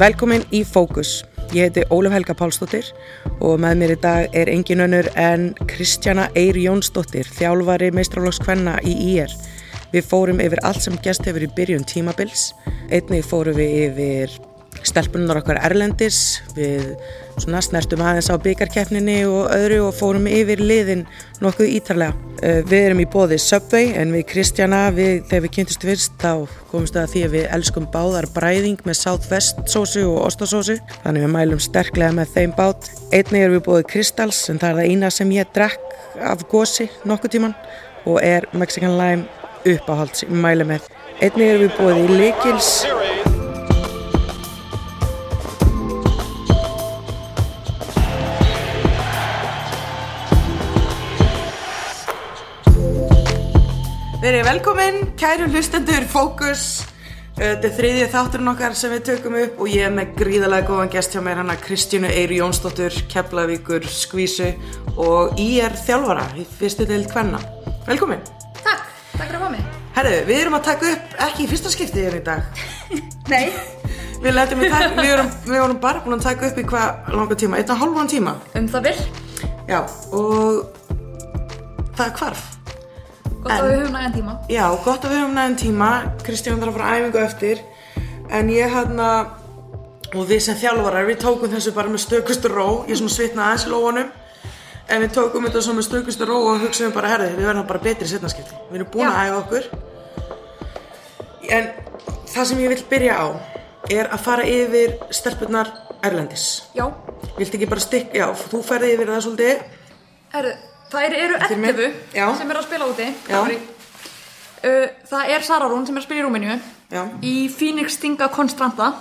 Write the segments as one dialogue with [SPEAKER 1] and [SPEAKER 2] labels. [SPEAKER 1] Velkomin í Fókus. Ég heiti Ólaf Helga Pálsdóttir og með mér í dag er engin önnur en Kristjana Eir Jónsdóttir, þjálfari meistralókskvenna í IR. Við fórum yfir allt sem gest hefur í byrjun tímabils. Einnig fórum við yfir stelpunar okkar Erlendis, við svona snertum aðeins á byggarkeppninni og öðru og fórum yfir liðin nokkuð ítarlega. Eh, Við erum í bóði Subway en við Kristjana, við, þegar við kynntumst fyrst þá komumst við að því að við elskum báðar bræðing með Southwest sósu og ostasósu þannig við mælum sterklega með þeim bát. Einnig erum við í bóði Kristals en það er það eina sem ég drekk af gósi nokkuð tíman og er Mexican Lime uppáhalds, ég mæli með. Einnig erum við bóði Likils Verið velkomin, kæru hlustendur, fókus. Þetta er þriðið þátturinn okkar sem við tökum upp og ég er með gríðalega góðan gest hjá mér hana Kristjánu Eiri Jónsdóttur, Keflavíkur, Skvísu og ég er þjálfara í fyrstu deild hvenna. Velkomin.
[SPEAKER 2] Takk, takk fyrir að fá mig.
[SPEAKER 1] Herðu, við erum að taka upp ekki í fyrsta skiptið hérna í dag.
[SPEAKER 2] Nei,
[SPEAKER 1] Við, letum í taka, við, erum, við vorum bara búin að taka upp í hvað langa tíma, einn og hálfan tíma.
[SPEAKER 2] um það vil
[SPEAKER 1] Já, og það er hvarf.
[SPEAKER 2] og þá
[SPEAKER 1] En-
[SPEAKER 2] við höfum nægan tíma.
[SPEAKER 1] Já, gott að við höfum næðin tíma Kristján þarf að fara á æfingu eftir En ég hérna Og við sem þjálfarar, við tókum þessu bara með stökustu ró Ég svona svitnaði aðeins í lóanum En við tókum þetta svona með stökustu ró Og hugsaðum bara, herði, við verðum bara betri setnaskipti Við erum búin
[SPEAKER 2] Já.
[SPEAKER 1] að æfa okkur En það sem ég vil byrja á Er að fara yfir stelpurnar Erlendis
[SPEAKER 2] Já,
[SPEAKER 1] Viltu ekki bara stikk, já, þú ferði yfir það svolítið
[SPEAKER 2] herru, þær eru
[SPEAKER 1] Fyrir mig?
[SPEAKER 2] 11
[SPEAKER 1] Já.
[SPEAKER 2] sem eru að spila úti.
[SPEAKER 1] Já.
[SPEAKER 2] Uh, það er Sara Rún sem er að spila í Rúmeníu
[SPEAKER 1] Já.
[SPEAKER 2] í Phoenix Stinga Constranta.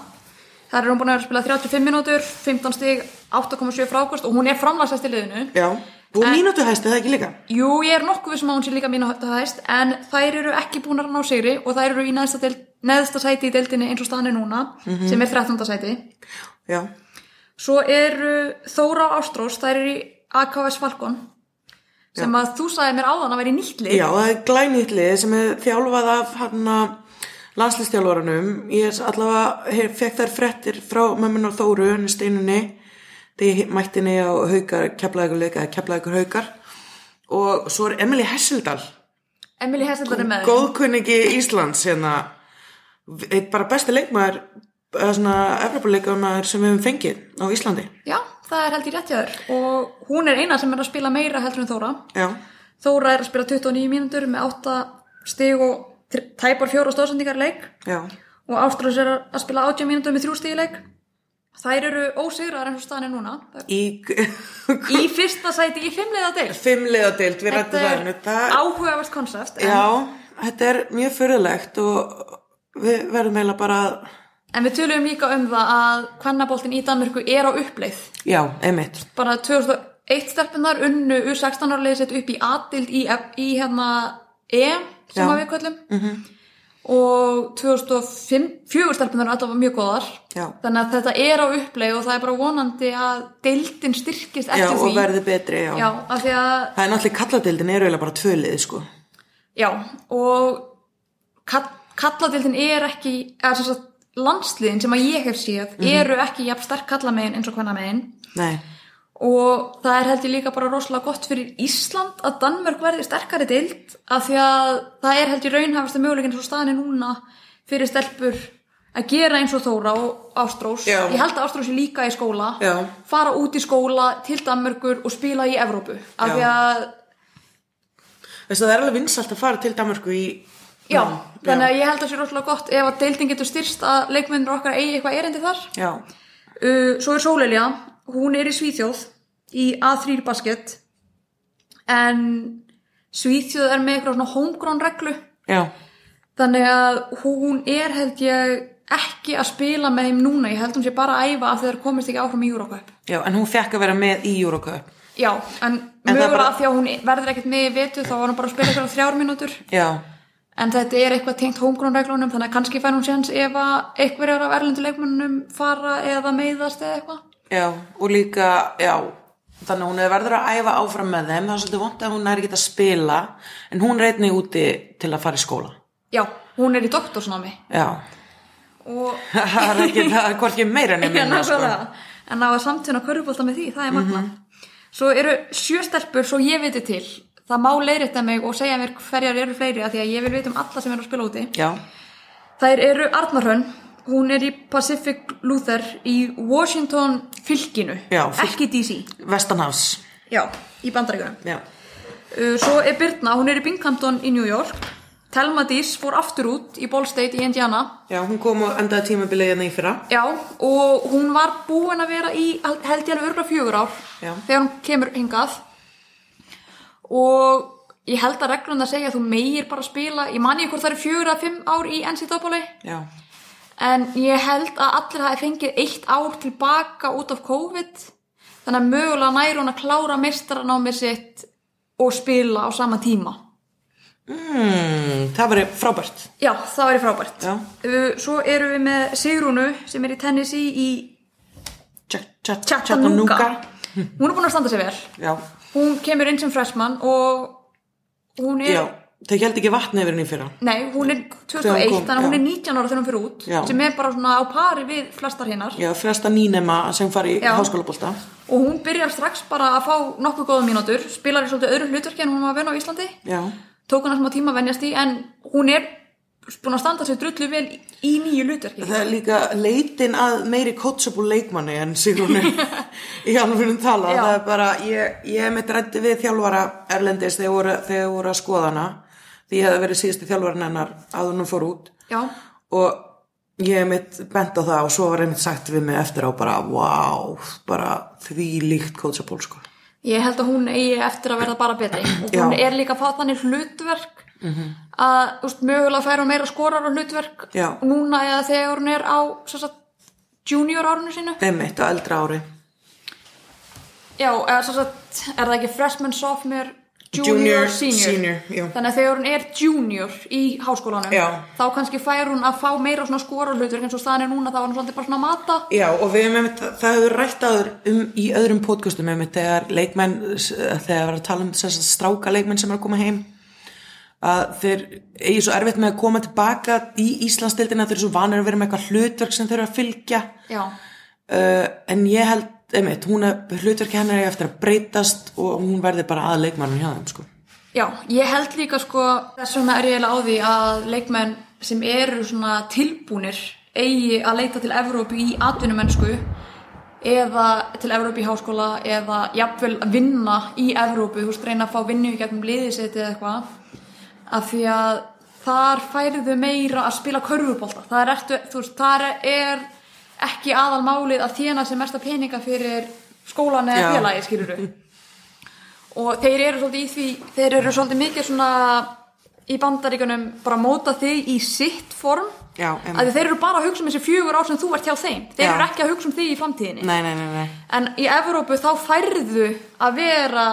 [SPEAKER 2] Það er hún búin að vera að spila 35 mínútur, 15 stig, 8,7 frákost og hún er framlæsast í liðinu.
[SPEAKER 1] Já, þú
[SPEAKER 2] En-
[SPEAKER 1] mínútu hæsti það ekki líka
[SPEAKER 2] Jú, ég er nokkuð vissum að hún sé líka mínu hæst, en þær eru ekki búnar að ná sigri og þær eru í neðsta, deild, neðsta sæti í deildinni eins og staðan er núna,
[SPEAKER 1] Mhm.
[SPEAKER 2] sem er 13. sæti.
[SPEAKER 1] Já,
[SPEAKER 2] Svo eru Þóra og Ástrós, þær eru í AKS Falcon sem að þú sagði mér áðan að vera í nýtt lið.
[SPEAKER 1] Já, það er glænýtlið sem er þjálfað af hann landslistjálfaranum. Ég er allavega hef, fekk þær frettir frá mömmun og Þóru, henni steinunni, þegar ég mætti henni á haukar, keflaðegur leika, keflaðegur haukar. Og svo er Emily Hesseldal,
[SPEAKER 2] Emily Hesseldar er með þeim.
[SPEAKER 1] góðkunningi Íslands, hérna, einn bara besti leikmaður, eða svona Evropuleikamaður sem við höfum fengið á Íslandi.
[SPEAKER 2] Já, það er held ég rétt hjá þér og hún er eina sem er að spila meira heldur en Þóra.
[SPEAKER 1] Já,
[SPEAKER 2] Þóra er að spila 29 mínútur með 8 stig og þr- tæpar fjóra stóðsendingar leik
[SPEAKER 1] já,
[SPEAKER 2] og Ástrós er að spila 18 mínútur með 3 stig leik. Þær eru ósigraðar eins og staðan er núna.
[SPEAKER 1] í
[SPEAKER 2] Í fyrsta sæti í fimmleiða deil.
[SPEAKER 1] fimmleiðadeild, við rættum það. hérna.
[SPEAKER 2] Þetta er áhugavert konsept en,
[SPEAKER 1] Já, þetta er mjög fyrirlegt og við verðum eiginlega bara að-
[SPEAKER 2] En við tölum líka um það að kvennaboltin í Danmörku er á uppleið.
[SPEAKER 1] Já, einmitt
[SPEAKER 2] Bara 2001 stelpunar unnu U16 árlega sett upp í A-dild í, í hérna E
[SPEAKER 1] Já.
[SPEAKER 2] sem
[SPEAKER 1] Mhm.
[SPEAKER 2] að við köllum -hmm. og 2004 stelpunar alltaf var mjög góðar.
[SPEAKER 1] Já.
[SPEAKER 2] Þannig að þetta er á uppleið og það er bara vonandi að deildin styrkist eftir
[SPEAKER 1] Já,
[SPEAKER 2] því.
[SPEAKER 1] og verði betri, já,
[SPEAKER 2] Já, af því að
[SPEAKER 1] Það er náttúrulega kalladeildin eru eiginlega bara tvölið, sko
[SPEAKER 2] Já, og kall, kalladildin er ekki, eða sem sagt landsliðin sem að ég hef séð
[SPEAKER 1] Mhm.
[SPEAKER 2] eru ekki jafn sterk kallamegin eins og hvernamegin
[SPEAKER 1] Nei,
[SPEAKER 2] og það er held ég líka bara rosalega gott fyrir Ísland að Danmörk verði sterkari dild af því að það er held ég raunhafasta möguleikin svo staðinni núna fyrir stelpur að gera eins og Þóra og Ástrós
[SPEAKER 1] Já.
[SPEAKER 2] ég held að Ástrós er líka í skóla
[SPEAKER 1] Já.
[SPEAKER 2] fara út í skóla til Danmörkur og spila í Evrópu af
[SPEAKER 1] Já.
[SPEAKER 2] því að
[SPEAKER 1] þess að það er alveg vinsalt að fara til Danmarku í
[SPEAKER 2] Já,
[SPEAKER 1] Mm. Já.
[SPEAKER 2] þannig að ég held að það sé rosalega gott ef að deildin getur styrst að leikmennir okkar eigi eitthvað erindi þar.
[SPEAKER 1] Já,
[SPEAKER 2] Uh, svo er Sólelja, hún er í Svíþjóð í A3 basket en Svíþjóð er með eitthvað svona homegrown reglu
[SPEAKER 1] já,
[SPEAKER 2] þannig að hún er held ég ekki að spila með þeim núna, ég held hún sé bara að æfa af því að þeir komist ekki áfram í Eurocup.
[SPEAKER 1] já En hún fekk að vera með í Eurocup
[SPEAKER 2] Já, en,
[SPEAKER 1] það
[SPEAKER 2] mögulega
[SPEAKER 1] bara-
[SPEAKER 2] af því að hún verður ekkert með í vetu þá var hún bara að spila eitthvað þrjár mínútur.
[SPEAKER 1] Já,
[SPEAKER 2] En þetta er eitthvað tengt homegrown-reglunum, þannig að kannski fær hún séns ef að einhverjar af erlenduleikmennunum fara eða meiðast eða eitthvað.
[SPEAKER 1] já, og líka, já Þannig að hún er verður að æfa áfram með þeim Það er svolítið vont að hún er ekki að spila En hún reytni úti til að fara í skóla
[SPEAKER 2] Já, hún er í doktorsnámi
[SPEAKER 1] Já,
[SPEAKER 2] og
[SPEAKER 1] það er ekki, það er hvorki meira nefnir
[SPEAKER 2] en
[SPEAKER 1] minna,
[SPEAKER 2] að,
[SPEAKER 1] sko. Mhm.
[SPEAKER 2] sko. en að samtuna körfubólta með því, það er magnað svo eru sjö stelpur svo ég viti til það má leiðrétta mig og segja mér hverjar eru fleiri að því að ég vil veit um alla sem eru að spila úti
[SPEAKER 1] Já,
[SPEAKER 2] þær eru Arnarhönn hún er í Pacific Luther í Washington fylkinu
[SPEAKER 1] Já, fylk-
[SPEAKER 2] ekki DC
[SPEAKER 1] Vestanhafs.
[SPEAKER 2] já, í bandaríkunum
[SPEAKER 1] Já.
[SPEAKER 2] Uh, Svo er Birna, hún er í Binghamton í New York Telma Dís fór aftur út í Ball State í Indiana
[SPEAKER 1] Já, hún kom og endaði tímabilið hérna í fyrra.
[SPEAKER 2] Já, og hún var búin að vera í held held ég alveg örgulega fjögur ár
[SPEAKER 1] Já.
[SPEAKER 2] þegar hún kemur hingað og ég held að reglum það segja að þú meir bara spila ég mani hvort það eru fjögur að fimm ár í NCAA
[SPEAKER 1] Já.
[SPEAKER 2] en ég held að allir hafi fengið eitt ár tilbaka út af COVID þannig að mögulega næri hún að klára mistaranámið sitt og spila á sama tíma
[SPEAKER 1] Mm, það var frábært.
[SPEAKER 2] Já, það væri frábært.
[SPEAKER 1] Já.
[SPEAKER 2] Uh, Svo erum við með Sigrúnu sem er í Tennessee í
[SPEAKER 1] Tja- tja-
[SPEAKER 2] Chattanooga. Hún er búin að standa sig vel.
[SPEAKER 1] Já,
[SPEAKER 2] Hún kemur inn sem freshman og hún er...
[SPEAKER 1] já. Það held ekki vatn yfir henni í fyrra.
[SPEAKER 2] Nei, hún er
[SPEAKER 1] Þegar hún
[SPEAKER 2] 2001,
[SPEAKER 1] kom,
[SPEAKER 2] þannig að hún
[SPEAKER 1] já.
[SPEAKER 2] er 19 ára þegar hún fyrir út
[SPEAKER 1] Já.
[SPEAKER 2] sem er bara svona á pari við flestar hinnar
[SPEAKER 1] Já, fresta nýnema sem fari í
[SPEAKER 2] Já.
[SPEAKER 1] háskólabólta.
[SPEAKER 2] og hún byrjar strax bara að fá nokkuð góða mínútur, spilar í svolítið öðru hlutverki en hún var að vöna á Íslandi
[SPEAKER 1] Já,
[SPEAKER 2] tók hann að smá tíma að venjast í en hún er búin að standa sig drullu vel í, í nýju hlutverki
[SPEAKER 1] það er líka leitin að meiri coachable leikmanni en Sigrúnu í alveg tala.
[SPEAKER 2] Já.
[SPEAKER 1] Það er bara, ég, ég mitt rætti við þjálfara Erlendis þegar voru, þegar voru að skoða hana. Því ég hefði verið síðusti þjálfarin hennar að hún fór út.
[SPEAKER 2] Já,
[SPEAKER 1] og ég mitt bent á það og svo var einmitt sagt við mig eftir á bara wow, bara því líkt coachable sko.
[SPEAKER 2] Ég held að hún eigi eftir að verða bara betri og hún
[SPEAKER 1] Já. Mhm.
[SPEAKER 2] er líka að fá þannig hlutverk að úst, mögulega fær hún meira skorar og hlutverk
[SPEAKER 1] Já.
[SPEAKER 2] núna eða þegar hún er á sem sagt, junior árunu sínu
[SPEAKER 1] einmitt á eldra ári
[SPEAKER 2] Já, eða sem sagt, er það ekki freshman, sophomore, junior,
[SPEAKER 1] Junior,
[SPEAKER 2] senior,
[SPEAKER 1] senior, já.
[SPEAKER 2] þannig að þegar hún er junior í háskólanum
[SPEAKER 1] Já.
[SPEAKER 2] þá kannski fær hún að fá meira svona skorar og hlutverk eins og staðan er núna þá var hún svolítið bara svona að mata
[SPEAKER 1] já og við hefum einmitt, það hefur rætt áður um, í öðrum podcastum einmitt þegar leikmenn, þegar var að tala um þess að stráka leikmenn sem er að koma heim að þeir eigi svo erfitt með að koma tilbaka í Íslandsdeildina þeir eru svo vanir að vera með eitthvað hlutverk sem þeir eru að fylgja
[SPEAKER 2] Já,
[SPEAKER 1] uh, en ég held, einmitt, hún að hlutverki hennar er eftir að breytast og hún verði bara að leikmannum hjá þeim sko.
[SPEAKER 2] Já, ég held líka sko þess vegna er ég eiginlega á því að leikmenn sem eru svona tilbúnir eigi að leita til Evrópu í atvinnumennsku eða til Evrópu í háskóla eða jafnvel að vinna í Evrópu, þú veist, reyna að fá vinnu í gegnum liðisæti eða eitthvað af því að þar færiðu meira að spila körfubólta þar, ertu, þú veist, þar er ekki aðal málið að þjána sem mesta peninga fyrir skólan eða
[SPEAKER 1] Já.
[SPEAKER 2] félagi, skilur og þeir eru svolítið í því þeir eru svolítið mikið svona í bandaríkunum bara móta þig í sitt form
[SPEAKER 1] Já, einmitt.
[SPEAKER 2] að þeir eru bara að hugsa um þessi fjögur ár sem þú ert hjá þeim þeir
[SPEAKER 1] Já.
[SPEAKER 2] eru ekki að hugsa um þig í framtíðinni
[SPEAKER 1] Nei, nei, nei, nei.
[SPEAKER 2] en í Evrópu þá færðu að vera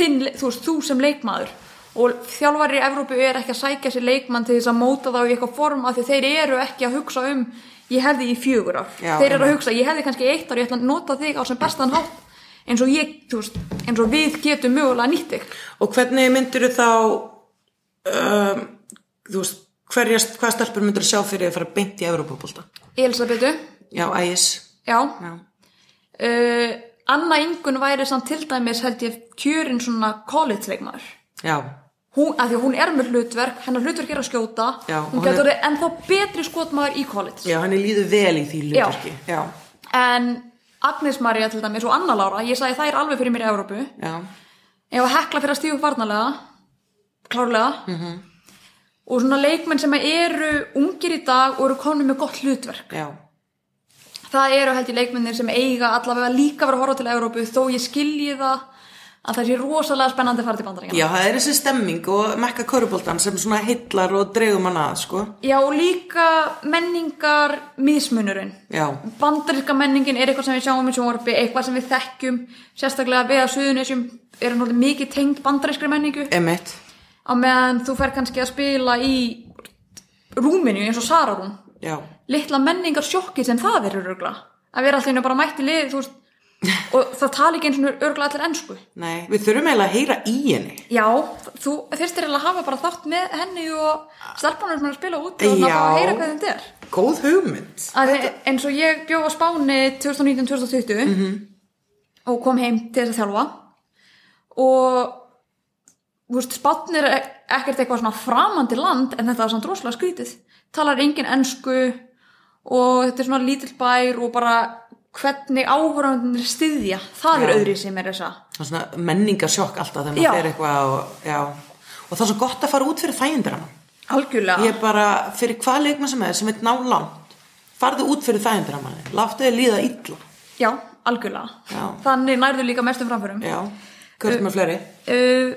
[SPEAKER 2] þinn, þú, veist, þú sem leikmaður og þjálfari í Evrópu er ekki að sækja sér leikmann til þess að móta þá í eitthvað form af því þeir eru ekki að hugsa um ég hefði í fjögur ár,
[SPEAKER 1] Já,
[SPEAKER 2] þeir eru að
[SPEAKER 1] einmitt.
[SPEAKER 2] hugsa ég hefði kannski í eitt ár, ég ætla að nota þig á sem bestan hátt eins og ég, þú veist, eins og við getum mögulega nýtt þig
[SPEAKER 1] Og hvernig myndir þá, um, þú veist, hverjast, hvaða stelpur myndir sjá fyrir að fara beint í Evropapólta?
[SPEAKER 2] Elisabetu,
[SPEAKER 1] Já, ægis.
[SPEAKER 2] já
[SPEAKER 1] Já.
[SPEAKER 2] uh, Anna Ingun væri samt til dæmis held ég kjörin svona college-leikmaður
[SPEAKER 1] Já,
[SPEAKER 2] hún, að því að hún er með hlutverk, hennar hlutverk er að skjóta
[SPEAKER 1] Já,
[SPEAKER 2] hún
[SPEAKER 1] hún er-
[SPEAKER 2] getur er... ennþá betri skotmaður í college
[SPEAKER 1] já, henni líður vel í því
[SPEAKER 2] Já.
[SPEAKER 1] hlutverki. Já.
[SPEAKER 2] en Agnes Maria til dæmis og Anna Lára ég sagði þær alveg fyrir mér í Evrópu
[SPEAKER 1] Já, já,
[SPEAKER 2] ef að hekla fyrir að stíu upp varnalega klárlega -hmm.
[SPEAKER 1] Mhm.
[SPEAKER 2] og svona leikmenn sem eru ungir í dag og eru konum með gott hlutverk
[SPEAKER 1] já.
[SPEAKER 2] það eru held ég leikmennir sem eiga allavega líka verið að horfa til Evrópu þó ég skilji það að það sé rosalega spennandi að fara til bandaríkjana
[SPEAKER 1] Já, það er þessi stemming og mekka körubóltan sem svona heillar og dreigum hann að, sko.
[SPEAKER 2] Já, og líka menningar mismunurinn.
[SPEAKER 1] Já,
[SPEAKER 2] Bandaríska menningin er eitthvað sem við sjáum í sjónvarpi, eitthvað sem við þekkjum, sérstaklega við að suðunisjum eru náttúrulega mikið tengd bandarískri menningu
[SPEAKER 1] emitt.
[SPEAKER 2] á meðan þú fer kannski að spila í Rúminju eins og Sararún.
[SPEAKER 1] Já,
[SPEAKER 2] Litla menningar sjokki sem það verður rugla. Að vera allir bara mætti lið, þú veist, og það tala ekki eins og örgulega allir ennsku
[SPEAKER 1] Nei, við þurfum eiginlega að heyra í henni
[SPEAKER 2] já, þú þyrstir eiginlega að hafa bara þátt með henni og stelpunum sem er að spila út og náttúrulega að
[SPEAKER 1] Já.
[SPEAKER 2] heyra hvað þetta er
[SPEAKER 1] Góð hugmynd
[SPEAKER 2] að þið, eins og ég bjó á Spáni 2019-2020
[SPEAKER 1] Mhm.
[SPEAKER 2] og kom heim til þess að þjálfa og þú veist, Spánn er e- ekkert eitthvað svona framandi land en þetta er samt rosalega skrítið talar engin ensku og þetta er svona lítill bær og bara hvernig áhverjandunir styðja það er
[SPEAKER 1] Já.
[SPEAKER 2] öðri sem er þessa
[SPEAKER 1] Það er svona menningarsjokk alltaf þegar
[SPEAKER 2] Já.
[SPEAKER 1] maður fer eitthvað og, já. og það er svo gott að fara út fyrir þægindir hann
[SPEAKER 2] algjörlega
[SPEAKER 1] Ég bara, fyrir hvað leikma sem er sem vil ná langt farðu út fyrir þægindir hann láttu þið líða illa
[SPEAKER 2] já, algjörlega
[SPEAKER 1] Já.
[SPEAKER 2] þannig nærðu líka mestum framförum
[SPEAKER 1] Já, hvert með fleiri
[SPEAKER 2] uh,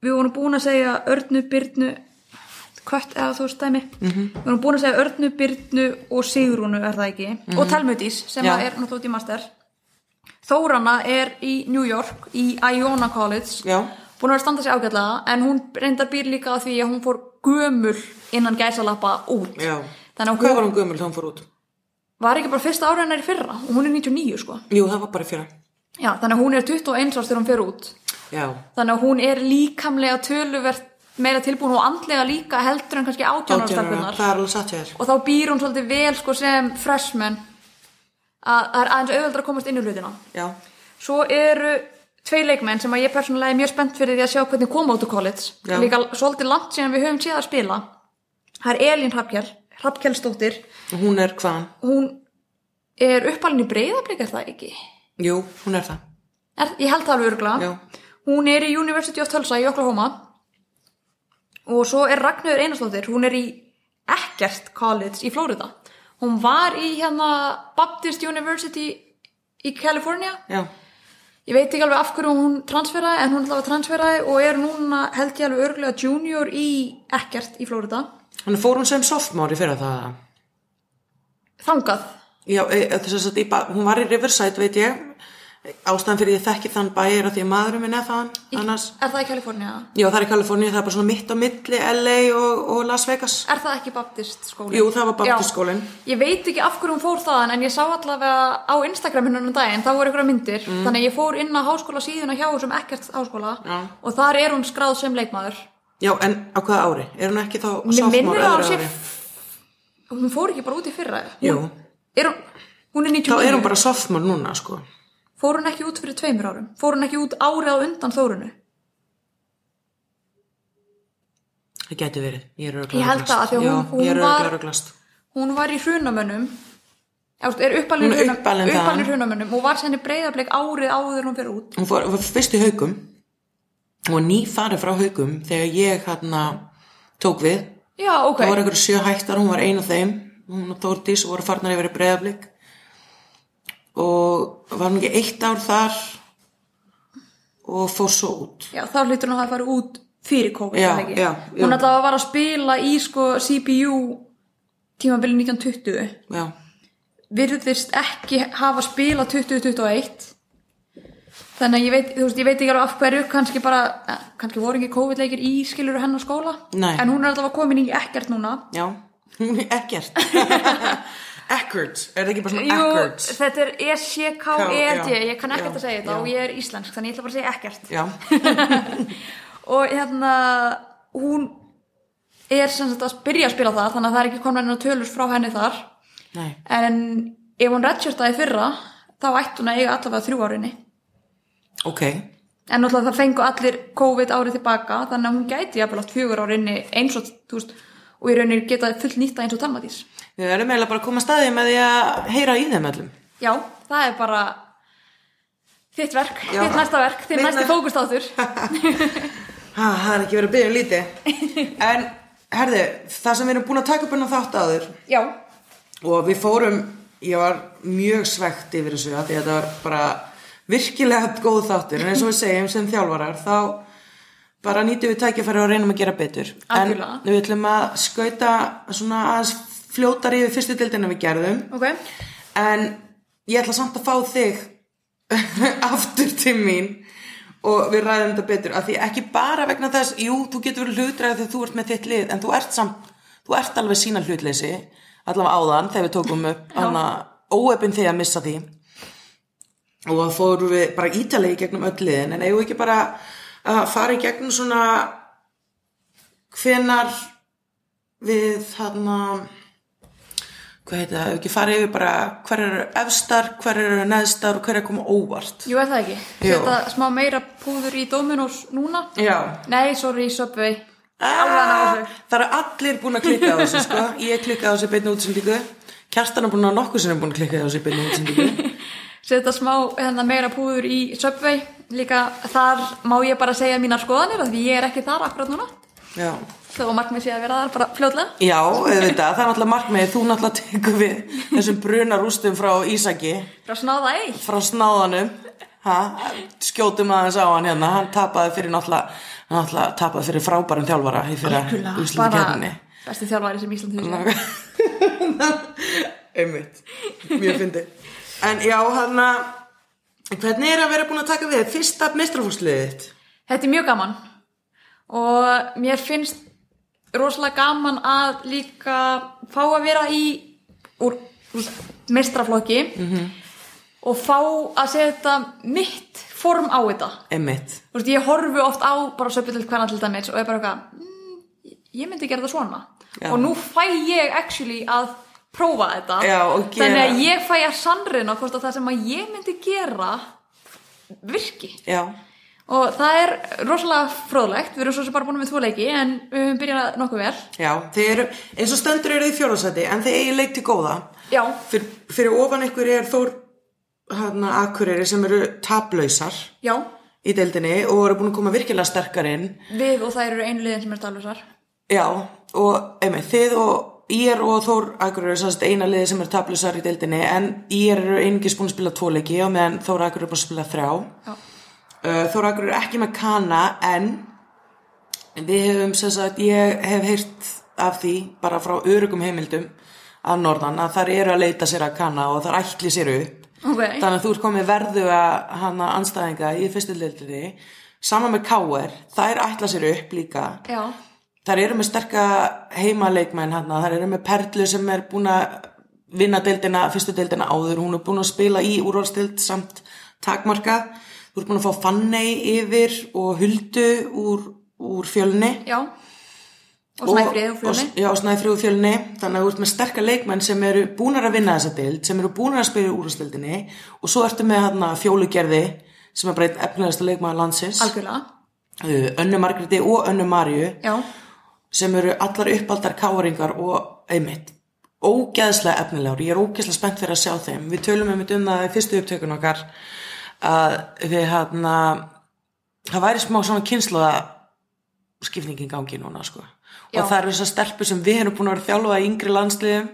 [SPEAKER 2] við vorum búin að segja örnu, byrnu kött eða þú veist dæmi
[SPEAKER 1] Mhm.
[SPEAKER 2] við vorum búin að segja örnu, byrnu og sigrúnu er það ekki, og telmudís sem
[SPEAKER 1] Mhm. Já.
[SPEAKER 2] að er náttúrulega út í master Þórana er í New York í Iona College
[SPEAKER 1] Já.
[SPEAKER 2] búin að vera að standa sig ágætlega en hún reyndar býr líka að því að hún fór gömul innan gæsalappa út
[SPEAKER 1] Já.
[SPEAKER 2] þannig að
[SPEAKER 1] Hvað
[SPEAKER 2] hún
[SPEAKER 1] var
[SPEAKER 2] var,
[SPEAKER 1] hún gömul þegar hún fór út?
[SPEAKER 2] ekki bara fyrsta ára hennar í fyrra og hún er 99 sko
[SPEAKER 1] Jú, það var bara fyrra
[SPEAKER 2] Já, þannig að hún er 21 árs þegar hún fer út
[SPEAKER 1] Já,
[SPEAKER 2] þannig að hún er líkamlega töluvert meira tilbúin og andlega líka heldur en kannski
[SPEAKER 1] Átján ára.
[SPEAKER 2] átjánarstaflunar
[SPEAKER 1] það er alveg satt hjá þér
[SPEAKER 2] og þá býr hún svolítið vel sko sem freshman að það er aðeins auðveldra að komast inn í hlutina
[SPEAKER 1] Já,
[SPEAKER 2] svo eru tvei leikmenn sem að ég persónulega er mjög spennt fyrir því að sjá hvernig koma út úr college
[SPEAKER 1] Já.
[SPEAKER 2] líka svolítið langt síðan við höfum séð að spila það er Elín Hrafkjell Hrafkjellsdóttir,
[SPEAKER 1] og hún er hvaðan?
[SPEAKER 2] hún er uppalinn í breyðablík er það ekki?
[SPEAKER 1] Jú, hún er það
[SPEAKER 2] Er, ég held það alveg örgla.
[SPEAKER 1] Já.
[SPEAKER 2] Hún er í University of Tulsa í Oklahoma og svo er Ragnhjörður Einarsdóttir, hún er í Ekkert College í Florida. Hún var í hérna Baptist University í California.
[SPEAKER 1] Já,
[SPEAKER 2] Ég veit ekki alveg af hverju hún transferaði en hún ætlaði að transferaði og er núna held ég alveg örglega junior í Ekkert í Florida.
[SPEAKER 1] hann fór hún sem softmóri fyrra það
[SPEAKER 2] Þangað.
[SPEAKER 1] Já, e, þess að í ba- hún var í Riverside, veit ég ástæðan fyrir ég þekki þann bæ er að því að maðurum minn er þaðan, annars
[SPEAKER 2] Er það í California?
[SPEAKER 1] Já, það er í Kaliforníu, það er bara svona mitt á milli LA og, og Las Vegas
[SPEAKER 2] Er það ekki Baptist skólinn?
[SPEAKER 1] Jú, það var Baptist skólinn.
[SPEAKER 2] Já. Ég veit ekki af hverju hún fór þaðan en ég sá allavega á Instagraminu um daginn, það voru ykkur myndir þannig að ég fór inn á háskóla síðuna hjá þessum ekkert háskóla
[SPEAKER 1] Mm. Já.
[SPEAKER 2] og þar er hún skráð sem leikmaður
[SPEAKER 1] Já, en á hvaða ári? Er hún ekki þá
[SPEAKER 2] Mér
[SPEAKER 1] sophomore
[SPEAKER 2] minnir að hún
[SPEAKER 1] öðru
[SPEAKER 2] sé
[SPEAKER 1] ári?
[SPEAKER 2] hún fór ekki bara út í fyrra hún,
[SPEAKER 1] Jú,
[SPEAKER 2] er hún, hún er
[SPEAKER 1] þá
[SPEAKER 2] 99
[SPEAKER 1] er hún bara sophomore núna, sko
[SPEAKER 2] fór hún ekki út fyrir tveimur árum fór hún ekki út árið á undan Þórunu
[SPEAKER 1] Það gæti verið, ég er
[SPEAKER 2] Ég
[SPEAKER 1] örgulega
[SPEAKER 2] held það, af því að hún- hún
[SPEAKER 1] Já, ég er
[SPEAKER 2] var-
[SPEAKER 1] örgulega röglast
[SPEAKER 2] hún var í hrunamönnum eða, þú veist, er uppalinn
[SPEAKER 1] Hún er uppalin þaðan.
[SPEAKER 2] hrunamönnum og var senni breyðarbleik árið áður en hún fyrir út
[SPEAKER 1] Hún fór, var fyrst í haugum Hún var nýfarið frá haugum þegar ég hérna tók við
[SPEAKER 2] Já, ok
[SPEAKER 1] Það voru einhverju sjö hættar, hún var ein af þeim Hún og Þórdís voru farnar yfir í breyðablík Og var hún ekki eitt ár þar og fór svo út
[SPEAKER 2] Já, þá hlýtur hún að hafa farið út fyrir COVID,
[SPEAKER 1] Já,
[SPEAKER 2] er það ekki?
[SPEAKER 1] já, já.
[SPEAKER 2] Hún alltaf var að spila í sko CPU tímabili 1920,
[SPEAKER 1] Já,
[SPEAKER 2] virðist ekki hafa spila 2021 þannig að ég veit, þú veist, ég veit ekki alveg af hverju, kannski bara eh, kannski voru ekki COVID-leikir í skilur hennar skóla,
[SPEAKER 1] Nei.
[SPEAKER 2] en hún er alltaf komin í ekkert núna.
[SPEAKER 1] já, hún er ekkert Ekkert, er það ekki bara svona
[SPEAKER 2] Jú,
[SPEAKER 1] ekkert?
[SPEAKER 2] þetta er S-C-K-E-D,
[SPEAKER 1] Já,
[SPEAKER 2] E ég kann ekkert
[SPEAKER 1] já,
[SPEAKER 2] að segja þetta
[SPEAKER 1] já.
[SPEAKER 2] og ég er íslensk, þannig ég ætla bara að segja ekkert.
[SPEAKER 1] Já,
[SPEAKER 2] og hérna hún er sem sagt að byrja að spila það þannig að það er ekki komin hennar tölur frá henni þar
[SPEAKER 1] nei,
[SPEAKER 2] en ef hún redshirtaði fyrra þá ætti hún að eiga allavega þrjú árinni
[SPEAKER 1] ok
[SPEAKER 2] en náttúrulega það fengu allir COVID árið tilbaka þannig að hún gæti jafnvel átt fjögur árinni eins og þú veist og í rauninni geta full nýtta eins og talmadís
[SPEAKER 1] Við verðum eiginlega bara að koma að staði með því að heyra í þeim öllum
[SPEAKER 2] já, það er bara þitt verk,
[SPEAKER 1] Já.
[SPEAKER 2] þitt næsta verk þitt
[SPEAKER 1] Mitt
[SPEAKER 2] næsti
[SPEAKER 1] næsta-
[SPEAKER 2] fókustátur
[SPEAKER 1] Ha, það er ekki verið að byrja um lítið En, herði, það sem við erum búin að taka upp enn á þátt áður
[SPEAKER 2] já,
[SPEAKER 1] og við fórum ég var mjög svegt yfir þessu af því að þetta var bara virkilega góð þáttur en eins og við segjum sem þjálfarar þá bara nýtum við tækifæri og reynum að gera betur
[SPEAKER 2] Algjörlega.
[SPEAKER 1] en við ætlum að skauta svona aðeins fljótar yfir fyrstu dildina við gerðum
[SPEAKER 2] ok
[SPEAKER 1] en ég ætla samt að fá þig aftur til mín og við ræðum þetta betur af því ekki bara vegna þess, jú, þú getur verið hlutræðið þegar þú ert með þitt lið, en þú ert samt þú ert alveg sína hlutleysi allavega áðan þegar við tókum upp hana óöpinn þig að missa því og það fórum við bara ítalegi gegnum öll liðin en eigum við ekki bara að fara í gegnum svona hvenar við þarna hvað heita, ef ekki farið yfir bara hver eru efstar, hver eru neðstar og hver er að koma óvart
[SPEAKER 2] Jú, er það ekki?
[SPEAKER 1] Jú.
[SPEAKER 2] Setta smá meira púður í Dominos núna?
[SPEAKER 1] Já.
[SPEAKER 2] Nei, sorry, Subway. Alveg að ná
[SPEAKER 1] Ah,
[SPEAKER 2] þessu.
[SPEAKER 1] það eru allir búin að klikka á þessu sko. ég klikkaði á þessu í beinni útsendingu Kjartan er búin að nokkuð sinni búin að klikka á þessu í beinni útsendingu
[SPEAKER 2] Setta smá hérna, meira púður í Subway. Líka þar má ég bara segja mínar skoðanir, af því ég er ekki þar akkurat núna.
[SPEAKER 1] já,
[SPEAKER 2] Þó að markmið sé að vera þar bara fljótlega.
[SPEAKER 1] já auðvitað, það er náttúrulega markmið þú náttúrulega tekur við þessum bruna rústum frá Ísaki
[SPEAKER 2] Frá snáða eitt.
[SPEAKER 1] frá snáðanum ha, skjótum aðeins á hann hérna hann tapaði fyrir náttúrulega hann náttúrulega tapaði fyrir frábærum þjálfara í fyrir úslega kefninni
[SPEAKER 2] besti þjálfari sem Ísland hefur séð.
[SPEAKER 1] einmitt, mjög fyndi en já, hann að hvernig er að vera búin að taka við fyrsta mestrafúrsliðið þitt?
[SPEAKER 2] Þetta er mjög gaman og mér finnst rosalega gaman að líka fá að vera í úr, úr mestraflokki og fá að setja mitt form á þetta.
[SPEAKER 1] einmitt,
[SPEAKER 2] Þú veist, ég horfi oft á bara söpildilt hvernig til dæmis og er bara eitthvað, mm, ég myndi gera það svona.
[SPEAKER 1] Já.
[SPEAKER 2] Og nú fæ ég actually að prófa þetta.
[SPEAKER 1] Já, og gera.
[SPEAKER 2] Þannig að ég fæ að sannreina hvort að það sem að ég myndi gera virki.
[SPEAKER 1] já
[SPEAKER 2] Og það er rosalega fróðlegt, við erum svo sem bara búin með tvo leiki en við höfum byrjað nokkuð vel.
[SPEAKER 1] já, þeir eru, eins og stendur eru þið fjóðarsæti en þeir eigi leik til góða
[SPEAKER 2] Já,
[SPEAKER 1] fyrir, fyrir ofan ykkur er Þór hann að Akureyri sem eru taplausar
[SPEAKER 2] já,
[SPEAKER 1] í deildinni og eru búin að koma virkilega sterkar inn
[SPEAKER 2] við og það eru einu liðin sem er talusar.
[SPEAKER 1] já, og einmitt, þið og ég og Þór Akur eru sannst eina liði sem er tablusar í deildinni en ég eru einungis búin að spila tvo leiki og meðan Þór Akur eru búin að spila þrjá
[SPEAKER 2] Já.
[SPEAKER 1] uh, Þór Akur eru ekki með kana en við hefum sem sagt, ég hef heyrt af því bara frá örugum heimildum að norðan að þar eru að leita sér að kana og þar ætli sér upp
[SPEAKER 2] Ok,
[SPEAKER 1] Þannig að þú ert komið verðu að hana anstæðinga í fyrstu deildinni saman með K.R. Þær ætla sér upp líka.
[SPEAKER 2] já,
[SPEAKER 1] Þær eru með sterka heimaleikmenn hann, þær eru með Perlu sem er búin að vinna deildina, fyrstu deildina áður, hún er búin að spila í úrvalstild samt takmarkað. Þú ert búin að fá Fanney yfir og Huldu úr, úr fjölni
[SPEAKER 2] já. Og snæfrið
[SPEAKER 1] og-
[SPEAKER 2] og fjölni.
[SPEAKER 1] Já, snæfrið og fjölni, þannig að þú ert með sterka leikmenn sem eru búnar að vinna þessa deild, sem eru búnar að spila úrstildinni og svo ertu með hana, fjólugerði sem er bara einn efnilegasta leikmaður landsins,
[SPEAKER 2] Algjörlega,
[SPEAKER 1] uh, Önnu Margréti og Önnu Marju
[SPEAKER 2] já,
[SPEAKER 1] sem eru allar uppaldar káringar og einmitt, ógeðslega efnilegur, ég er ógeðslega spennt fyrir að sjá þeim við tölum einmitt um það í fyrstu upptökun okkar að við hérna það væri smá svona kynsluða skipningin gangi núna sko
[SPEAKER 2] Já.
[SPEAKER 1] og það eru þessar stelpur sem við erum búin að vera að þjálfa í yngri landsliðum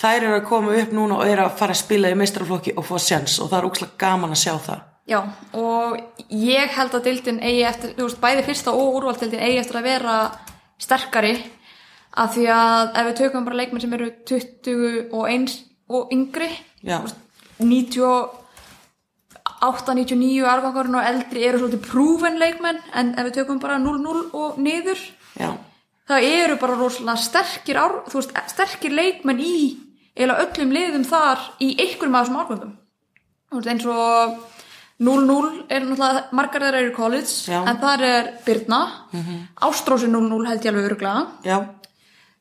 [SPEAKER 1] þær eru að koma upp núna og eru að fara að spila í meistraflokki og fá sjens og það er ógeðslega gaman að sjá það
[SPEAKER 2] já. Og ég held að dildin eigi eftir, þú veist, bæði fyrsta og úrvaldildin eigi eftir að vera sterkari af því að ef við tökum bara leikmenn sem eru 20 og 1 og yngri,
[SPEAKER 1] Já,
[SPEAKER 2] 98, 99 árgangurinn og eldri eru svolítið prúven leikmenn en ef við tökum bara 0-0 og niður
[SPEAKER 1] já,
[SPEAKER 2] það eru bara rosalega sterkir, ár, þú veist, sterkir leikmenn í eða öllum liðum þar í einhverjum af þessum árgangum Þú veist, eins og 0-0 er náttúrulega margar þeirra eru í college
[SPEAKER 1] Já. Mhm.
[SPEAKER 2] en þar er Birna mm 0-0 held ég alveg öruglega
[SPEAKER 1] já,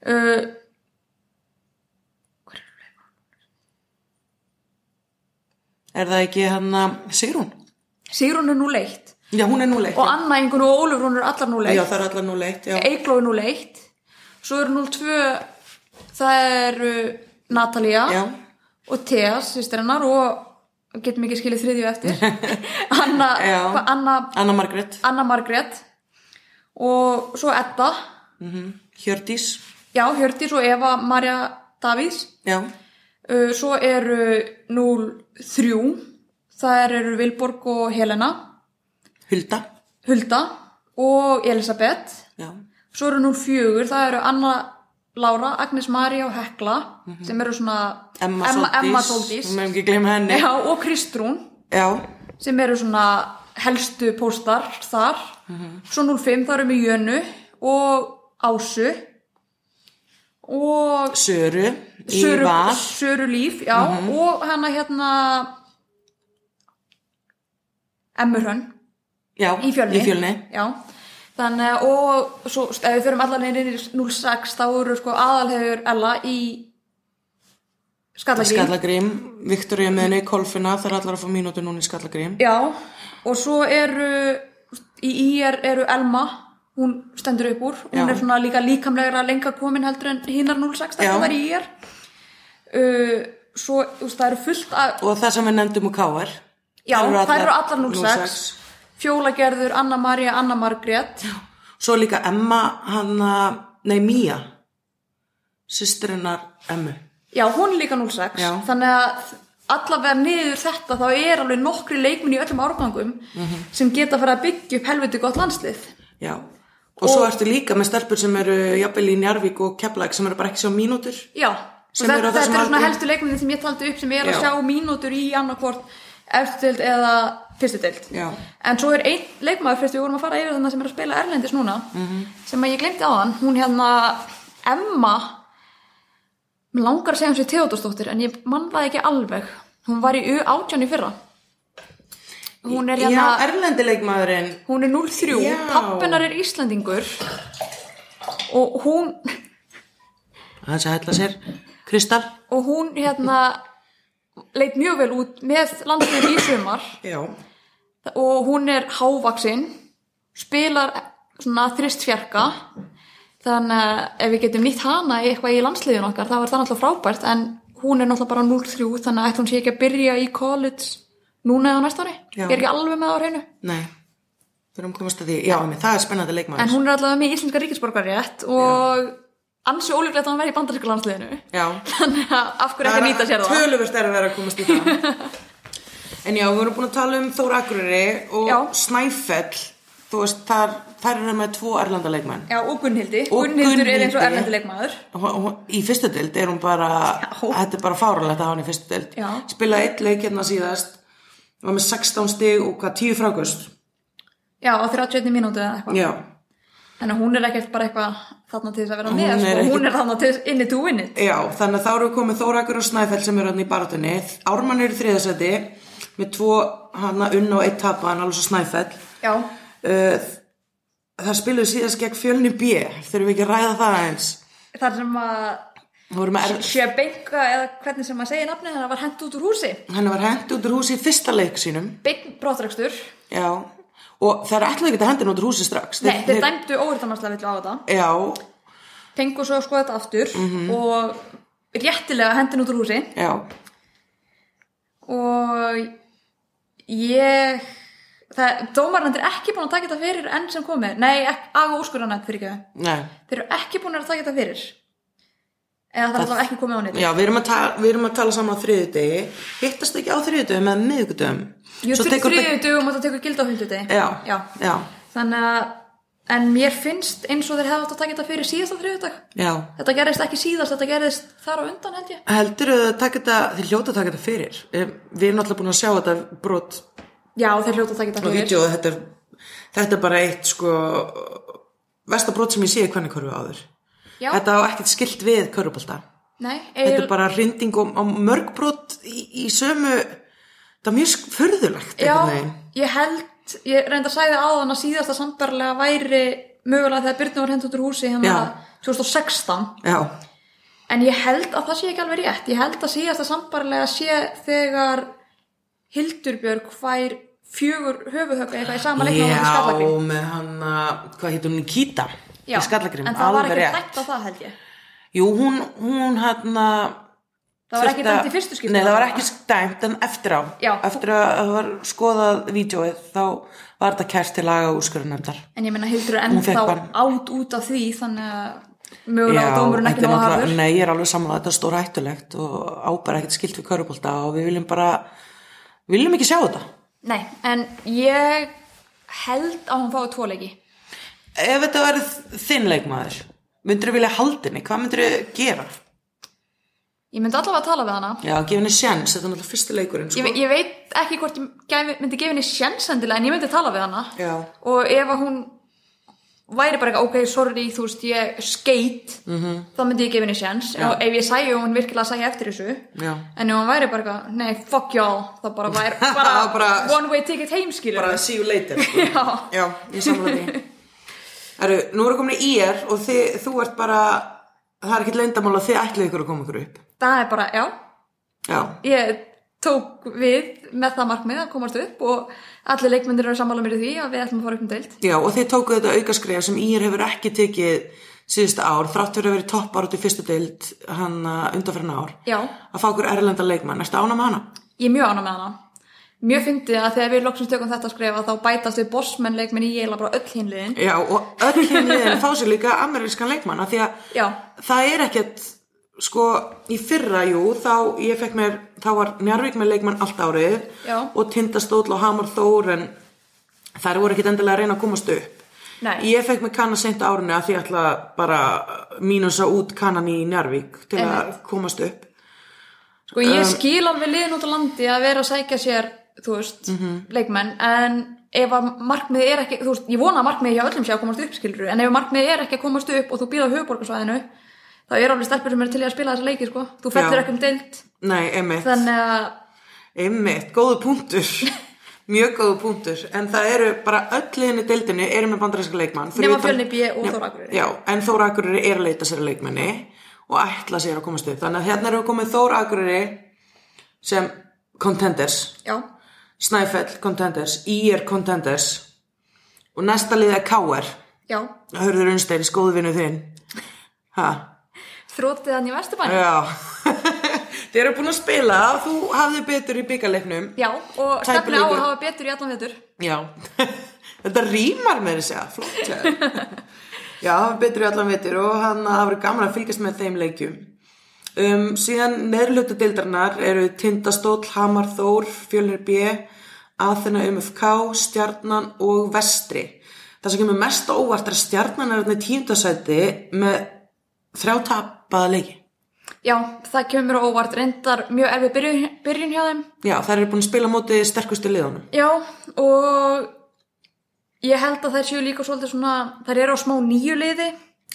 [SPEAKER 2] uh,
[SPEAKER 1] er það ekki hann að Sigrún?
[SPEAKER 2] Sigrun er 0-1
[SPEAKER 1] Já, hún er núleitt
[SPEAKER 2] og Anna Ingun og Ólfur hún er allar 0-1
[SPEAKER 1] Já, það er allar núleitt, já
[SPEAKER 2] Eigló er 01 svo er 02 það eru Natalia
[SPEAKER 1] Já.
[SPEAKER 2] og Thea, sýstir hennar og getum ekki skilið þriðju eftir Anna,
[SPEAKER 1] Já.
[SPEAKER 2] hva, Anna,
[SPEAKER 1] Anna Margrét,
[SPEAKER 2] Anna Margrét og svo Edda
[SPEAKER 1] mhm. Hjördís
[SPEAKER 2] já, Hjördís og Eva Marja Davís
[SPEAKER 1] Já,
[SPEAKER 2] uh, svo eru 03 það eru Vilborg og Helena
[SPEAKER 1] Hulda
[SPEAKER 2] Hulda og Elisabeth
[SPEAKER 1] Já,
[SPEAKER 2] Svo eru nú fjögur, það eru Anna Lára, Agnes Maria og Hekla sem eru svona
[SPEAKER 1] Mhm. Emma,
[SPEAKER 2] Emma
[SPEAKER 1] Sóldís
[SPEAKER 2] Sóldís
[SPEAKER 1] Við meðum ekki gleyma henni
[SPEAKER 2] Já, og Kristrún
[SPEAKER 1] Já,
[SPEAKER 2] sem eru svona helstu póstar þar Svo 05, það eru með Jönu og Ásu og
[SPEAKER 1] Söru Í
[SPEAKER 2] Söru,
[SPEAKER 1] val Mhm.
[SPEAKER 2] Söru Líf já, og hana hérna Emmurhönn
[SPEAKER 1] já,
[SPEAKER 2] í fjölni.
[SPEAKER 1] í fjölni.
[SPEAKER 2] Já. Þannig að, og svo, ef við förum allar neyrið í 06, þá eru sko aðalhefur Ella í Skallagrím.
[SPEAKER 1] Skallagrím, Viktoria með henni í kolfina það er allar að fá mínútu núna í Skallagrím
[SPEAKER 2] Já, og svo eru, í IR eru Elma, hún stendur upp úr, hún
[SPEAKER 1] Já.
[SPEAKER 2] er svona líka líkamlegra lengra komin heldur en hinnar 06,
[SPEAKER 1] Já.
[SPEAKER 2] það var í IR. Uh, svo, þú veist, það eru fullt af,
[SPEAKER 1] og það sem við nefndum úr K.R.
[SPEAKER 2] já,
[SPEAKER 1] Þær
[SPEAKER 2] það eru allar 06, Fjóla Gerður, Anna Maria, Anna Margrét,
[SPEAKER 1] Svo er líka Emma hana, nei Mía sýstirinnar Emmu
[SPEAKER 2] já, hún er líka 06,
[SPEAKER 1] Já.
[SPEAKER 2] þannig að allavega niður þetta þá er alveg nokkri leikminn í öllum árgangum
[SPEAKER 1] Mhm.
[SPEAKER 2] sem geta að fara að byggja upp helviti gott landslið.
[SPEAKER 1] Já, og, svo ertu líka með stelpur sem eru jafnvel í Njarvík og Keflæk sem eru bara ekki sjá mínútur
[SPEAKER 2] Já,
[SPEAKER 1] Sem
[SPEAKER 2] og
[SPEAKER 1] eru á
[SPEAKER 2] þetta,
[SPEAKER 1] þessum
[SPEAKER 2] þetta er svona
[SPEAKER 1] aldri.
[SPEAKER 2] helstu leikminni sem ég taldi upp sem er að
[SPEAKER 1] Já.
[SPEAKER 2] sjá mínútur í annarkvort eftirdeild eða fyrstudeild.
[SPEAKER 1] Já.
[SPEAKER 2] En svo er einn leikmaður fyrst við vorum að fara yfir þannig sem er að spila Erlendis núna
[SPEAKER 1] Mhm.
[SPEAKER 2] sem að ég glemti á hann, hún hérna Emma mér langar að segja hans við Theodorsdóttir en ég mann það ekki alveg hún var í U18 í fyrra hún er hérna
[SPEAKER 1] Já, erlendileikmaðurinn
[SPEAKER 2] Hún er 03,
[SPEAKER 1] Já.
[SPEAKER 2] pappinar er Íslandingur og hún,
[SPEAKER 1] Það sem hætla sér, Kristal
[SPEAKER 2] og hún hérna leit mjög vel út með landsliðin í sumar
[SPEAKER 1] Já,
[SPEAKER 2] og hún er hávaksinn, spilar svona þrist fjarka þannig að ef við getum nýtt hana í eitthvað í landsliðin okkar þá er það náttúrulega frábært en hún er náttúrulega bara 0-3 þannig að ætti hún sé ekki að byrja í college núna eða á næsta ári,
[SPEAKER 1] Já.
[SPEAKER 2] ég er ekki alveg með það á hreinu
[SPEAKER 1] nei Þurfum að komast að því, já, emi, það er spennandi leikmaður
[SPEAKER 2] En hún er allavega með íslenska ríkisborgarétt og ansi ólíklegt að hann verði í bandaríska landsliðinu.
[SPEAKER 1] Já,
[SPEAKER 2] Þannig að af hverju ekki að nýta sér það?
[SPEAKER 1] Töluvert er að vera að komast í það En já, við erum búin að tala um Þóra Akureyri og
[SPEAKER 2] Já.
[SPEAKER 1] Snæfell Þú veist, þar, þar eru með tvo erlenda leikmenn
[SPEAKER 2] Já, og Gunnhildi.
[SPEAKER 1] Og
[SPEAKER 2] Gunnhildur er eins og
[SPEAKER 1] Gunnhildi.
[SPEAKER 2] erlendi leikmaður.
[SPEAKER 1] Hún- hún- Í fyrstu dild er hún bara Þetta er bara fáralegt að hafa hann í fyrstu dild
[SPEAKER 2] Já.
[SPEAKER 1] Spilaði eitt leik hérna síðast Var með 16 stig og hvað, 10 frákust
[SPEAKER 2] Já, á 31 mínútu eða eitthvað.
[SPEAKER 1] Já,
[SPEAKER 2] Þannig að hún er ekkert bara eitthvað þarna til þess að vera
[SPEAKER 1] Hún
[SPEAKER 2] með. Hún
[SPEAKER 1] er
[SPEAKER 2] er,
[SPEAKER 1] ekki-
[SPEAKER 2] hún er þarna til þess inni to win it.
[SPEAKER 1] já þannig að þá eru komið Þóra Akureyri og Snæfell sem eru hann í baratunni Ármann eru í þriðasæti Með tvo hana unn og eitt tapan Alveg svo Snæfell
[SPEAKER 2] Já,
[SPEAKER 1] Uh, það spiluðu síðast gegn fjölni B þurfum við ekki að ræða það aðeins
[SPEAKER 2] þar sem að
[SPEAKER 1] Það voru með er...
[SPEAKER 2] Sjöbenga eða hvernig sem að segja nafni hennar var hent út úr húsi.
[SPEAKER 1] hann var hendt út úr húsi í fyrsta leik sínum
[SPEAKER 2] Beinn brottrækstur.
[SPEAKER 1] já og það er alltaf ekki að henda hann út úr húsi strax
[SPEAKER 2] Nei, þeir dæmdu óhyrtamarslega á þetta.
[SPEAKER 1] já,
[SPEAKER 2] Pengu svo sko þetta aftur
[SPEAKER 1] Mhm.
[SPEAKER 2] og réttilega hendin út úr húsi.
[SPEAKER 1] já,
[SPEAKER 2] og ég það, dómarnand er ekki búin að taka þetta fyrir enn sem komið, nei, ek- af úrskurðanand fyrir ekki,
[SPEAKER 1] nei
[SPEAKER 2] þeir eru ekki búin að taka þetta fyrir eða það er alltaf ekki komið á nýtt
[SPEAKER 1] já, við erum að tala, við erum að tala saman á þriðudegi hittast ekki á þriðudegi með miðgudum
[SPEAKER 2] Jú, þriðju dugum og það tekur gilda á hundudegi
[SPEAKER 1] já,
[SPEAKER 2] já,
[SPEAKER 1] já,
[SPEAKER 2] þannig að en mér finnst eins og þeir hefðu átt að taka þetta fyrir síðasta þriðjudag
[SPEAKER 1] já.
[SPEAKER 2] þetta gerðist ekki síðast, þetta gerðist þar á undan held ég
[SPEAKER 1] heldur þau að taka þetta þeir hljóta að taka þetta fyrir Eh, við erum alltaf búin að sjá þetta brot
[SPEAKER 2] já, þeir hljóta að taka
[SPEAKER 1] á
[SPEAKER 2] þetta fyrir
[SPEAKER 1] vídeo og þetta er, þetta er bara eitt sko vestabrót sem ég sé í hvernig körfu áður
[SPEAKER 2] já,
[SPEAKER 1] þetta á ekkert skilt við körfubolta
[SPEAKER 2] nei,
[SPEAKER 1] þetta er
[SPEAKER 2] Egil-
[SPEAKER 1] bara hrinding á, á mörgbrót í, í sömu það er mjög sk- furðulegt einhvern
[SPEAKER 2] Já,
[SPEAKER 1] veginn.
[SPEAKER 2] ég held, ég reynda að sæði áðan að síðasta sambarlega væri mögulega þegar Byrnu var hend út úr húsi hérna
[SPEAKER 1] Já.
[SPEAKER 2] 2016
[SPEAKER 1] já,
[SPEAKER 2] en ég held að það sé ekki alveg rétt ég held að síðasta sambarlega sé þegar Hildurbjörg fær fjögur höfuhögg eitthvað í sama leiknum á
[SPEAKER 1] já
[SPEAKER 2] skallagrim
[SPEAKER 1] með hann hvað hétt hún Nikita í skallagrim,
[SPEAKER 2] en það var
[SPEAKER 1] alveg
[SPEAKER 2] ekki
[SPEAKER 1] rétt
[SPEAKER 2] dæmt á það held ég
[SPEAKER 1] jú, hún, hún hann
[SPEAKER 2] það var ekki dæmt í fyrstu skipti
[SPEAKER 1] Nei, það var ekki dæmt en eftir á
[SPEAKER 2] Já.
[SPEAKER 1] Eftir að það var skoðað vídjóið þá var þetta kært til laga úrskurðunemdar
[SPEAKER 2] en ég meina Hildur er
[SPEAKER 1] Hún fékk
[SPEAKER 2] ennþá
[SPEAKER 1] bara-
[SPEAKER 2] átt út af því þannig að mögulega var dómurinn
[SPEAKER 1] þetta
[SPEAKER 2] ekki
[SPEAKER 1] er
[SPEAKER 2] nóg að
[SPEAKER 1] náttúrulega-
[SPEAKER 2] harður
[SPEAKER 1] Nei, ég er alveg samanlega, þetta er stóra hættulegt og ábæra ekkert skilt við körubólta og við viljum bara, við viljum ekki sjá þetta.
[SPEAKER 2] nei, en ég held að hún fái tvo leiki
[SPEAKER 1] Ef þetta var þinn leikmaður, myndur vilja halda henni, hvað myndur gera?
[SPEAKER 2] Ég myndi allavega að tala við hana.
[SPEAKER 1] Já, gefa henni sjens, þetta er náttúrulega fyrsti leikurinn, sko.
[SPEAKER 2] Ég, ég veit ekki hvort ég gæfi, myndi gefa henni sjensendilega en ég myndi tala við hana.
[SPEAKER 1] Já,
[SPEAKER 2] Og ef að hún væri bara eitthvað, ok, sorry, þú veist, ég skeit, -hmm. þá myndi ég gefa henni sjans
[SPEAKER 1] Mhm. Já.
[SPEAKER 2] ef ég sæi og hún virkilega sæi eftir þessu
[SPEAKER 1] Já.
[SPEAKER 2] en ef hún væri bara eitthvað, nei, fuck y'all þá bara væri bara,
[SPEAKER 1] Bara-
[SPEAKER 2] one way ticket heim skilur
[SPEAKER 1] bara see you later sko.
[SPEAKER 2] já,
[SPEAKER 1] já, ég samla því Eru, nú erum komin í IR og þið, þú ert bara það er ekkert leyndamála, þið ætlið ykkur að koma ykkur upp
[SPEAKER 2] það er bara, já
[SPEAKER 1] já,
[SPEAKER 2] ég tók við með það markmið að komast upp og allir leikmyndir eru sammála mér í því að við ætlum að fara upp um deild
[SPEAKER 1] já og þið tókuð þetta aukaskref sem IR hefur ekki tekið síðust ár, þrátt fyrir að vera toppar út í fyrstu deild hann undanferðin ár
[SPEAKER 2] Já.
[SPEAKER 1] að fá okkur erlenda leikmann, ertu ána með hana?
[SPEAKER 2] ég er mjög ánum með hana mjög fyndið að þegar við loksum tökum þetta skrifa þá bætast við bossmenn leikminn í eila bara öll hinliðin
[SPEAKER 1] Já, og öll hinn liðin fá sér líka amerískan leikmann af því að
[SPEAKER 2] Já.
[SPEAKER 1] það er ekkert sko, í fyrra jú þá ég fekk mér, þá var Njarvík með leikmann allt árið
[SPEAKER 2] Já.
[SPEAKER 1] og Tindastóll og Hamar Þór en þær voru ekkert endilega að reyna að komast upp
[SPEAKER 2] Nei.
[SPEAKER 1] Ég fekk mér kanna seint á árinu að því ég ætla bara mínusa út kannan í Njarvík til að
[SPEAKER 2] Einmitt.
[SPEAKER 1] komast upp
[SPEAKER 2] sko ég
[SPEAKER 1] Um,
[SPEAKER 2] skil alveg liðin út á landi að vera að sækja sér þú veist,
[SPEAKER 1] Mhm.
[SPEAKER 2] leikmenn en ef að markmið er ekki þú veist, ég vona að markmið hjá öllum sé að komast upp skilur en ef markmið er ekki að komast upp og þú býða höfuborgarsvæðinu þá er alveg stelpur sem er til í að spila þessa leiki sko. þú
[SPEAKER 1] Já.
[SPEAKER 2] fellur ekki um deild
[SPEAKER 1] Nei, einmitt
[SPEAKER 2] þannig að
[SPEAKER 1] Einmitt, góðu punktur Mjög góðu punktur En það eru bara öll liðin í deildinni eru með bandarinska leikmann fyrir
[SPEAKER 2] Nema
[SPEAKER 1] utan-
[SPEAKER 2] Fjölnir B og
[SPEAKER 1] Nema-
[SPEAKER 2] Þór Akureyri.
[SPEAKER 1] Já, en Þór Akureyri er að leita sér að leikmanni og ætla sér að komast upp Þannig að hérna eru komið Þór Akureyri sem contenders
[SPEAKER 2] já,
[SPEAKER 1] Snæfell contenders, IR contenders og næsta lið er KR
[SPEAKER 2] já,
[SPEAKER 1] Hörður Unnsteins, góðu vinnu þinn Ha,
[SPEAKER 2] þrótið hann í vesturbæni
[SPEAKER 1] já Þið eru búin að spila, þú hafði betur í byggarleiknum
[SPEAKER 2] já, og
[SPEAKER 1] Tæpur
[SPEAKER 2] stefni á að
[SPEAKER 1] leikur.
[SPEAKER 2] hafa betur í allan vetur
[SPEAKER 1] Já, þetta rýmar með þessi að segja, flott sér. Já, betri allan veitir og hann að það verið gaman að fylgjast með þeim leikjum. Um, síðan neðurlötu deildarnar eru Tindastóll, Hamar Þór, Fjölnir B, Aþena MFK, Stjarnan og Vestri. Það sem kemur mest á óvart er að Stjarnan er þarna í tíundasæti með þrjá tapaða leiki.
[SPEAKER 2] Já, það kemur mér á óvart reyndar mjög erfið byrjun, byrjun hjá þeim
[SPEAKER 1] Já, þær eru búin að spila á móti sterkustu liðunum.
[SPEAKER 2] Já, og ég held að þær séu líka svolítið svona þær eru á smá nýju liði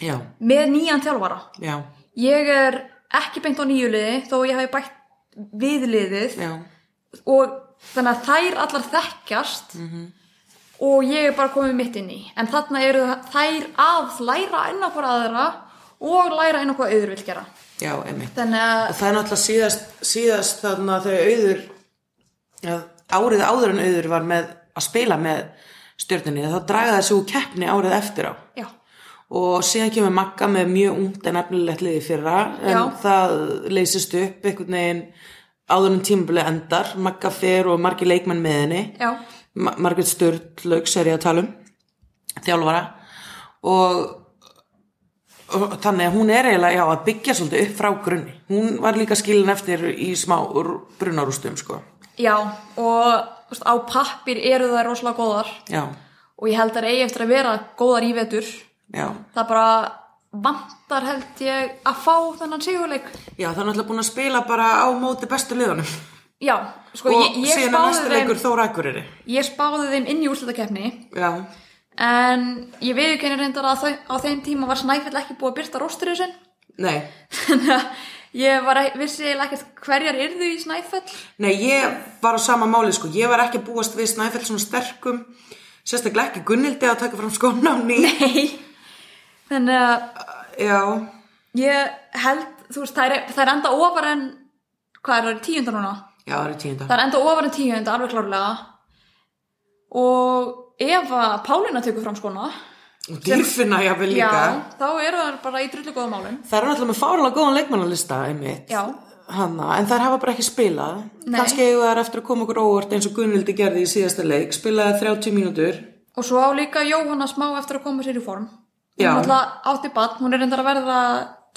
[SPEAKER 1] Já,
[SPEAKER 2] með nýjan þjálfara
[SPEAKER 1] já,
[SPEAKER 2] Ég er ekki beint á nýju liði þó ég hafi bætt við liðið
[SPEAKER 1] já,
[SPEAKER 2] og þannig að þær allar þekkjast og ég er bara komið mitt inn í en þarna eru þær að læra enn á hvað aðra og læra enn á hvað auður vil gera
[SPEAKER 1] já, emitt.
[SPEAKER 2] Þannig að,
[SPEAKER 1] Og það er náttúrulega síðast, síðast þarna þegar auður, ja, árið áður en auður var með að spila með stjörninni, þá draga þessi úr keppni árið eftir á.
[SPEAKER 2] já,
[SPEAKER 1] Og síðan kemur Magga með mjög ungt en efnilegt liði í fyrra, en
[SPEAKER 2] Já.
[SPEAKER 1] það leysist upp einhvern veginn áður en tímabili endar. Magga fer og margir leikmenn með henni.
[SPEAKER 2] já
[SPEAKER 1] Ma- Margrét Sturlaugs er ég að tala um þjálfara og, og þannig að hún er eiginlega já, að byggja svolítið upp frá grunni hún var líka skilin eftir í smá rú- brunarústum sko
[SPEAKER 2] Já, og þú veist, á pappir eru það rosalega góðar
[SPEAKER 1] já,
[SPEAKER 2] og ég held að eigi eftir að vera góðar í vetur.
[SPEAKER 1] já.
[SPEAKER 2] Það bara vantar held ég að fá þennan sigurleik.
[SPEAKER 1] já það er náttúrulega búin að spila bara á móti bestu liðunum
[SPEAKER 2] Já, sko
[SPEAKER 1] og
[SPEAKER 2] ég, ég,
[SPEAKER 1] síðan er
[SPEAKER 2] spáði
[SPEAKER 1] næsta
[SPEAKER 2] þeim,
[SPEAKER 1] leikur Þóra Akureyri
[SPEAKER 2] ég spáði þeim inn í úrslitakeppni
[SPEAKER 1] já,
[SPEAKER 2] en ég viðurkenni reyndar að þau, á þeim tíma var Snæfell ekki búið að byrta rósturinn sinn.
[SPEAKER 1] nei
[SPEAKER 2] Þannig að ég var, ek- vissi eiginlega ekkert hverjar yrðu í Snæfell.
[SPEAKER 1] Nei, ég var á sama máli sko, ég var ekki að búast við Snæfell svona sterkum, sérstaklega ekki Gunnildi að taka fram skóna á ný.
[SPEAKER 2] Nei, þannig að
[SPEAKER 1] Já,
[SPEAKER 2] ég held, þú veist, það er, það er enda ofar en, hvað er það, tíundar núna?
[SPEAKER 1] já, það eru tíunda.
[SPEAKER 2] Það er enda ofar en tíundar, alveg klárlega. Og ef að Pálina tekur fram skona,
[SPEAKER 1] Og dýrfina jáfnvel líka.
[SPEAKER 2] já, þá eru það bara í drullu góða málum.
[SPEAKER 1] Það eru náttúrulega með fárlega góðan leikmannalista einmitt.
[SPEAKER 2] Já.
[SPEAKER 1] Hanna, en þær hafa bara ekki spilað.
[SPEAKER 2] Nei.
[SPEAKER 1] Kannski eigum þær eftir að koma okkur óvart eins og Gunnildi gerði í síðasta leik. Spilaði 30 mínútur.
[SPEAKER 2] Og svo á líka Jóhanna smá eftir að koma sér í form. Hún
[SPEAKER 1] Já.
[SPEAKER 2] er alltaf átti bann, hún er reyndar að verða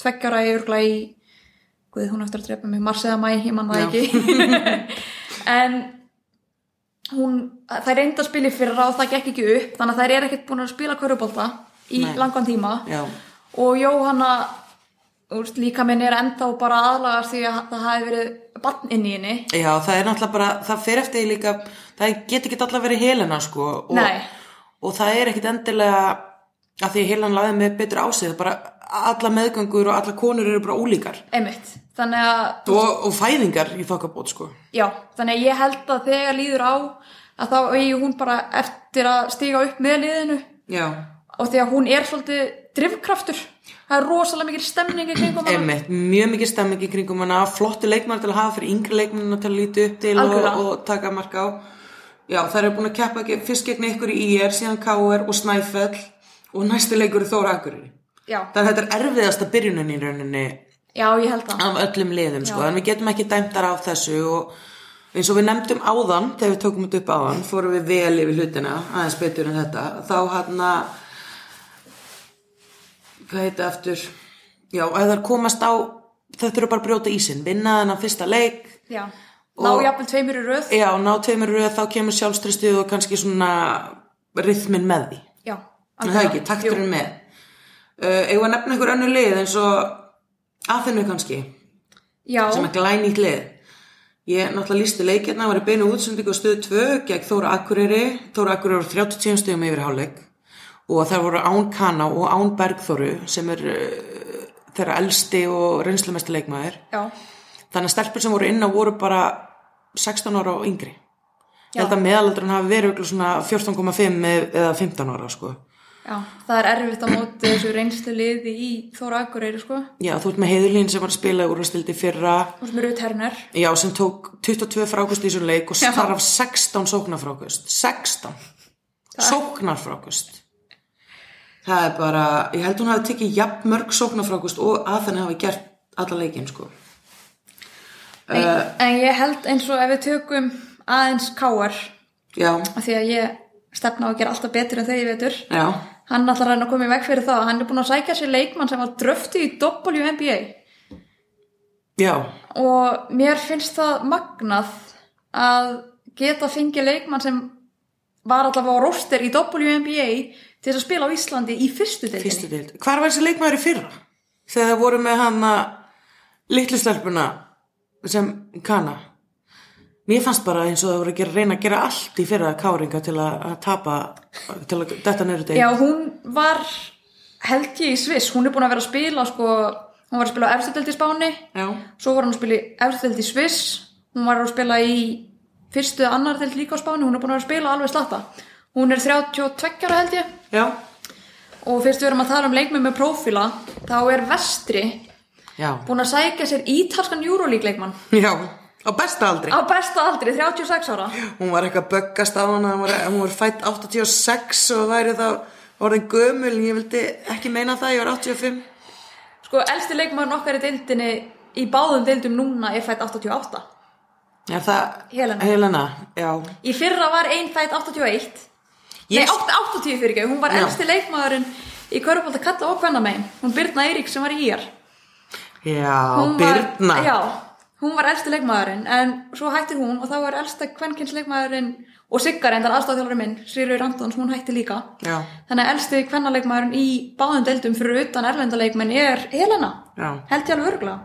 [SPEAKER 2] tveggjara í örgla í, guð, hún á eftir að drepa mig, mars eða mæ, ég man það ekki. en hún, það er reynda að spila í fyrra og það gekk ekki upp, þannig að þær er ekkert búin að spila körubólta í
[SPEAKER 1] Nei.
[SPEAKER 2] langan tíma.
[SPEAKER 1] Já.
[SPEAKER 2] Og Jóhanna, úrst, líka minn er enda bara aðlagast því að það hafi verið bann inn í henni.
[SPEAKER 1] Já, það er náttúrulega bara, það fer eftir því líka, það get ekki alltaf verið helena sko. Og,
[SPEAKER 2] Nei.
[SPEAKER 1] Og það er ekkit endilega, að því að heilan laði með betur ásið bara alla meðgangur og alla konur eru bara ólíkar
[SPEAKER 2] einmitt, þannig að
[SPEAKER 1] og, og fæðingar í þokkabót sko
[SPEAKER 2] já, þannig að ég held að þegar líður á að þá eigi hún bara eftir að stíga upp með liðinu
[SPEAKER 1] já,
[SPEAKER 2] og því að hún er svolítið drifkraftur, það er rosalega mikil stemning í kringum hana.
[SPEAKER 1] einmitt, mjög mikið stemming í kringum hana, flottu leikmenn til að hafa fyrir yngri leikmennina til að líti upp til og,
[SPEAKER 2] Algjörlega.
[SPEAKER 1] og taka mark á já, það eru búin að keppa ge- fyrst gegn ykkur í IR, síðan KR og Snæfell og næsti leikur er Þóra Akureyri
[SPEAKER 2] já,
[SPEAKER 1] það er þetta er erfiðasta byrjunin í rauninni
[SPEAKER 2] já, ég held það
[SPEAKER 1] af öllum liðum sko, en við getum ekki dæmtar af þessu og eins og við nefndum áðan þegar við tókum þetta upp áðan, fórum við vel yfir hlutina, aðeins betur en þetta þá hann að hvað heita aftur já, ef þær komast á þetta eru bara að brjóta ísinn, vinna þennan fyrsta leik
[SPEAKER 2] já, ná
[SPEAKER 1] Og-
[SPEAKER 2] jafnvel tveimur í röð
[SPEAKER 1] já, ná tveimur röð þá kemur sjálfstrystið og kannski svona rithmin með því
[SPEAKER 2] já,
[SPEAKER 1] Er Það er ekki, takturinn með. Uh, eigum við að nefna einhver önnu lið eins og Aþenu kannski,
[SPEAKER 2] já,
[SPEAKER 1] sem er glænýtt lið. Ég náttúrulega lísti leikirna, var í beinu útsendingu á stöðu 2 gegn Þóra Akureyri. Þóra Akureyri var 30 stegum yfir hálfleik og þær voru Án Kana og Án Bergþóru sem er uh, þeirra elsti og reynslumesti leikmaður.
[SPEAKER 2] já,
[SPEAKER 1] Þannig að stelpur sem voru inn á voru bara 16 ára og yngri. Ég
[SPEAKER 2] Já.
[SPEAKER 1] held að meðalaldurinn hafi verið örugglega svona 14,5 eða 15 ára sko.
[SPEAKER 2] já það er erfitt á móti þessu reynslu liði í Þóra Akureyri sko,
[SPEAKER 1] Já, þú ert með heiðurlín sem var að spila úr að stildi fyrra,
[SPEAKER 2] og sem eru ternar
[SPEAKER 1] já, sem tók 22 frákust í þessum leik og
[SPEAKER 2] Já.
[SPEAKER 1] starf 16 sóknarfrákust. 16 sóknarfrákust. Það er bara, ég held hún hafi tekið jafn mörg sóknarfrákust og að þannig hafi gert alla leikinn, sko.
[SPEAKER 2] en,
[SPEAKER 1] Eh.
[SPEAKER 2] en ég held eins og ef við tökum aðeins káar
[SPEAKER 1] Já,
[SPEAKER 2] af því að ég stefna á að gera alltaf betur en þegar ég vetur
[SPEAKER 1] já,
[SPEAKER 2] hann ætlar að reyna að koma í veg fyrir það hann er búin að sækja sér leikmann sem var dröfti í WNBA
[SPEAKER 1] já,
[SPEAKER 2] og mér finnst það magnað að geta fengið leikmann sem var allavega á roster í WNBA til þess að spila á Íslandi í fyrstu deildinni
[SPEAKER 1] fyrstu dild. Hvar var þessi leikmaður í fyrra? Þegar það voru með hana litlu stelpuna sem kana. Mér fannst bara eins og það voru að gera, reyna að gera allt í fyrra káringa til að, að tapa, til að detta nöru deg.
[SPEAKER 2] Já, hún var held ég í Sviss, hún er búin að vera að spila sko, hún var að spila á efstu deild í Spáni
[SPEAKER 1] Já.
[SPEAKER 2] svo var hún að spila í efstöldi í Sviss hún var að spila í fyrstu eða annar þelt líka á Spáni, hún er búin að vera að spila alveg slatta, hún er 32 ára held ég
[SPEAKER 1] Já.
[SPEAKER 2] og fyrst við erum að tala um leikmenn með prófíla þá er Vestri
[SPEAKER 1] Já.
[SPEAKER 2] búin að sækja sér ítalskan Euroleague leikmann
[SPEAKER 1] Já. Á besta aldri.
[SPEAKER 2] á besta aldri, 36 ára
[SPEAKER 1] Hún var eitthvað að böggast á hana, hún var, hún var fætt 86 og væri þá orðin gömul, ég vildi ekki meina það, ég var 85.
[SPEAKER 2] sko, elsti leikmann okkar í deildinni í báðum deildum núna er fætt 88
[SPEAKER 1] Er það?
[SPEAKER 2] Helena.
[SPEAKER 1] Helena, já.
[SPEAKER 2] í fyrra var einn fætt 81
[SPEAKER 1] Ég-
[SPEAKER 2] nei, 8, 80 fyrir ekki hún var
[SPEAKER 1] Já.
[SPEAKER 2] elsti leikmaðurinn í Körpálda Kalla og Kvennamein hún Birna Eirík sem var í hér
[SPEAKER 1] Já,
[SPEAKER 2] hún
[SPEAKER 1] Birna.
[SPEAKER 2] var, já, hún var elsti leikmaðurinn en svo hætti hún og þá var elsta kvenkins leikmaðurinn og Siggar endar aðstofþjálfurinn minn, Sýrur Antons, hún hætti líka
[SPEAKER 1] Já.
[SPEAKER 2] þannig að elsti kvennaleikmaðurinn í báðum deildum fyrir utan erlendaleikmenn er Helena,
[SPEAKER 1] Já.
[SPEAKER 2] held ég alveg örgla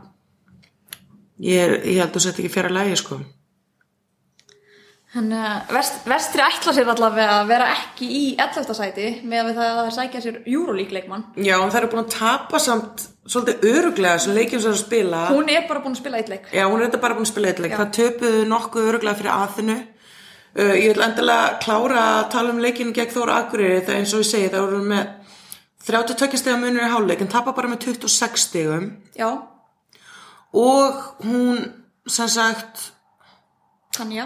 [SPEAKER 1] Ég, er- ég held að þú sett ekki fjara lægi, sko.
[SPEAKER 2] þannig að vest, vestri ætla sér allavega að vera ekki í 11. sæti með að við það að það sækja sér Euroleague leikmann
[SPEAKER 1] Já, en það eru búin að tapa samt svolítið öruglega þessum leikjum sem það spila.
[SPEAKER 2] hún er bara búin að spila eitt leik
[SPEAKER 1] Já, hún er þetta bara búin að spila eitthvað. Það töpuðu nokkuð öruglega fyrir aðinu. Uh, ég vil endilega klára að tala um leikinu gegn Þóra Akureyri. Það er eins og ég segi, það voru með 32 stegum munur í hálfleik, en tapa bara með 26 stegum.
[SPEAKER 2] já,
[SPEAKER 1] Og hún, sem sagt,
[SPEAKER 2] Tanja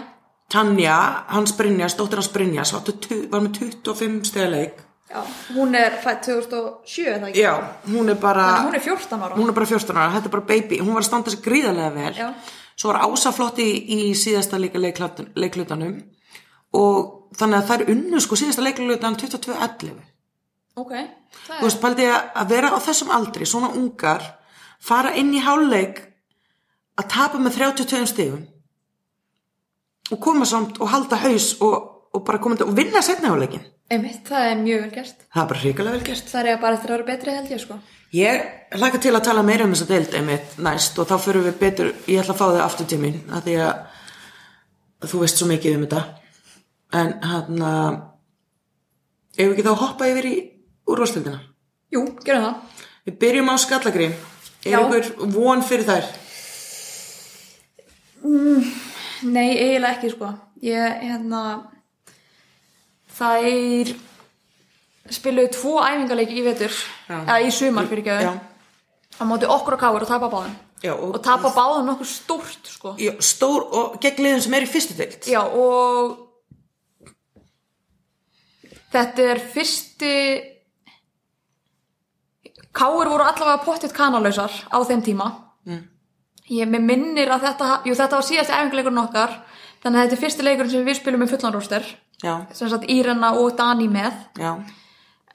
[SPEAKER 1] Tanja, hans Brynjas, dóttir hans Brynjas, var, var með 25 stega leik.
[SPEAKER 2] já, hún er fætt 2007 er það ekki?
[SPEAKER 1] Já, hún er bara...
[SPEAKER 2] Þannig að hún er 14 ára
[SPEAKER 1] hún er bara 14 ára, þetta er bara baby hún var að standa sér gríðarlega vel
[SPEAKER 2] Já.
[SPEAKER 1] svo var Ása flott í, í síðasta líka leiklat- leiklutanum og þannig að það er unnu sko síðasta leiklutan 22.11
[SPEAKER 2] Ok, það
[SPEAKER 1] þú
[SPEAKER 2] er,
[SPEAKER 1] veist, paldi að að vera á þessum aldri svona ungar, fara inn í háluleik að tapa með 32 stigum og koma samt og halda haus og, og bara koma til og vinna setna háluleikin
[SPEAKER 2] einmitt, það er mjög vel gert.
[SPEAKER 1] það er bara hrikalega vel gert
[SPEAKER 2] Það er eiga bara eftir að vera betri held ég sko.
[SPEAKER 1] Ég hlaka til að tala meira um þessa deild einmitt næst og þá fyrir við betur, ég ætla að fá þau aftur til mín að því að þú veist svo hérna, mikið um þetta en hann að ef við ekki þá hoppa yfir í úr úrvalstildina.
[SPEAKER 2] Jú, gerum það.
[SPEAKER 1] Við byrjum á skallagrím. Er
[SPEAKER 2] Já.
[SPEAKER 1] ykkur von fyrir þær?
[SPEAKER 2] Nei, eiginlega ekki, sko. Ég, hérna, þær spiluðu tvo æfingaleiki í vetur,
[SPEAKER 1] Já.
[SPEAKER 2] eða í sumar fyrir ekki
[SPEAKER 1] Já,
[SPEAKER 2] á móti okkur og káur og tapa báðum.
[SPEAKER 1] já og,
[SPEAKER 2] Og tapa báðum nokkur stórt, sko.
[SPEAKER 1] já, stór og gegn liðum sem er í fyrstu deilt.
[SPEAKER 2] Já, og þetta er fyrsti Káur voru allavega pottitt kanalausar á þeim tíma mm. ég mig minnir að þetta jú, þetta var síðasti æfingarleikurinn okkar þannig að þetta er fyrsti leikurinn sem við spilum með fullan róster
[SPEAKER 1] Já,
[SPEAKER 2] sem sagt Írena og Dani með
[SPEAKER 1] já,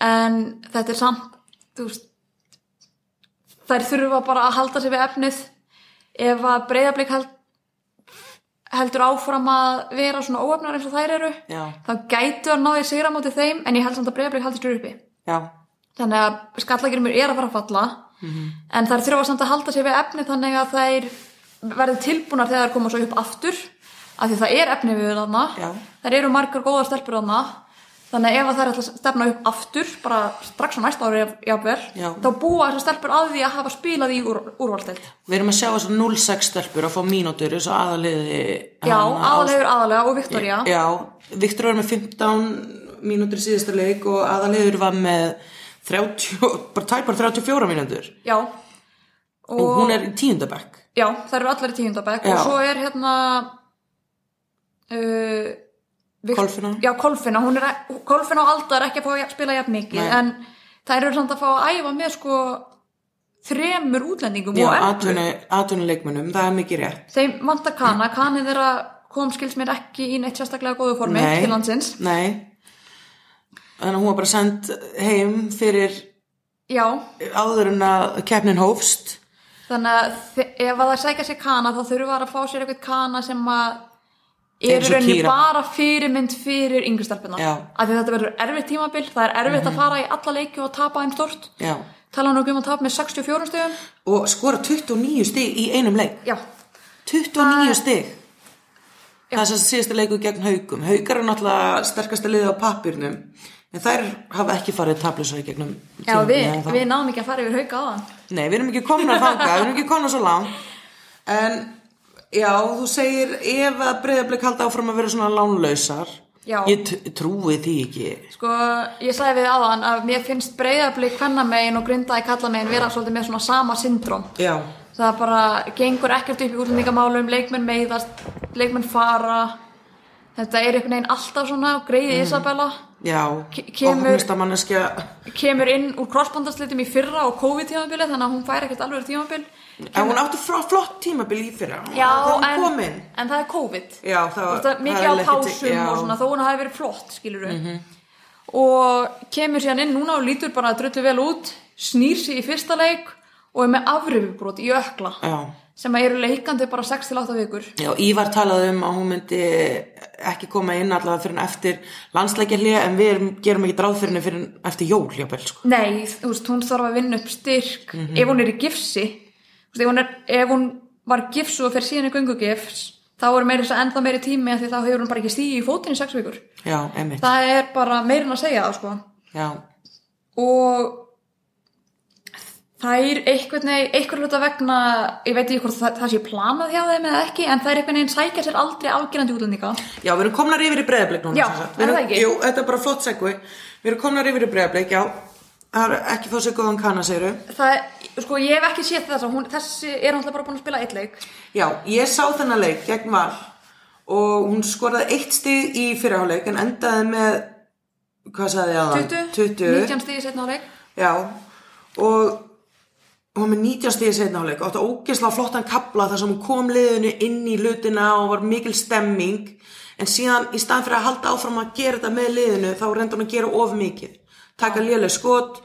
[SPEAKER 2] en þetta er samt þú veist þær þurfa bara að halda sig við efnið ef að breyðablík held, heldur áfram að vera svona óöfnar eins og þær eru
[SPEAKER 1] já,
[SPEAKER 2] þá gætu að náði sigra móti þeim en ég held samt að breyðablík haldur sér uppi
[SPEAKER 1] já,
[SPEAKER 2] þannig að skallagirmur er að fara að falla en þær þurfa samt að halda sig við efnið þannig að þær verði tilbúnar þegar þær koma svo upp aftur af því það er efnið við þarna
[SPEAKER 1] Já.
[SPEAKER 2] þær eru margar góðar stelpur þarna þannig að ef að þær ætla að stefna upp aftur bara strax á næsta ári jafnvel
[SPEAKER 1] Já.
[SPEAKER 2] þá búa þessar stelpur að því að hafa spilað í úr, úrvalstelt
[SPEAKER 1] Við erum að sjá þessar 0-6 stelpur að fá mínútur þessu aðaliði. hérna,
[SPEAKER 2] já,
[SPEAKER 1] hana,
[SPEAKER 2] aðalegur aðalega og Viktoria
[SPEAKER 1] Já, Viktor var með 15 mínútur í síðasta leik og aðaliður var með 30, bara tæpar 34 mínútur
[SPEAKER 2] já.
[SPEAKER 1] og, hún er í tíundabæk.
[SPEAKER 2] Já, það eru allar í tíundabæk
[SPEAKER 1] Já.
[SPEAKER 2] og svo er hérna uh, Vikt-
[SPEAKER 1] Kolfinna.
[SPEAKER 2] Já, Kolfina, hún er Kolfina og Alda er ekki að fá að spila jafn mikið
[SPEAKER 1] Nei.
[SPEAKER 2] en þær eru samt að fá að æfa með sko þremur útlendingum
[SPEAKER 1] Já,
[SPEAKER 2] og ellefu.
[SPEAKER 1] atvinni leikmönnum, það er mikið rétt.
[SPEAKER 2] þeim vantar kana, kanið þeirra kom skils mér ekki í neitt sérstaklega góðu formi
[SPEAKER 1] Nei.
[SPEAKER 2] til landsins
[SPEAKER 1] Nei. Þannig að hún var bara send heim fyrir
[SPEAKER 2] Já,
[SPEAKER 1] áður en að keppnin hófst.
[SPEAKER 2] þannig að þe- ef að það sækja sér kana þá þurfa þær að fá sér eitthvað kana sem að er
[SPEAKER 1] Eins og
[SPEAKER 2] rauninni
[SPEAKER 1] Kira.
[SPEAKER 2] bara fyrirmynd fyrir yngustarpina
[SPEAKER 1] Já. Mhm.
[SPEAKER 2] af því þetta verður erfitt tímabil það er erfitt að fara í alla leiki og tapa einn stort
[SPEAKER 1] Já.
[SPEAKER 2] tala nú ekki um að tapa með 64 stegum
[SPEAKER 1] Og skora 29 stig í einum leik.
[SPEAKER 2] já,
[SPEAKER 1] 29 stig.
[SPEAKER 2] Já.
[SPEAKER 1] Það er sem síðasta leiku gegn haukum. Haukar eru náttúrulega sterkasta liðið á pappirnum. En þær hafa ekki farið tablusar í gegnum
[SPEAKER 2] já við,
[SPEAKER 1] tímabilið ennþá.
[SPEAKER 2] við náðum ekki að fara yfir hauka á hann
[SPEAKER 1] Nei, við erum ekki komin að þanga, við erum ekki komin svo langt. En já, þú segir ef að breyðablik halda áfram að vera svona lánlausar.
[SPEAKER 2] Já.
[SPEAKER 1] Ég t- trúi því ekki.
[SPEAKER 2] sko, ég sagði við á hann að mér finnst breyðarblik kvennamegin og grindaði kallamegin vera svolítið með svona sama syndrom
[SPEAKER 1] Já.
[SPEAKER 2] það bara gengur ekkert upp í útlendingamálum leikmenn meiðast, leikmenn fara þetta er einhvern veginn alltaf svona og greiði Isabella
[SPEAKER 1] Já,
[SPEAKER 2] Ke- kemur-
[SPEAKER 1] ofnistamanneskja
[SPEAKER 2] kemur inn úr crossbandaslitum í fyrra og COVID-tímabili þannig að hún fær ekkert alveg tímabil
[SPEAKER 1] En hún átti frá flott tímabil í fyrra Hún-
[SPEAKER 2] já,
[SPEAKER 1] þegar hún
[SPEAKER 2] en,
[SPEAKER 1] kom inn
[SPEAKER 2] en það er COVID
[SPEAKER 1] Já, það
[SPEAKER 2] Þú
[SPEAKER 1] var
[SPEAKER 2] veist að mikið á
[SPEAKER 1] það er ekki til-
[SPEAKER 2] pásum
[SPEAKER 1] já,
[SPEAKER 2] og svona þó hún hafi verið flott, skilur við Mhm. og kemur síðan inn núna og lítur bara að drullu vel út snýr sig í fyrsta leik og er með afrifubrót í ökla
[SPEAKER 1] Já,
[SPEAKER 2] sem að eru leikandi bara 6-8 vikur
[SPEAKER 1] já, Ívar talaði um að hún myndi ekki koma inn allavega fyrir en eftir landsleikja hlýja en við erum, gerum ekki dráð fyrir henni fyrir en eftir jól hjábel, sko.
[SPEAKER 2] Nei, þú veist, hún þarf að vinna upp styrk ef hún er í gifsi þú veist, ef, hún er, ef hún var gifsu og fer síðan í göngugifs þá er meira þess að enda meiri tími af því þá hefur hún bara ekki stíði í fótinn í sex vikur
[SPEAKER 1] Já, emitt
[SPEAKER 2] það er bara meira en að segja það sko
[SPEAKER 1] Já,
[SPEAKER 2] og þær einhvern veginn, einhver hluta vegna ég veit ekki hvort það, það sé planað hjá þeim eða ekki, en þær einhvern veginn sækja sér aldrei afgerandi útlendinga
[SPEAKER 1] já, við erum komnar yfir í breyðablik núna
[SPEAKER 2] Já,
[SPEAKER 1] sem sagt.
[SPEAKER 2] er
[SPEAKER 1] Við erum,
[SPEAKER 2] það ekki?
[SPEAKER 1] Jú, þetta er bara flott segvi Við erum komnar yfir í breyðablik, já Það er ekki fá sér góðan kanna, segiru
[SPEAKER 2] það, sko, ég hef ekki séð þess að hún, þessi er náttúrulega bara búin að spila eitt leik
[SPEAKER 1] Já, ég sá þennan leik gegn Val og hún skoraði eitt stig í fyrirháleik en endaði með, hvað sagði ég aðan?
[SPEAKER 2] 20,
[SPEAKER 1] 20.
[SPEAKER 2] 19 stíði setna á leik
[SPEAKER 1] Já, og hún var með 19 stig í setna háleik og átti ógeðslega flottan kapla þar sem hún kom liðinu inn í hlutina og var mikil stemming en síðan í staðan fyrir að halda áfram að gera þetta með liðinu þá reyndi hún að gera of mikið taka léleg skot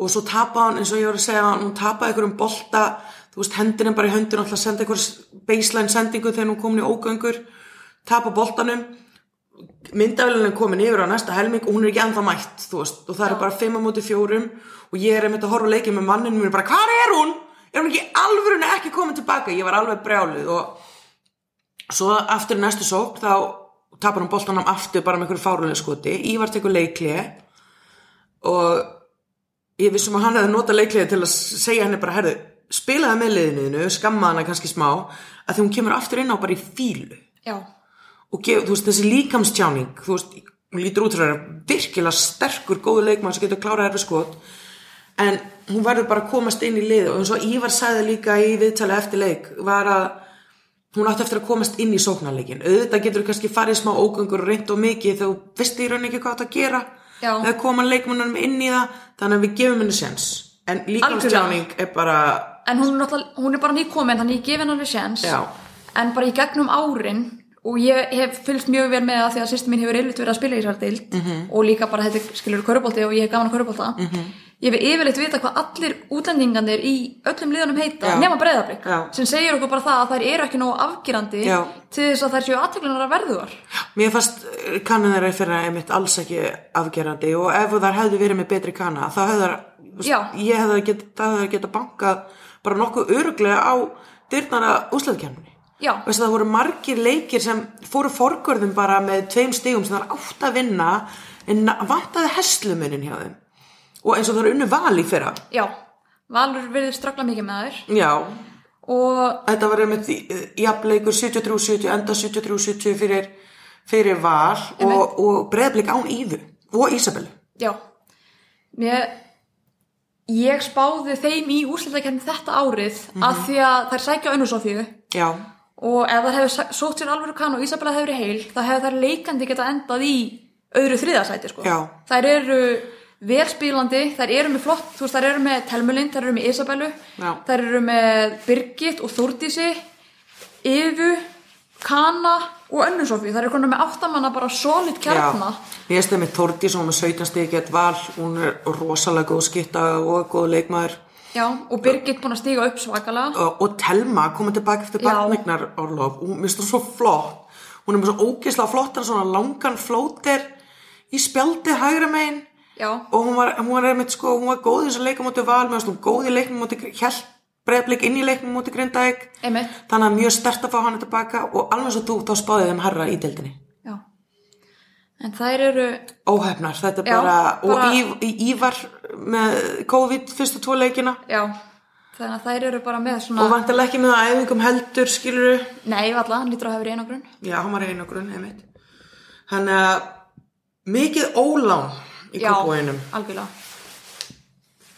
[SPEAKER 1] og svo tapa hún eins og ég var að segja hún tapaði einhverjum bolta þú veist hendurinn bara í höndun alltaf að senda einhver baseline sendingu þegar hún komin í ógöngur tapa boltanum myndavélun er komin yfir á næsta helming og hún er ekki ennþá mætt, þú veist, og það eru bara 5 á móti fjórum og ég er einmitt að horfa á leikið með manninu mér bara, hvað er hún? Er hún ekki alvörun ekki komin tilbaka? Ég var alveg brjálið og svo aftur í næstu sók þá tapar hún boltanum aftur bara með einhverju fárulega skoti, Ívar tekur leiklið og ég vissum að hann hefði notað leikliði til að segja henni bara, herðu, spilaði með liðinu skamma hana kannski smá að því hún kemur aftur inn á bara í fílu
[SPEAKER 2] já,
[SPEAKER 1] og gef, þú veist, þessi líkamstjáning þú veist, hún lítur út frá þér virkilega sterkur, góðu leikmann sem getur klárað erfi skot en hún verður bara að komast inn í lið og eins og Ívar sagði líka í viðtali eftir leik var að hún átti eftir að komast inn í sóknarleikin auðvitað getur þú kannski farið í smá ógöngur og reynd og mikið þegar þú veist í raun ekki hvað það að gera
[SPEAKER 2] Já.
[SPEAKER 1] eða koma leikmannum inn í það þannig að við gefum henni sens en líkamstjáning er bara
[SPEAKER 2] en hún er, náttúrulega- hún er bara nýkomin þannig ég gef henni alveg séns
[SPEAKER 1] Já.
[SPEAKER 2] en bara í gegnum árin og ég hef fylgst mjög vel með að því að sýstin mín hefur yfirleitt verið að spila í þessar dild
[SPEAKER 1] Mhm.
[SPEAKER 2] -hmm. og líka bara þetta skilur körubólti og ég hef gaman að körubólta -hmm. ég hef yfirleitt vita hvað allir útlendingandir í öllum liðunum heita
[SPEAKER 1] Já.
[SPEAKER 2] nema breyðablík
[SPEAKER 1] Já.
[SPEAKER 2] sem segir okkur bara það að þær eru ekki nógu afgerandi
[SPEAKER 1] Já.
[SPEAKER 2] til þess að þær séu aðteklunar að verðuðar
[SPEAKER 1] Mér fannst eh, kannan þeirra fyrir að einmitt alls ekki afgerandi og ef þær hefðu verið með betri kanna þá hefðu þær, þú veist,
[SPEAKER 2] Já.
[SPEAKER 1] ég hefðu þær geta, það hefðu þær geta bankað bara nokkuð öruglega á dyrnara úsleðkjarninni.
[SPEAKER 2] Já.
[SPEAKER 1] Veist, það voru margir leikir sem fóru forgörðum bara með tveim stigum sem þær átt að vinna en na- vantaði heslumunin hjá þeim og eins og þær unnu val í fyrra.
[SPEAKER 2] já, Valur verður strafla mikið með þær
[SPEAKER 1] Já,
[SPEAKER 2] og
[SPEAKER 1] Þetta var einmitt eh, jafnleikur 73-70, enda 73-70 fyrir, fyrir val og, og breyðblik án Íðu og Ísabellu.
[SPEAKER 2] já mér ég spáði þeim í úrslættakerni þetta árið
[SPEAKER 1] Mhm.
[SPEAKER 2] að því að þær sækja önnusofíu
[SPEAKER 1] Já,
[SPEAKER 2] og ef þær hefur sa- sótt sér alvöru kann og Ísabella hefur verið heil þá hefur þær leikandi geta endað í öðru þriðasæti sko.
[SPEAKER 1] Já.
[SPEAKER 2] þær eru velspílandi þær eru með flott, þú veist, þær eru með Telmulind þær eru með Isabellu
[SPEAKER 1] Já.
[SPEAKER 2] þær eru með Birgit og Þúrdísi Yfu Kana og Önnusofi þær eru konar með áttamanna bara solid kjarna
[SPEAKER 1] já. Ég stæði með Þórdís, hún er 17 stegi gett val, hún er rosalega góð skitta og góð leikmaður
[SPEAKER 2] Já, og Birgit búin að stíga upp svakalega
[SPEAKER 1] og, og Telma koma tilbaka eftir
[SPEAKER 2] Já.
[SPEAKER 1] barnegnar orlof, hún minnst það svo flott. Hún er með svo ógeðslega flottan svona langan flóter í spjaldi hægra megin.
[SPEAKER 2] Já,
[SPEAKER 1] og hún var, hún var einmitt sko, hún var góð í þessu leikum mútið val, mér finnst hún góð í leikum mútið hjælt breyðblik inn í leikum mútið grindaðik
[SPEAKER 2] einmitt
[SPEAKER 1] þannig að mjög stert að fá hana tilbaka og alveg svo þú, þá spáðið þeim herra í deildinni
[SPEAKER 2] Já En þær eru
[SPEAKER 1] óhefnar, þetta er
[SPEAKER 2] Já,
[SPEAKER 1] bara,
[SPEAKER 2] bara-
[SPEAKER 1] og Ív, Ívar með COVID fyrstu tvo leikina
[SPEAKER 2] Já, þannig að þær eru bara með svona
[SPEAKER 1] og vantilega ekki með að æfingum heldur skiluru,
[SPEAKER 2] Nei, valla, hann lítur að hafa verið einagrun
[SPEAKER 1] já, hann var einu grunn einmitt, hann að mikið ólán í
[SPEAKER 2] Já,
[SPEAKER 1] kópóinum,
[SPEAKER 2] algjörlega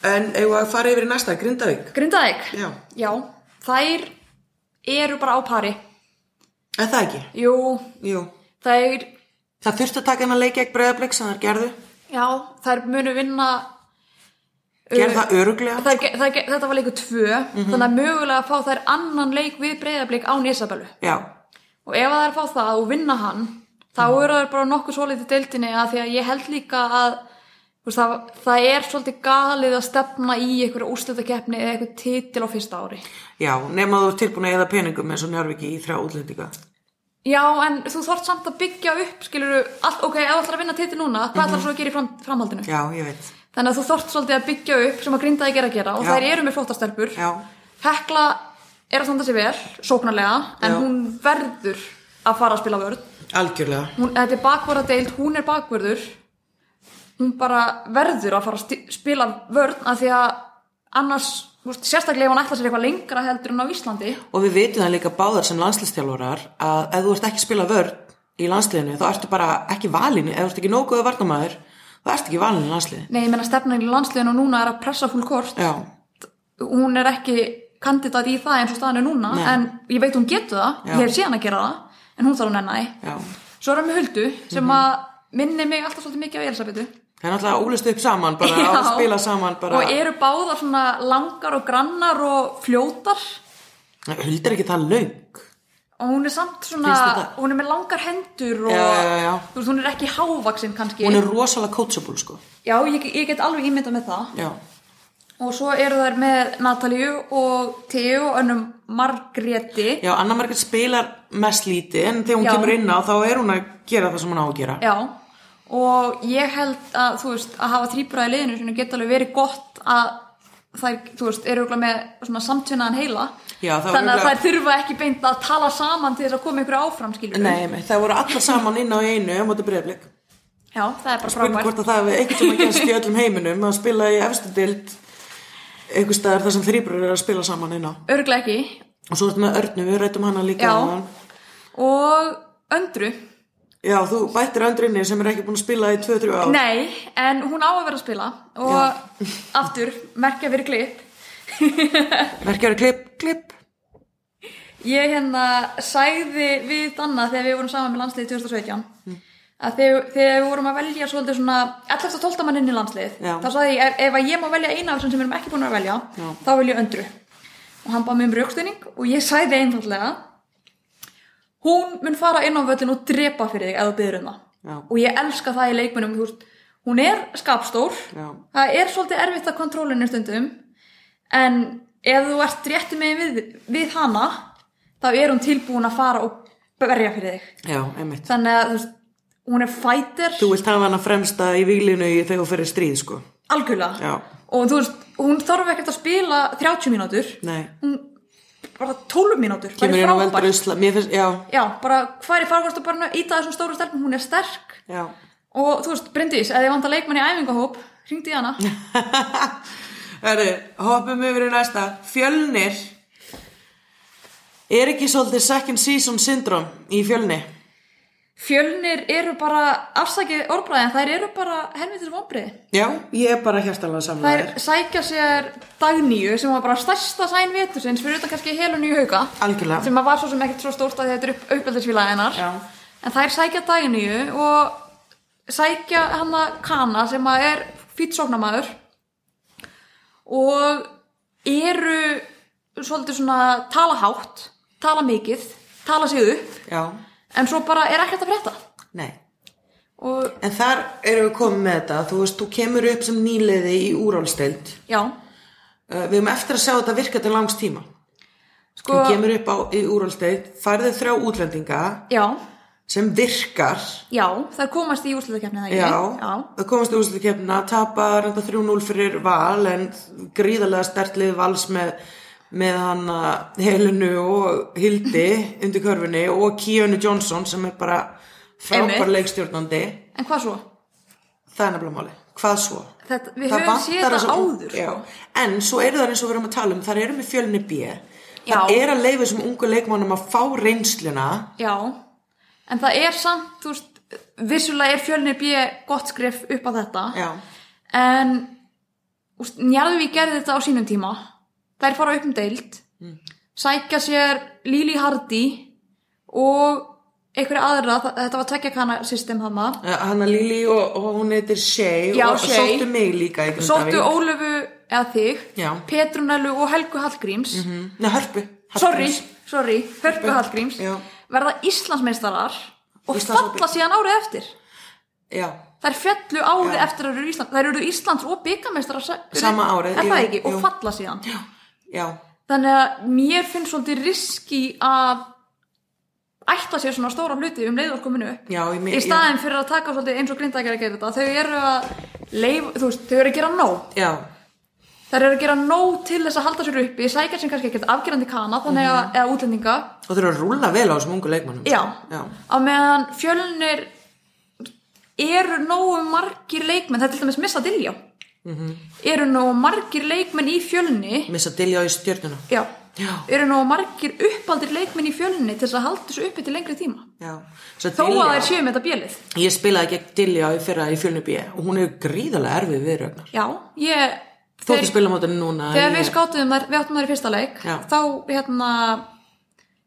[SPEAKER 1] en ef að fara yfir í næsta, grindaðik,
[SPEAKER 2] Grindavík,
[SPEAKER 1] já,
[SPEAKER 2] já, þær eru bara á pari
[SPEAKER 1] er það ekki?
[SPEAKER 2] Jú,
[SPEAKER 1] Jú,
[SPEAKER 2] þær,
[SPEAKER 1] Það þurfti að taka hennar leik gegn breyðarblik sem þær gerðu.
[SPEAKER 2] já, þær munu vinna
[SPEAKER 1] Gerðu það öruglega.
[SPEAKER 2] þær, ge- þær, ge- Þetta var leiku tvö
[SPEAKER 1] Mhm.
[SPEAKER 2] Þannig að mögulega fá þær annan leik við breyðablík án Isabellu
[SPEAKER 1] Já,
[SPEAKER 2] Og ef að þær fá það og vinna hann Þá eru þær bara nokkuð svolítið deildinni að Því að ég held líka að þú veist, Það, það er svolítið galið að stefna í einhverju úrslutakeppni eða einhver titil á fyrsta ári.
[SPEAKER 1] já, nema þú ert tilbúin að eða peningum eins og njárviki í þrjá útlendinga.
[SPEAKER 2] Já, en þú þort samt að byggja upp, skilur allt, ok, ef þú ætlar að vinna titil núna, hvað ætlar svo að gera í fram, framhaldinu?
[SPEAKER 1] Mhm. Já, ég veit.
[SPEAKER 2] Þannig að þú þort svolítið að byggja upp sem að grinda þig er að gera og
[SPEAKER 1] Já.
[SPEAKER 2] þær eru með flottar stelpur.
[SPEAKER 1] Já.
[SPEAKER 2] Hekla er að standa sér vel, sóknarlega, en
[SPEAKER 1] Já.
[SPEAKER 2] hún verður að fara að spila vörð.
[SPEAKER 1] Algjörlega.
[SPEAKER 2] Hún, þetta er bakvörðadeild, hún er bakvörður. Hún bara verður að fara að sti- spila vörð af því að annars, þú veist, sérstaklega ef hún ætlar sér eitthvað lengra heldur en á Íslandi.
[SPEAKER 1] Og við veitum það líka báðar sem landslistjálfarar að ef þú ert ekki að spila vörn í landsliðinu þá ertu bara ekki valinu, ef þú ert ekki nóguðu varnamæður þá ertu ekki valinu í landsliðinu.
[SPEAKER 2] Nei, ég menna stefnan í landsliðinu núna er að pressa full kort.
[SPEAKER 1] Já,
[SPEAKER 2] hún er ekki kandidat í það eins og staðan er núna
[SPEAKER 1] Nei.
[SPEAKER 2] en ég veit hún getur það,
[SPEAKER 1] Já.
[SPEAKER 2] ég hef síðan að gera það en hún þarf að nenni
[SPEAKER 1] já.
[SPEAKER 2] svo erum við Huldu sem
[SPEAKER 1] Mhm.
[SPEAKER 2] að minni mig alltaf svolítið mikið á Elisabetu
[SPEAKER 1] Það er náttúrulega úlist upp saman bara, á að
[SPEAKER 2] Já.
[SPEAKER 1] spila saman bara.
[SPEAKER 2] og eru báðar svona langar og grannar og fljótar
[SPEAKER 1] Huld er ekki það laung.
[SPEAKER 2] og hún er samt
[SPEAKER 1] Finnst
[SPEAKER 2] svona
[SPEAKER 1] þetta-
[SPEAKER 2] hún er með langar hendur og
[SPEAKER 1] Já, já, já.
[SPEAKER 2] þú veist, hún er ekki hávaksin kannski
[SPEAKER 1] Hún er rosalega coachable sko.
[SPEAKER 2] já, ég, ég get alveg ímyndað með það
[SPEAKER 1] Já,
[SPEAKER 2] og svo eru þær með Natalíu og Teo og önnum Margréti
[SPEAKER 1] Já, Anna Margrét spilar mest lítið en þegar hún
[SPEAKER 2] Já.
[SPEAKER 1] kemur inn á þá er hún að gera það sem hún á að gera.
[SPEAKER 2] Já, og ég held að, þú veist, að hafa þrýbura í liðinu sem geta alveg verið gott að þær, þú veist, eru örugglega með svona samtvinnaðan heila
[SPEAKER 1] Já, það var
[SPEAKER 2] þannig að
[SPEAKER 1] örugglega-
[SPEAKER 2] þær þurfa ekki beint að tala saman til þess að koma ykkur áfram, skilur
[SPEAKER 1] Nei, nei, það voru allar saman inn á einu á móti breyflik.
[SPEAKER 2] Já, það er bara
[SPEAKER 1] spurning
[SPEAKER 2] frábært.
[SPEAKER 1] hvort að það hefur eitthvað sem að gerst í öllum heiminum að spila í efstu dild einhver staðar þar sem þrýbrur eru að spila saman inn á
[SPEAKER 2] Örglega ekki.
[SPEAKER 1] og svo ertu með Örnu, við rættum hana líka
[SPEAKER 2] Já.
[SPEAKER 1] áðan.
[SPEAKER 2] Og öndru.
[SPEAKER 1] já þú bættir öndrinni sem er ekki búin að spila í 2-3 ár
[SPEAKER 2] Nei, en hún á að vera að spila. Og aftur, merkja fyrir klipp.
[SPEAKER 1] merkjari klipp, klipp
[SPEAKER 2] Ég hérna sagði við Danna þegar við vorum saman með landsliðið 2017
[SPEAKER 1] Mm.
[SPEAKER 2] að þegar, þegar við vorum að velja svolítið svona 11. og 12. mann inn í landsliðið
[SPEAKER 1] Já.
[SPEAKER 2] þá sagði ég ef, ef að ég má velja eina af þessum sem við erum ekki búin að velja
[SPEAKER 1] Já.
[SPEAKER 2] þá vil ég öndru og hann bað mér um rjókstunning og ég sagði einfallega hún mun fara inn á völlin og drepa fyrir þig ef þú byrður um það
[SPEAKER 1] Já.
[SPEAKER 2] og ég elska það í leikmunum þú veist, hún er skapstór
[SPEAKER 1] Já.
[SPEAKER 2] það er svolítið erfitt að kontrólinu stundum en ef þú ert rétti með við, við hana þá er hún tilbúin að fara og berja fyrir þig
[SPEAKER 1] já, einmitt
[SPEAKER 2] þannig að þú veist, hún er fighter
[SPEAKER 1] þú vilt hafa hana fremsta í vílinu í þegar þú fyrir stríð sko
[SPEAKER 2] algjörlega
[SPEAKER 1] Já.
[SPEAKER 2] og þú veist, hún þarf ekkert að spila 30 mínútur
[SPEAKER 1] nei,
[SPEAKER 2] hún bara 12 mínútur
[SPEAKER 1] kemur
[SPEAKER 2] væri
[SPEAKER 1] inn og
[SPEAKER 2] frábær.
[SPEAKER 1] veldur usla mér finnst, já,
[SPEAKER 2] já, bara hvað er farvarstu bara íta þessum stóru stelpum, hún er sterk
[SPEAKER 1] já
[SPEAKER 2] og þú veist, Bryndís, ef þið vantar leikmann í æfingahóp hringdu í hana
[SPEAKER 1] Herri, hoppum yfir í næsta fjölnir er ekki svolítið second season syndrome í fjölni
[SPEAKER 2] fjölnir eru bara afsakið orðbræðin, þær eru bara helvitis vonbriði
[SPEAKER 1] já, ég er bara hjartalega samlega
[SPEAKER 2] Þær sækja sér dagníu sem var bara stærsta sæn vetursins fyrir utan kannski helun í hauka
[SPEAKER 1] Algjörlega.
[SPEAKER 2] sem að var svo sem ekkert svo stórt að þetta er upp, uppeldisfélag hennar
[SPEAKER 1] Já.
[SPEAKER 2] en þær sækja dagníu og sækja hann að kana sem að er fýtsóknamaður og eru svolítið svona tala hátt tala mikið, tala sig upp
[SPEAKER 1] Já,
[SPEAKER 2] en svo bara er ekkert að frétta
[SPEAKER 1] nei.
[SPEAKER 2] og
[SPEAKER 1] En þar erum við komið með þetta, þú veist, þú kemur upp sem nýliði í úrálsteild.
[SPEAKER 2] já
[SPEAKER 1] Uh, við erum eftir að sjá þetta virka til langs tíma. Þú
[SPEAKER 2] sko,
[SPEAKER 1] kemur upp á, í úrálsteild, færði þrjá útlendinga
[SPEAKER 2] já,
[SPEAKER 1] sem virkar.
[SPEAKER 2] já þær komast í úrslutakefnið
[SPEAKER 1] Já,
[SPEAKER 2] já
[SPEAKER 1] það komast í úrslitakeppnina, tapa reynda 3-0 fyrir val en gríðarlega stertlið vals með, með hann Helenu og Hildi undir körfunni og Kíönu Johnson sem er bara frábær
[SPEAKER 2] Einmitt.
[SPEAKER 1] leikstjórnandi.
[SPEAKER 2] En hvað svo?
[SPEAKER 1] Það er nefnilega máli. Hvað svo?
[SPEAKER 2] Þetta, við
[SPEAKER 1] það
[SPEAKER 2] höfum séð
[SPEAKER 1] vantar
[SPEAKER 2] það
[SPEAKER 1] þessa ung-
[SPEAKER 2] áður.
[SPEAKER 1] já,
[SPEAKER 2] sko.
[SPEAKER 1] en svo eru það eins og við erum að tala um þar eru með fjölni B það
[SPEAKER 2] Já.
[SPEAKER 1] er að leifa þessum ungu leikmannum að fá reynsluna
[SPEAKER 2] Já, en það er samt, þú veist, vissulega er fjölnir B gott skref upp á þetta.
[SPEAKER 1] já,
[SPEAKER 2] En, úst, Njarðvík gerði þetta á sínum tíma. Þær fara upp um deild,
[SPEAKER 1] Mm.
[SPEAKER 2] sækja sér Lili Hardy og einhverja aðra, þa- þetta var tveggjakana system hama.
[SPEAKER 1] hann að Lili og, og hún heitir Shay
[SPEAKER 2] Já,
[SPEAKER 1] og
[SPEAKER 2] Shay.
[SPEAKER 1] sóttu mig líka í
[SPEAKER 2] Sóttu
[SPEAKER 1] Grindavík.
[SPEAKER 2] Ólöfu eða þig,
[SPEAKER 1] Já.
[SPEAKER 2] Petrunelu og Helgu Hallgríms.
[SPEAKER 1] Mhm. Nei, hörpu
[SPEAKER 2] sorry,
[SPEAKER 1] Hallgríms.
[SPEAKER 2] sorry, Hörpu Hallgríms
[SPEAKER 1] Já.
[SPEAKER 2] verða Íslandsmeistarar og
[SPEAKER 1] Íslands-
[SPEAKER 2] falla síðan árið eftir
[SPEAKER 1] já,
[SPEAKER 2] þær fjallu árið
[SPEAKER 1] Já.
[SPEAKER 2] eftir að eru Ísland þær eru Íslands og byggameistarar
[SPEAKER 1] Sama árið,
[SPEAKER 2] er það
[SPEAKER 1] jú,
[SPEAKER 2] ekki,
[SPEAKER 1] jú.
[SPEAKER 2] og falla síðan Já.
[SPEAKER 1] já,
[SPEAKER 2] þannig að mér finnst svolítið riski að ætla sér svona stóra hluti um leiðorkominu upp
[SPEAKER 1] já ég, me-
[SPEAKER 2] í staðin fyrir að taka svolítið eins og grindækjar að gera þetta þau eru að leif, þú veist, þau eru að gera
[SPEAKER 1] já,
[SPEAKER 2] nóg
[SPEAKER 1] já,
[SPEAKER 2] þær eru að gera nóg til þess að halda sér uppi sækja sem kannski ekkert afgerandi kana þannig
[SPEAKER 1] Mhm.
[SPEAKER 2] að, eða útlendinga
[SPEAKER 1] og þeir eru að rúla vel á þessum ungu leikmannum
[SPEAKER 2] Já.
[SPEAKER 1] já,
[SPEAKER 2] á meðan fjölnir eru nógu margir leikmenn, það er til dæmis missa dilja
[SPEAKER 1] Mhm.
[SPEAKER 2] eru nógu margir leikmenn í fjölni
[SPEAKER 1] missa dilja í stjörnuna
[SPEAKER 2] já,
[SPEAKER 1] Já.
[SPEAKER 2] eru nógu margir uppaldir leikmenn í fjölni til þess að halda þessu uppi til lengri tíma
[SPEAKER 1] já, Svo
[SPEAKER 2] þó að
[SPEAKER 1] Dilja-
[SPEAKER 2] þeir séu með þetta bjölið
[SPEAKER 1] ég spilaði gegn Dilja í fyrra í fjölni B og hún er gríðarlega erfið viðrögnar
[SPEAKER 2] já, ég
[SPEAKER 1] Þú ert að spila mótinu núna
[SPEAKER 2] þegar við sko-
[SPEAKER 1] ég-
[SPEAKER 2] skátum þær, við áttum þær í fyrsta leik
[SPEAKER 1] Já.
[SPEAKER 2] þá hérna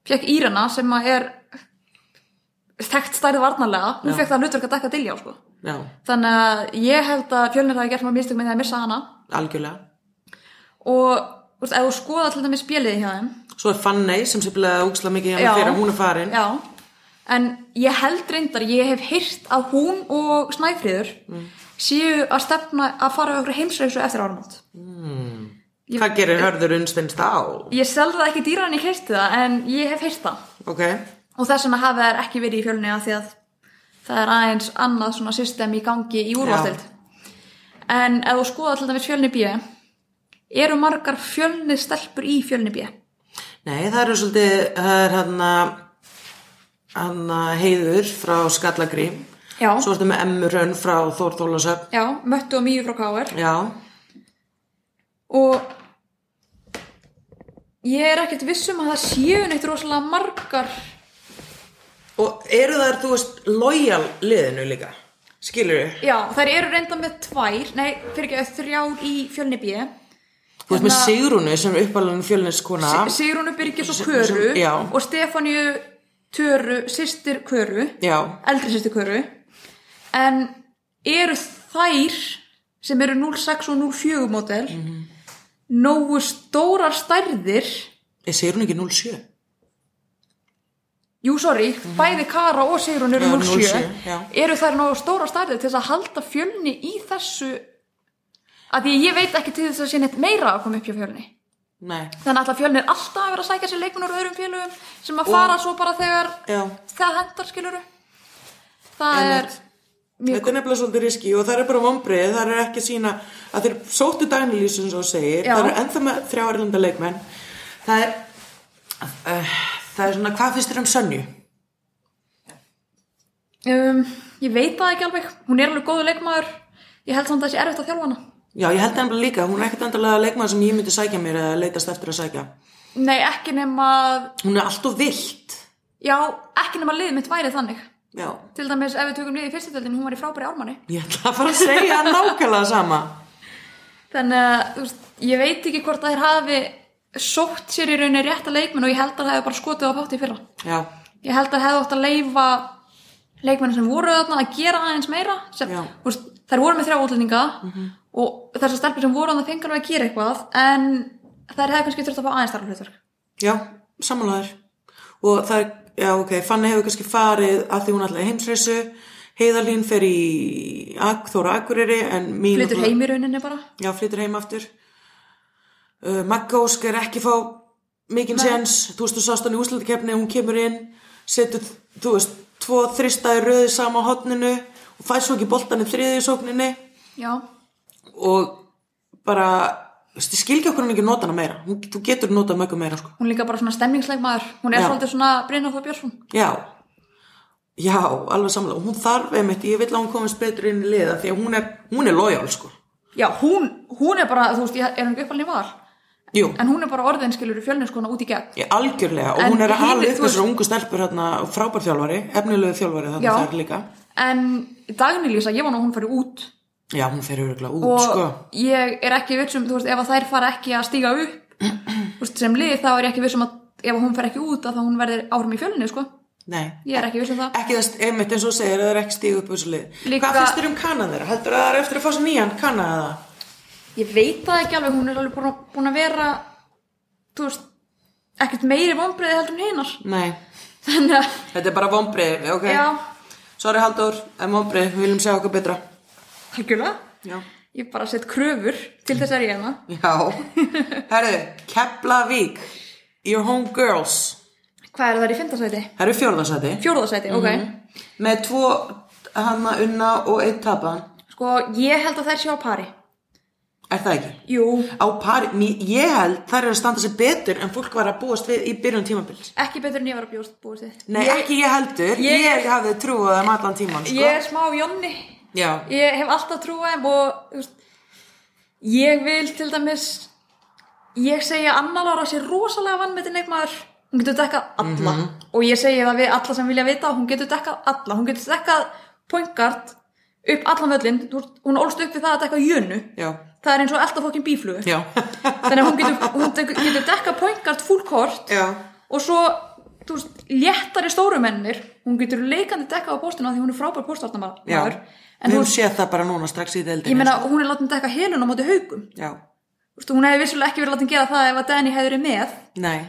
[SPEAKER 2] fekk Írana sem að er þekkt stærð varnarlega hún
[SPEAKER 1] Já.
[SPEAKER 2] fekk það hlutverk að dekka dilja sko.
[SPEAKER 1] Já,
[SPEAKER 2] Þannig að ég held að fjölnir hafi gert maður mistök með því að missa hana
[SPEAKER 1] algjörlega
[SPEAKER 2] og þú veist, ef þú skoða til dæmis bjeliði hjá þeim
[SPEAKER 1] Svo er Fanney sem spilaði úksla mikið hjá
[SPEAKER 2] Já.
[SPEAKER 1] mig fyrir hún er farin
[SPEAKER 2] Já, en ég held reyndar ég hef heyrt að hún og Snæfríður séu að stefna að fara á okkur heimsreisu eftir áramót
[SPEAKER 1] Hvað gerir hörður unnstins þá?
[SPEAKER 2] Ég selði það ekki dýran ég heyrti það en ég hef heyrt það
[SPEAKER 1] Ok,
[SPEAKER 2] og þess vegna hafa þær ekki verið í fjölni að því að það er aðeins annað svona system í gangi í úrvastild en ef þú skoða til dæmis fjölni B eru margar fjölni stelpur í fjölni B
[SPEAKER 1] nei það eru svolítið það er hann að hann að heiður frá Skallagrím
[SPEAKER 2] Já.
[SPEAKER 1] Svo ertu með Emmu Rönn frá Þór Þólasöp
[SPEAKER 2] Já, möttu og mýju frá K.R.
[SPEAKER 1] Já,
[SPEAKER 2] og ég er ekkert viss um að það séu neitt rosalega margar
[SPEAKER 1] og eru þær, þú veist, lojal liðinu líka, skilur við?
[SPEAKER 2] já, þær eru reynda með tvær nei, fyrir ekki, þrjár í fjölni B
[SPEAKER 1] Þú veist með
[SPEAKER 2] Hérna-
[SPEAKER 1] Sigrúnu sem er uppalunum fjölniskona
[SPEAKER 2] Sigrúnu Byrgis og
[SPEAKER 1] Sem-
[SPEAKER 2] Köru
[SPEAKER 1] sem- já.
[SPEAKER 2] og Stefáníu Töru, sýstir Köru
[SPEAKER 1] Já,
[SPEAKER 2] eldri sýstir Köru en eru þær sem eru 06 og 04 mótel
[SPEAKER 1] Mhm.
[SPEAKER 2] nógu stórar stærðir
[SPEAKER 1] er Sigrún ekki 07?
[SPEAKER 2] jú, sorry, bæði Kara og Sigrún eru
[SPEAKER 1] Mhm. Já,
[SPEAKER 2] 07,
[SPEAKER 1] 07, já.
[SPEAKER 2] eru þær nógu stórar stærðir til þess að halda fjölni í þessu að því ég veit ekki til þess að sé neitt meira að koma upp hjá fjölni
[SPEAKER 1] Nei,
[SPEAKER 2] Þannig að alltaf fjölnir alltaf að vera að sækja sér leikmenn úr öðrum félögum sem að fara svo bara þegar
[SPEAKER 1] já
[SPEAKER 2] það hendar skiluru. Það
[SPEAKER 1] Einmitt.
[SPEAKER 2] er mjög
[SPEAKER 1] Þetta er nefnilega svolítið riski og það er bara vombrið, það er ekki að sína að þeir sóttu dagnilýs eins og þú segir,
[SPEAKER 2] Já.
[SPEAKER 1] það er ennþá með þrjá erlenda leikmenn það er uh, það er svona, hvað finnst þér um Sönju?
[SPEAKER 2] um, ég veit það ekki alveg. Hún er alveg góðu leikmaður. Ég held samt að það sé erfitt að þjálfa hana.
[SPEAKER 1] Já, ég held nefnilega líka, hún er ekkert endalega leikmann sem ég myndi sækja mér eða leitast eftir að sækja
[SPEAKER 2] Nei, ekki nema
[SPEAKER 1] hún er alltof vilt
[SPEAKER 2] já, ekki nema liðið mitt væri þannig.
[SPEAKER 1] Já,
[SPEAKER 2] Til dæmis ef við tökum liðið í fyrstildin, hún var í frábæri ármanni.
[SPEAKER 1] ég ætla að fara að segja nákvæmlega sama
[SPEAKER 2] Þannig að, þú veist, ég veit ekki hvort að þér hafi sótt sér í rauninni rétta leikmenn og ég held að það hefði bara skotið á pátti í fyrra.
[SPEAKER 1] Já,
[SPEAKER 2] ég held að hefði ótt að leifa leikmennin sem voru þarna að gera aðeins meira sem,
[SPEAKER 1] Já.
[SPEAKER 2] þú veist, þær voru með þrjá útlendinga og þessar stelpur sem voru þarna fengar alveg að gera eitthvað en þær hefði kannski þurft að fá aðeins starra hlutverk
[SPEAKER 1] já, samanlæður og það er, já ok, Fanny hefur kannski farið að því hún alltaf heimsreysu Heiðalín fer í Ak- Þóra Akureyri en mín
[SPEAKER 2] flytur heim í rauninni bara
[SPEAKER 1] Já, flytur heim aftur. Uh, Magga Ósk er ekki fá mikinn séns, þú veist, þú sást hann í úslandikefni, hún kemur inn, setur, þú veist, tvo þristaði röði sama á hotninu og fær svo ekki boltan í þriði í sókninni
[SPEAKER 2] já,
[SPEAKER 1] og bara, þú veist, ég skil ekki okkur hann ekki nota hana meira, hún, þú getur notað möggu meira, sko.
[SPEAKER 2] hún er líka bara svona stemmingsleikmaður hún er
[SPEAKER 1] Já.
[SPEAKER 2] svolítið svona Brynjóð Þór Björnsson
[SPEAKER 1] Já, já, alveg samlega, og hún þarf einmitt, ég vil að hún komist betur inn í liða því að hún er, hún er lojál, sko.
[SPEAKER 2] já, hún, hún er bara, þú veist, ég er hún ekki uppalni var
[SPEAKER 1] Jú,
[SPEAKER 2] en hún er bara orðin skilur í fjölninskona út í gegn
[SPEAKER 1] Ég, algjörlega, og
[SPEAKER 2] En
[SPEAKER 1] hún er að
[SPEAKER 2] hinir,
[SPEAKER 1] hala upp
[SPEAKER 2] þú veist-
[SPEAKER 1] þessar ungu stelpur hérna, frábær þjálfari, efnilegu þjálfari þannig
[SPEAKER 2] Já.
[SPEAKER 1] þar líka.
[SPEAKER 2] en Dagnilísa, ég var nú að hún fyrir út
[SPEAKER 1] Já, hún fer öruglega út,
[SPEAKER 2] og
[SPEAKER 1] sko.
[SPEAKER 2] ég er ekki vissum, þú veist, ef að þær fara ekki að stíga upp þú veist, sem lið þá er ég ekki vissum að ef hún fer ekki út að þá hún verður árum í fjölunni, sko,
[SPEAKER 1] Nei,
[SPEAKER 2] ég er ekki vissum það
[SPEAKER 1] ekki það, einmitt eins og þú segir, það er ekki stíð upp þessu lið.
[SPEAKER 2] Líka-
[SPEAKER 1] Hvað finnst þér um kanan þeirra? Heldur það er eftir að fá sér nýjan kanan eða?
[SPEAKER 2] ég veit það ekki alveg, hún er alveg búin að, búin að vera þú veist ekkert meiri vonbreiði heldur en hinnar
[SPEAKER 1] Nei,
[SPEAKER 2] þannig að,
[SPEAKER 1] þetta er bara vombrið, ok?
[SPEAKER 2] já,
[SPEAKER 1] Sorry Haldur, en vombrið, við viljum segja okkur betra.
[SPEAKER 2] algjörlega
[SPEAKER 1] Já.
[SPEAKER 2] ég bara sett kröfur til þess er ég hérna
[SPEAKER 1] Já. Herðu, Keflavík, your home girls.
[SPEAKER 2] hvað er það í fymtasæti?
[SPEAKER 1] Það eru fjórðarsæti.
[SPEAKER 2] fjórðasæti, ok
[SPEAKER 1] Með tvo hanna unna og eitt tapaðan.
[SPEAKER 2] sko, ég held að þær séu á pari
[SPEAKER 1] Er það ekki?
[SPEAKER 2] jú,
[SPEAKER 1] á pari, mér- ég held þær eru að standa sér betur en fólk var að búast við í byrjun tímabils
[SPEAKER 2] ekki betur en ég var að bjóst búið þitt
[SPEAKER 1] Nei, ekki ég heldur,
[SPEAKER 2] ég-
[SPEAKER 1] ég, hafði trúið um allan tíman sko.
[SPEAKER 2] ég er smá Jonni
[SPEAKER 1] Já,
[SPEAKER 2] ég hef alltaf trúið þeim og þú veist, ég vil til dæmis ég segja Anna Lára sé rosalega vannmetin leikmaður hún getur dekkað alla
[SPEAKER 1] Mhm.
[SPEAKER 2] og ég segi það við alla sem vilja vita hún getur dekkað alla, hún getur dekkað pointgard upp allan völlin Þú veist, hún ólst upp við það að dekka jönu
[SPEAKER 1] já,
[SPEAKER 2] það er eins og alltaf fókin bíflugu
[SPEAKER 1] já
[SPEAKER 2] þannig að hún getur, hún tek- getur dekkað pointgard full court
[SPEAKER 1] Já,
[SPEAKER 2] og svo þú veist, léttari stórumennir hún getur leikandi dekkað á postuna því hún er frábær
[SPEAKER 1] já
[SPEAKER 2] postarnamaður
[SPEAKER 1] Við höfum séð það bara núna strax í deildinni sko.
[SPEAKER 2] Ég meina, hún er látin dekka helun á móti haugum.
[SPEAKER 1] Já,
[SPEAKER 2] Þú veist, Hún hefði vissulega ekki verið látin gera það ef að Danny hefði verið með,
[SPEAKER 1] nei,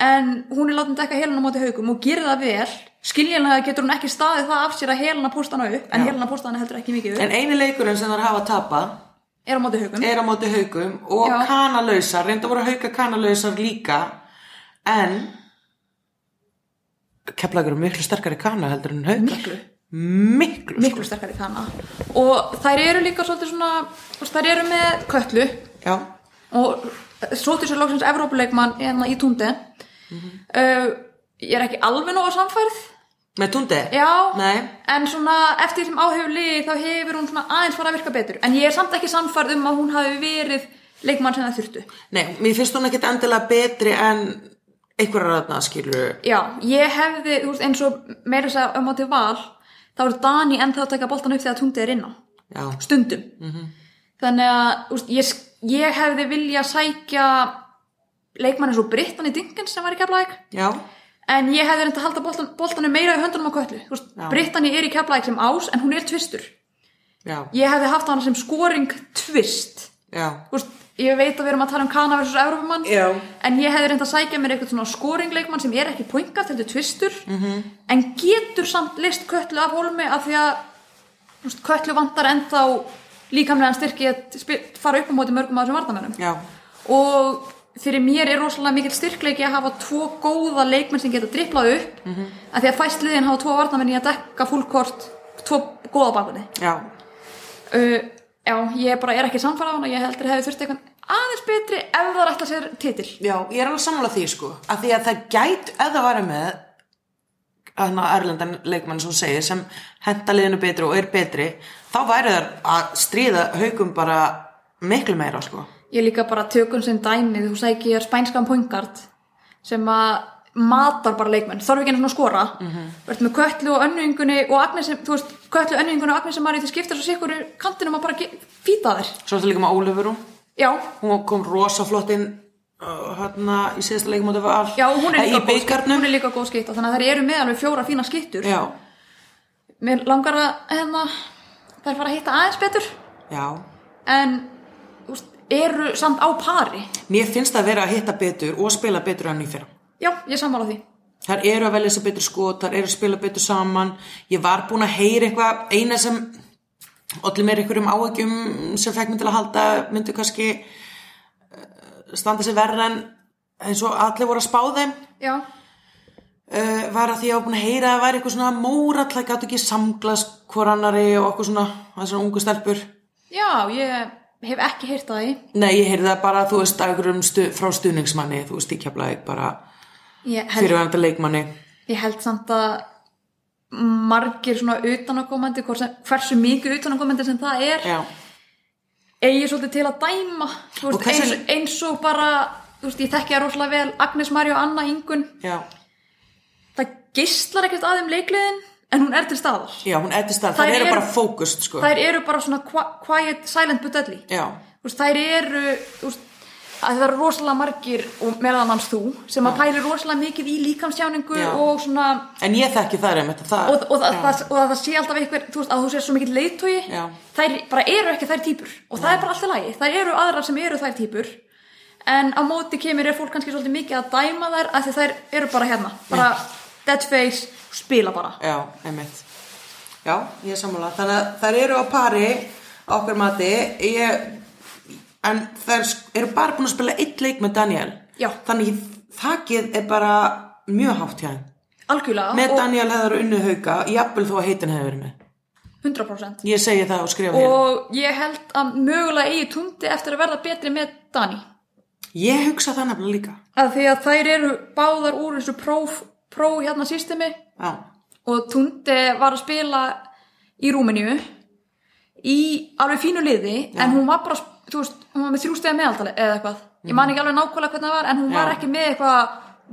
[SPEAKER 2] en hún er látin dekka helun á móti haugum og gerir það vel. Skiljanlega getur hún ekki staðið það af sér að heluna postana upp, en
[SPEAKER 1] Já.
[SPEAKER 2] heluna postana heldur ekki mikið upp,
[SPEAKER 1] en eini leikurinn sem þær hafa tapað
[SPEAKER 2] er á móti haugum.
[SPEAKER 1] er á móti haukum og
[SPEAKER 2] Já.
[SPEAKER 1] kanalausar reynda voru hauka kanalausar líka en Keflagur eru miklu sterkari kana heldur en haukar Miklu,
[SPEAKER 2] Miklu,
[SPEAKER 1] sko.
[SPEAKER 2] miklu sterkari kanna. Og þær eru líka svolítið svona, þú veist, þær eru með köllu
[SPEAKER 1] Já,
[SPEAKER 2] og svolítið svo lóksins Evrópuleikmann hérna í túndi. Uh, ég er ekki alveg nóg á samfærð,
[SPEAKER 1] Með túndi?
[SPEAKER 2] Já,
[SPEAKER 1] Nei.
[SPEAKER 2] en svona eftir sem áhefli þá hefur hún svona aðeins fara að virka betur en ég er samt ekki sannfærð um að hún hafi verið leikmann sem það þurftu
[SPEAKER 1] Nei, mér finnst hún ekkit endilega betri en einhverjar aðna skilur
[SPEAKER 2] Já, ég hefði, þú veist, eins og meira að segja um að til val þá er Dani ennþá að taka boltan upp þegar tungtið er inná
[SPEAKER 1] Já,
[SPEAKER 2] stundum þannig að úst, ég, ég hefði vilja sækja leikmann eins og Brittan í Dinkins sem var í Keflæk
[SPEAKER 1] já,
[SPEAKER 2] en ég hefði reynda að halda boltan, boltanum meira í höndunum á köllu Þú veist,
[SPEAKER 1] Já.
[SPEAKER 2] Brittany er í Keflæk sem ás en hún er tvistur
[SPEAKER 1] já,
[SPEAKER 2] ég hefði haft hana sem scoring tvist
[SPEAKER 1] já
[SPEAKER 2] Úst, ég veit að við erum að tala um Kana versus Eurófumann
[SPEAKER 1] Já.
[SPEAKER 2] en ég hefði reynda að sækja mér eitthvað svona scoringleikmann sem er ekki poingat heldur tvistur
[SPEAKER 1] Mhm.
[SPEAKER 2] -hmm. en getur samt list köllu af hólmi af því að úst, köllu vantar ennþá líkamlega styrki að spil, fara upp á móti mörgum af þessum vartamönnum
[SPEAKER 1] Já,
[SPEAKER 2] og fyrir mér er rosalega mikill styrkleiki að hafa tvo góða leikmenn sem geta driplað upp mm
[SPEAKER 1] Mhm.
[SPEAKER 2] -hmm. að því að fæstliðin hafa tvo varnamenn í að dekka fullkort tvo góða bakunni
[SPEAKER 1] já,
[SPEAKER 2] uh, já, ég bara er ekki samfara á hana ég heldur hefði þurft eitthvað aðeins betri ef það er alltaf sér titil
[SPEAKER 1] já, ég er alveg sammála því sko að því að það gæt ef það væri með að erlendan leikmann sem hún segir sem henta liðinu betri og er betri þá væri þar að stríða haukum bara miklu meira sko
[SPEAKER 2] ég líka bara tökum sem dæmið þú sækir spænskan poingard sem að matar bara leikmenn þarf ekki einu svona að skora mm
[SPEAKER 1] Mhm.
[SPEAKER 2] -hmm. verður með köllu og önningunni og Agnes sem, þú veist, köllu önningunni og Agnes sem maður í því skiptar svo sikkur kantinum að bara ge- fýta þær
[SPEAKER 1] Svo er þetta líka með Ólefur hún
[SPEAKER 2] já,
[SPEAKER 1] hún kom rosa flott inn uh, hérna í síðasta leikumóti var all
[SPEAKER 2] Já, hún er, líka
[SPEAKER 1] Eh, í
[SPEAKER 2] góð skytta,
[SPEAKER 1] byggarnum
[SPEAKER 2] hún er líka góð skytta þannig að þær eru með alveg fjóra fína skyttur
[SPEAKER 1] já,
[SPEAKER 2] mér langar að hérna, þær fara að hitta aðeins betur
[SPEAKER 1] já
[SPEAKER 2] en úst, eru samt á pari
[SPEAKER 1] mér finnst það að vera að hitta betur og spila betur enn í fyrra
[SPEAKER 2] já, ég sammála því
[SPEAKER 1] þar eru að velja sér betur skot, þar eru að spila betur saman ég var búin að heyra eitthvað eina sem allir meir einhverjum áhyggjum sem fekk mig til að halda myndi kannski eh, standa sér verra en eins og allir voru að spá þeim
[SPEAKER 2] já,
[SPEAKER 1] uh, var að því ég var búin að heyra að það væri eitthvað svona mórall að gætu ekki samglas hvor annari og okkur svona þessar ungu stelpur
[SPEAKER 2] já, ég hef ekki heyrt það í
[SPEAKER 1] Nei, ég heyrði það bara, þú veist, að einhverjum stu, frá stuðningsmanni, þú veist, í keflaði bara
[SPEAKER 2] ég held,
[SPEAKER 1] fyrirvæmda leikmanni.
[SPEAKER 2] ég held samt að margir svona utanakomandi hversu mikið utanakomandi sem það er
[SPEAKER 1] Já,
[SPEAKER 2] eigi svolítið til að dæma þú
[SPEAKER 1] Og
[SPEAKER 2] veist,
[SPEAKER 1] hversu-
[SPEAKER 2] eins, eins og bara þú veist, ég þekki það rosalega vel Agnes Marja og Anna Ingun
[SPEAKER 1] já,
[SPEAKER 2] það geislar ekkert að þeim leikliðin en hún er til staðar
[SPEAKER 1] já, hún eddist það,
[SPEAKER 2] Þær
[SPEAKER 1] það eru
[SPEAKER 2] eru-
[SPEAKER 1] bara fókust, sko.
[SPEAKER 2] þær eru bara svona qua- quiet, silent but deadly
[SPEAKER 1] Já,
[SPEAKER 2] Þú veist, þær eru þú veist, að það eru rosalega margir og meðan hans þú sem að pæli rosalega mikið í líkamstjáningu
[SPEAKER 1] Já.
[SPEAKER 2] og svona
[SPEAKER 1] en ég þekki þær einmitt að það.
[SPEAKER 2] og, og, það,
[SPEAKER 1] Já.
[SPEAKER 2] það, og að það sé alltaf einhver þú veist, að þú sér svo mikill leiðtogi
[SPEAKER 1] Já.
[SPEAKER 2] þær bara eru ekki þær típur og það er bara alltaf lægi, þær eru aðrar sem eru þær típur en á móti kemur er fólk kannski svolítið mikið að dæma þær af því þær eru bara hérna, bara dead face, spila bara
[SPEAKER 1] Já, einmitt. Já, ég er sammála. Þannig að þær eru á pari, á okkar mati, ég, en þær sk- eru bara búin að spila eitt leik með Daniel.
[SPEAKER 2] Já.
[SPEAKER 1] Þannig þakkið er bara mjög hátt hjá þeim.
[SPEAKER 2] algjörlega
[SPEAKER 1] Með
[SPEAKER 2] og
[SPEAKER 1] Daniel hefur unnið hauka, jafnvel þó að heitin hefur verið með.
[SPEAKER 2] 100%
[SPEAKER 1] Ég segi það og skrifa hér.
[SPEAKER 2] og ég held að mögulega eigi tungti eftir að verða betri með Dani
[SPEAKER 1] Ég hugsa það nefnilega líka.
[SPEAKER 2] að því að þær eru báðar úr þessu próf, próf hérna systemi
[SPEAKER 1] Já,
[SPEAKER 2] og tungti var að spila í Rúmeníu í alveg fínu liði en hún var bara, þú veist, hún var með þrjú stegar meðaldali eða eitthvað, ég man ekki alveg nákvæmlega hvernig það var en hún
[SPEAKER 1] Mhm. Já.
[SPEAKER 2] var ekki með eitthvað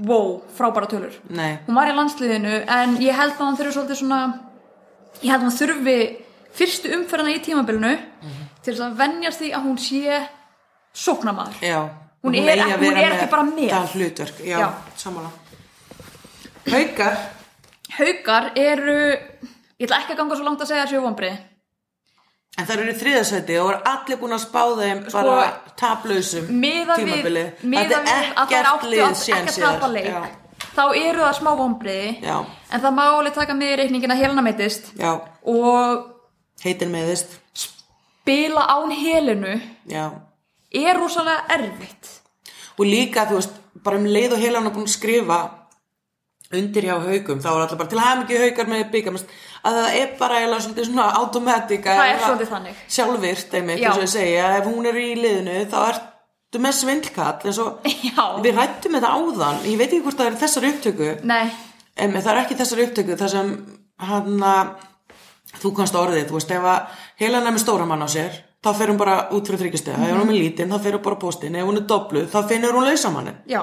[SPEAKER 2] wow, frábæra tölur
[SPEAKER 1] nei,
[SPEAKER 2] hún var í landsliðinu en ég held að hann þurfi svolítið svona ég held að hann þurfi fyrstu umferðina í tímabilinu
[SPEAKER 1] Mhm.
[SPEAKER 2] til þess að venjast því að hún sé sóknamaður
[SPEAKER 1] já.
[SPEAKER 2] Hún er
[SPEAKER 1] eigi
[SPEAKER 2] ekki-
[SPEAKER 1] að vera
[SPEAKER 2] hún er ekki bara með.
[SPEAKER 1] Það hlutverk, já, já.
[SPEAKER 2] Já.
[SPEAKER 1] sammála. Haukar,
[SPEAKER 2] haukar eru ég ætla ekki að ganga svo langt að segja þessu vonbrið
[SPEAKER 1] en það eru þriðasæti og eru allir búin að spá þeim bara taplausum
[SPEAKER 2] miða Sko, við,
[SPEAKER 1] tímabili.
[SPEAKER 2] miða við að það er áttu að ekki að tapa leik
[SPEAKER 1] Já,
[SPEAKER 2] þá eru það smá vonbriði
[SPEAKER 1] Já.
[SPEAKER 2] en það má alveg taka með í reikningin að helna meittist
[SPEAKER 1] já,
[SPEAKER 2] og
[SPEAKER 1] heitin meðist,
[SPEAKER 2] bila án helinu
[SPEAKER 1] já.
[SPEAKER 2] er rosalega erfitt
[SPEAKER 1] Og líka, þú veist, bara um leið og heila hann er búin að skrifa undir hjá haukum, þá er allir bara til að hafa mikið haukar með byggamast að það er bara eiginlega svolítið svona automatika
[SPEAKER 2] það er svolítið þannig
[SPEAKER 1] sjálfvirt einmitt,
[SPEAKER 2] Já.
[SPEAKER 1] eins og ég segja ef hún er í liðinu þá ertu með svindlkall eins og
[SPEAKER 2] Já.
[SPEAKER 1] við rættum þetta áðan ég veit ekki hvort það er þessar upptöku
[SPEAKER 2] Nei,
[SPEAKER 1] en það er ekki þessar upptöku þar sem hann þú kannst á orðið, þú veist, ef að Helena er með stóra mann á sér, þá fer hún bara út fyrir þryggjastega, ef hún er með lítinn, þá fer hún bara á póstinn, ef hún er dobluð, þá finnur hún lausamannin
[SPEAKER 2] Já,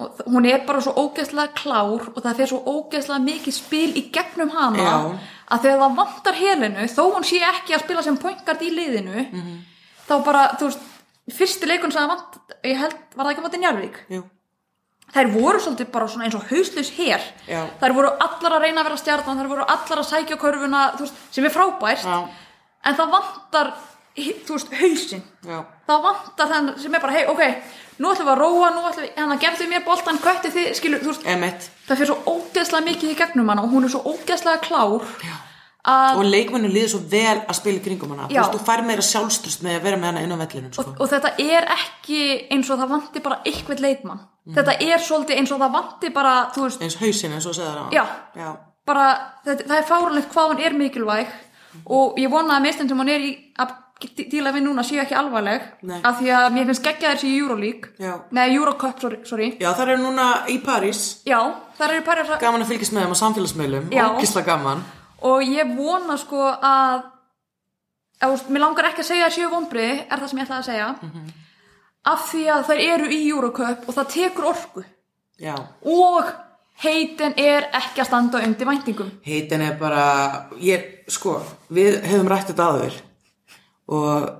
[SPEAKER 2] og þ- hún er bara svo ógeðslega klár og það fer svo ógeðslega mikið spil í gegnum hana
[SPEAKER 1] Já.
[SPEAKER 2] að þegar það vantar helinu, þó hún sé ekki að spila sem pointgard í liðinu þá bara, þú veist, fyrsti leikun sem það vant, ég held, var það ekki að vanta Njarvík
[SPEAKER 1] Jú,
[SPEAKER 2] þær voru svolítið bara svona eins og hauslaus hér
[SPEAKER 1] Já.
[SPEAKER 2] þær voru allar að reyna að vera stjarnan þær voru allar að sækja körfuna þú veist, sem er frábært
[SPEAKER 1] Já.
[SPEAKER 2] en það vantar hi- þú veist, hausinn
[SPEAKER 1] já,
[SPEAKER 2] það vantar þann sem er bara hei, ok, nú ætlum við að róa nú ætlum við, hann að gefðu mér boltan, kvötti þið skilur, þú veist,
[SPEAKER 1] emitt
[SPEAKER 2] það fyrir svo ógeðslega mikið í gegnum hana og hún er svo ógeðslega klár Já. að
[SPEAKER 1] og leikmennu líður svo vel að spila í kringum hana þú
[SPEAKER 2] Já.
[SPEAKER 1] veist, þú fær meira sjálfstrust með að vera með hana inn á vellinum sko.
[SPEAKER 2] og þetta er ekki eins og það vanti bara eitthvað leikmann
[SPEAKER 1] Mhm.
[SPEAKER 2] þetta er svolítið eins og það vanti bara þú veist,
[SPEAKER 1] eins hausinn eins og segðar hana
[SPEAKER 2] Já.
[SPEAKER 1] já,
[SPEAKER 2] bara, þetta, það er fáranlegt hvað hún er mikilvæg og ég vona að meðstænd sem hún er í að dí- díla við núna séu ekki alvarleg
[SPEAKER 1] Nei.
[SPEAKER 2] af því að mér finnst geggja þessi í Euroleague
[SPEAKER 1] Já.
[SPEAKER 2] nei, Eurocup, sorry, sorry.
[SPEAKER 1] já þar eru núna í París
[SPEAKER 2] já, þar eru pæri
[SPEAKER 1] gaman að fylgjast með þeim á samfélagsmiðlum
[SPEAKER 2] Já.
[SPEAKER 1] ógisla gaman
[SPEAKER 2] og ég vona sko að eða, þú veist, mér langar ekki að segja að séu vonbrið er það sem ég ætlaði að segja
[SPEAKER 1] Mhm.
[SPEAKER 2] af því að þær eru í Eurocup og það tekur orku
[SPEAKER 1] já.
[SPEAKER 2] og heitin er ekki að standa undir væntingum
[SPEAKER 1] heitin er bara ég, sko, við höfum rætt þetta aður og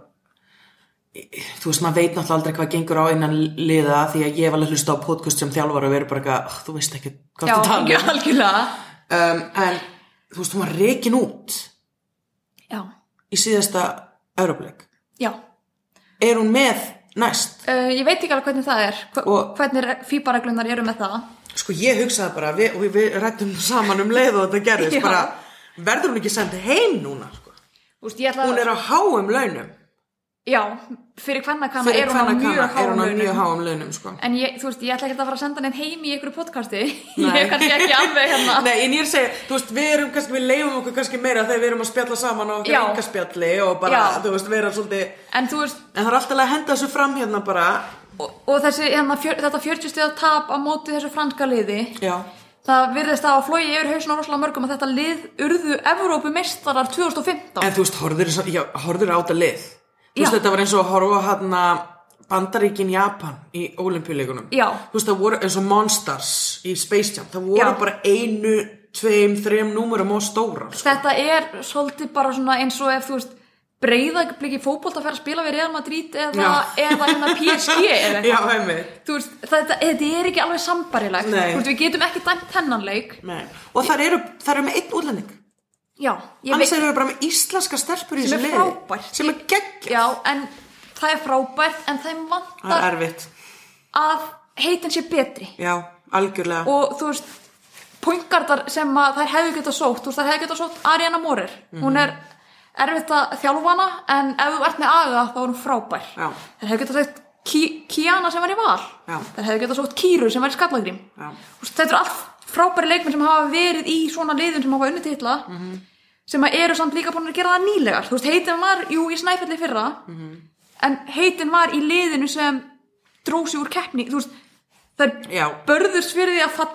[SPEAKER 1] þú veist, maður veit náttúrulega aldrei hvað gengur á innan liða því að ég var alveg að hlusta á podcast sem þjálfar og verið bara eitthvað, "Ugh, þú veist ekki hvað
[SPEAKER 2] já,
[SPEAKER 1] það tala um."
[SPEAKER 2] ekki algjörlega
[SPEAKER 1] um, en þú veist, hún var reikin út
[SPEAKER 2] já,
[SPEAKER 1] í síðasta Europleik
[SPEAKER 2] já
[SPEAKER 1] er hún með næst?
[SPEAKER 2] Uh, ég veit ekki alveg hvernig það er, hva
[SPEAKER 1] Og-
[SPEAKER 2] hvernig fýbareglunar eru með það.
[SPEAKER 1] Sko ég hugsaði bara, við, og við, við rættum saman um leið og þetta gerðist
[SPEAKER 2] Já.
[SPEAKER 1] bara, verður hún ekki sendið heim núna? Sko?
[SPEAKER 2] Þú veist, ég ætla
[SPEAKER 1] Hún
[SPEAKER 2] að,
[SPEAKER 1] er á háum launum
[SPEAKER 2] já, fyrir hvenna kanna
[SPEAKER 1] Fyrir
[SPEAKER 2] er hún á
[SPEAKER 1] hvenær
[SPEAKER 2] mjög
[SPEAKER 1] er hún
[SPEAKER 2] háum
[SPEAKER 1] á
[SPEAKER 2] launum.
[SPEAKER 1] mjög háum launum sko.
[SPEAKER 2] En ég, þú veist, ég ætla ekki að fara að senda henn heim í einhverju podcasti. ég
[SPEAKER 1] Nei.
[SPEAKER 2] er kannski ekki alveg hérna.
[SPEAKER 1] Nei, en ég er að segja, þú veist, við erum kannski, við leifum okkur kannski meira þegar við erum að spjalla saman á okkar
[SPEAKER 2] Já.
[SPEAKER 1] yngaspjalli og bara,
[SPEAKER 2] Já.
[SPEAKER 1] þú veist, vera svolítið
[SPEAKER 2] En þú veist,
[SPEAKER 1] En það er alltaf að henda þessu fram hérna bara
[SPEAKER 2] og, og þessi, hérna, fjör, þetta 40 stiða tap á móti þessu franska liði,
[SPEAKER 1] Já,
[SPEAKER 2] það virðist að á flói yfir hausin á rosalega mörgum að þetta lið urðu Evrópumeistarar 2015.
[SPEAKER 1] En þú veist, horfður, já, horfður á þetta lið Þú veist,
[SPEAKER 2] Já.
[SPEAKER 1] þetta var eins og að horfa hann að Bandaríkin Japan í olimpíuleikunum
[SPEAKER 2] Já.
[SPEAKER 1] Þú veist, það voru eins og Monsters í Space Jam Það voru
[SPEAKER 2] Já.
[SPEAKER 1] bara einu, tveim, þreim númurum og stórar sko.
[SPEAKER 2] Þetta er svolítið bara svona eins og ef þú veist breyðabliki fótbolt að fara að spila við Real Madrid eða,
[SPEAKER 1] Já.
[SPEAKER 2] eða hérna PSG eða
[SPEAKER 1] Já,
[SPEAKER 2] eitthvað.
[SPEAKER 1] einmitt
[SPEAKER 2] Þú veist, þetta, þetta er ekki alveg sambarilegt
[SPEAKER 1] Nei.
[SPEAKER 2] Þú veist, við getum ekki dæmt þennan leik
[SPEAKER 1] Nei. Og þar eru, þar eru með einn útlending
[SPEAKER 2] Já, ég
[SPEAKER 1] Annars
[SPEAKER 2] veit
[SPEAKER 1] eru bara með íslenska stelpur í
[SPEAKER 2] Sem
[SPEAKER 1] þessu
[SPEAKER 2] er
[SPEAKER 1] liði
[SPEAKER 2] frábært.
[SPEAKER 1] Sem er gegg
[SPEAKER 2] Já, en það er frábært en þeim
[SPEAKER 1] Það er
[SPEAKER 2] vantar
[SPEAKER 1] erfitt
[SPEAKER 2] að heitin sé betri
[SPEAKER 1] Já, algjörlega
[SPEAKER 2] og þú veist pointgardar sem að þær hefðu getað sótt þú veist, þær hefðu getað sótt Ariana Morer
[SPEAKER 1] Mhm.
[SPEAKER 2] hún er erfitt að þjálfa hana en ef þú ert með aga þá er hún frábær
[SPEAKER 1] Já.
[SPEAKER 2] þær hefðu getað sótt Ki Kiana sem var í val
[SPEAKER 1] Já.
[SPEAKER 2] þær hefðu getað sótt Kíru sem var í skallagrím
[SPEAKER 1] Já.
[SPEAKER 2] Þú veist, þetta eru allt frábæri leikmenn sem hafa verið í svona liðum sem hafa unnið titla
[SPEAKER 1] Mhm.
[SPEAKER 2] sem að eru samt líka búin að gera það nýlegar þú veist, heitin var, jú, í snæfelli fyrra
[SPEAKER 1] Mhm.
[SPEAKER 2] en heitin var í liðinu sem dró sig úr keppni þú veist, það
[SPEAKER 1] Já.
[SPEAKER 2] er börðurs fyrir því að fall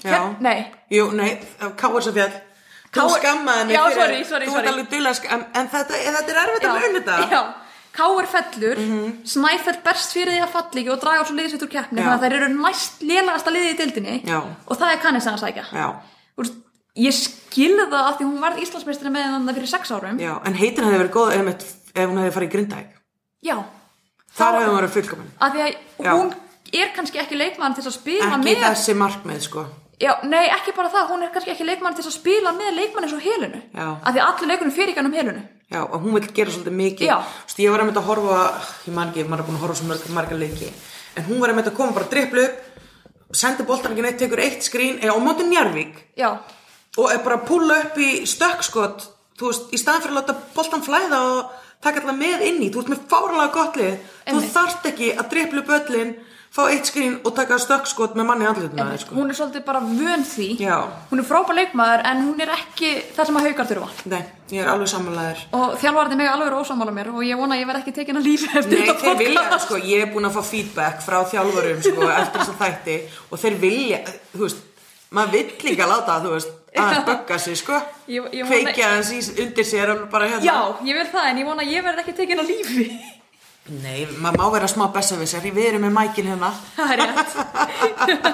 [SPEAKER 1] Já.
[SPEAKER 2] Hér- Hérna- nei,
[SPEAKER 1] Jú, nei, Káarsafjall Þú
[SPEAKER 2] K.R.
[SPEAKER 1] skammaði mig
[SPEAKER 2] Já,
[SPEAKER 1] fyrir
[SPEAKER 2] sorry, sorry,
[SPEAKER 1] Þú
[SPEAKER 2] sorry.
[SPEAKER 1] ert alveg duðlega en, en þetta, en þetta er erfitt að launa þetta Mhm.
[SPEAKER 2] já. Káir fellur, mm Snæfell berst fyrir því að fall ekki og draga svo liðsitt úr keppni
[SPEAKER 1] Já.
[SPEAKER 2] þannig að þær eru næst lélagasta liðið í dildinni
[SPEAKER 1] Já.
[SPEAKER 2] og það er kannins að sækja
[SPEAKER 1] Já,
[SPEAKER 2] Þú veist, ég skilði það að því hún varð Íslandsmeistri með hann fyrir sex árum
[SPEAKER 1] já, en heitin hefði verið góð ef, ef hún hefði farið í grindæk
[SPEAKER 2] Já.
[SPEAKER 1] Þar hefði hún verið fullkomin
[SPEAKER 2] að því að
[SPEAKER 1] Já.
[SPEAKER 2] hún er kannski ekki leikmann til að spila
[SPEAKER 1] Ekki
[SPEAKER 2] með
[SPEAKER 1] þessi markmið, sko
[SPEAKER 2] Já, nei, ekki bara það, hún er kannski ekki leikmann til að spila með leikmann eins og helinu
[SPEAKER 1] Já.
[SPEAKER 2] að því að allir leikunum fyrir ekki hann um helinu
[SPEAKER 1] Já, og hún vil gera svolítið mikið
[SPEAKER 2] Já.
[SPEAKER 1] Vist, Ég var einmitt að horfa, ég man ekki, maður er búin að horfa svo mörg, marga leiki En hún var einmitt að koma bara dripplu upp Sendi boltan ekki neitt, tekur eitt skrín eða á móti Njarvík
[SPEAKER 2] Já,
[SPEAKER 1] og er bara að púla upp í stökkskot þú veist, í staðan fyrir að láta boltan flæða og taka alltaf með inn í þú ert með fárlega gott lið þú
[SPEAKER 2] Einmitt.
[SPEAKER 1] þarft ekki að driplu böllin fá eitt skrín og taka stökkskot með manni andlutna þér, sko.
[SPEAKER 2] hún er svolítið bara vön því
[SPEAKER 1] Já.
[SPEAKER 2] Hún er frábær leikmaður en hún er ekki það sem að haukar þurfa
[SPEAKER 1] Nei, ég er alveg samanlegaður
[SPEAKER 2] og þjálfarnir mega alveg ósámála mér og ég vona að ég verð ekki tekin að lífi eftir
[SPEAKER 1] Nei,
[SPEAKER 2] þetta
[SPEAKER 1] þeir vilja,
[SPEAKER 2] podcast.
[SPEAKER 1] sko, ég er búin að fá feedback frá þjálfurum, sko, eftir þess að þætti og þeir vilja, þú veist, maður vill líka láta þú veist, að bögga sig sko
[SPEAKER 2] Ég- ég vona-
[SPEAKER 1] kveikja hans í, undir sér alveg bara hérna
[SPEAKER 2] Já, ég vil það en ég vona að ég verð ekki tekin á lífi
[SPEAKER 1] nei, maður má vera smá bessavissar við erum með mækin hérna
[SPEAKER 2] Það er rétt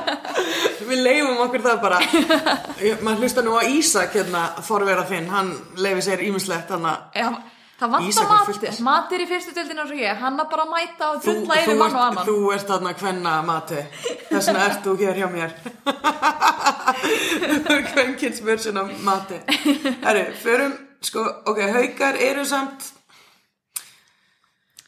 [SPEAKER 1] við leifum okkur það bara Ég- maður hlusta nú á Ísak hérna forvera þinn, hann leifi sér ímislegt hann að
[SPEAKER 2] Já, Það vantar
[SPEAKER 1] Ísak var
[SPEAKER 2] matir,
[SPEAKER 1] fullt.
[SPEAKER 2] matir í fyrstu deildinu eins og ég, hann að bara mæta og
[SPEAKER 1] þú,
[SPEAKER 2] drulla
[SPEAKER 1] þú,
[SPEAKER 2] yfir mann og
[SPEAKER 1] ert,
[SPEAKER 2] annan
[SPEAKER 1] þú ert þarna hvenna mati þess vegna ert þú hér hjá mér hvenkins version af mati herru, förum sko, ok, haukar eru samt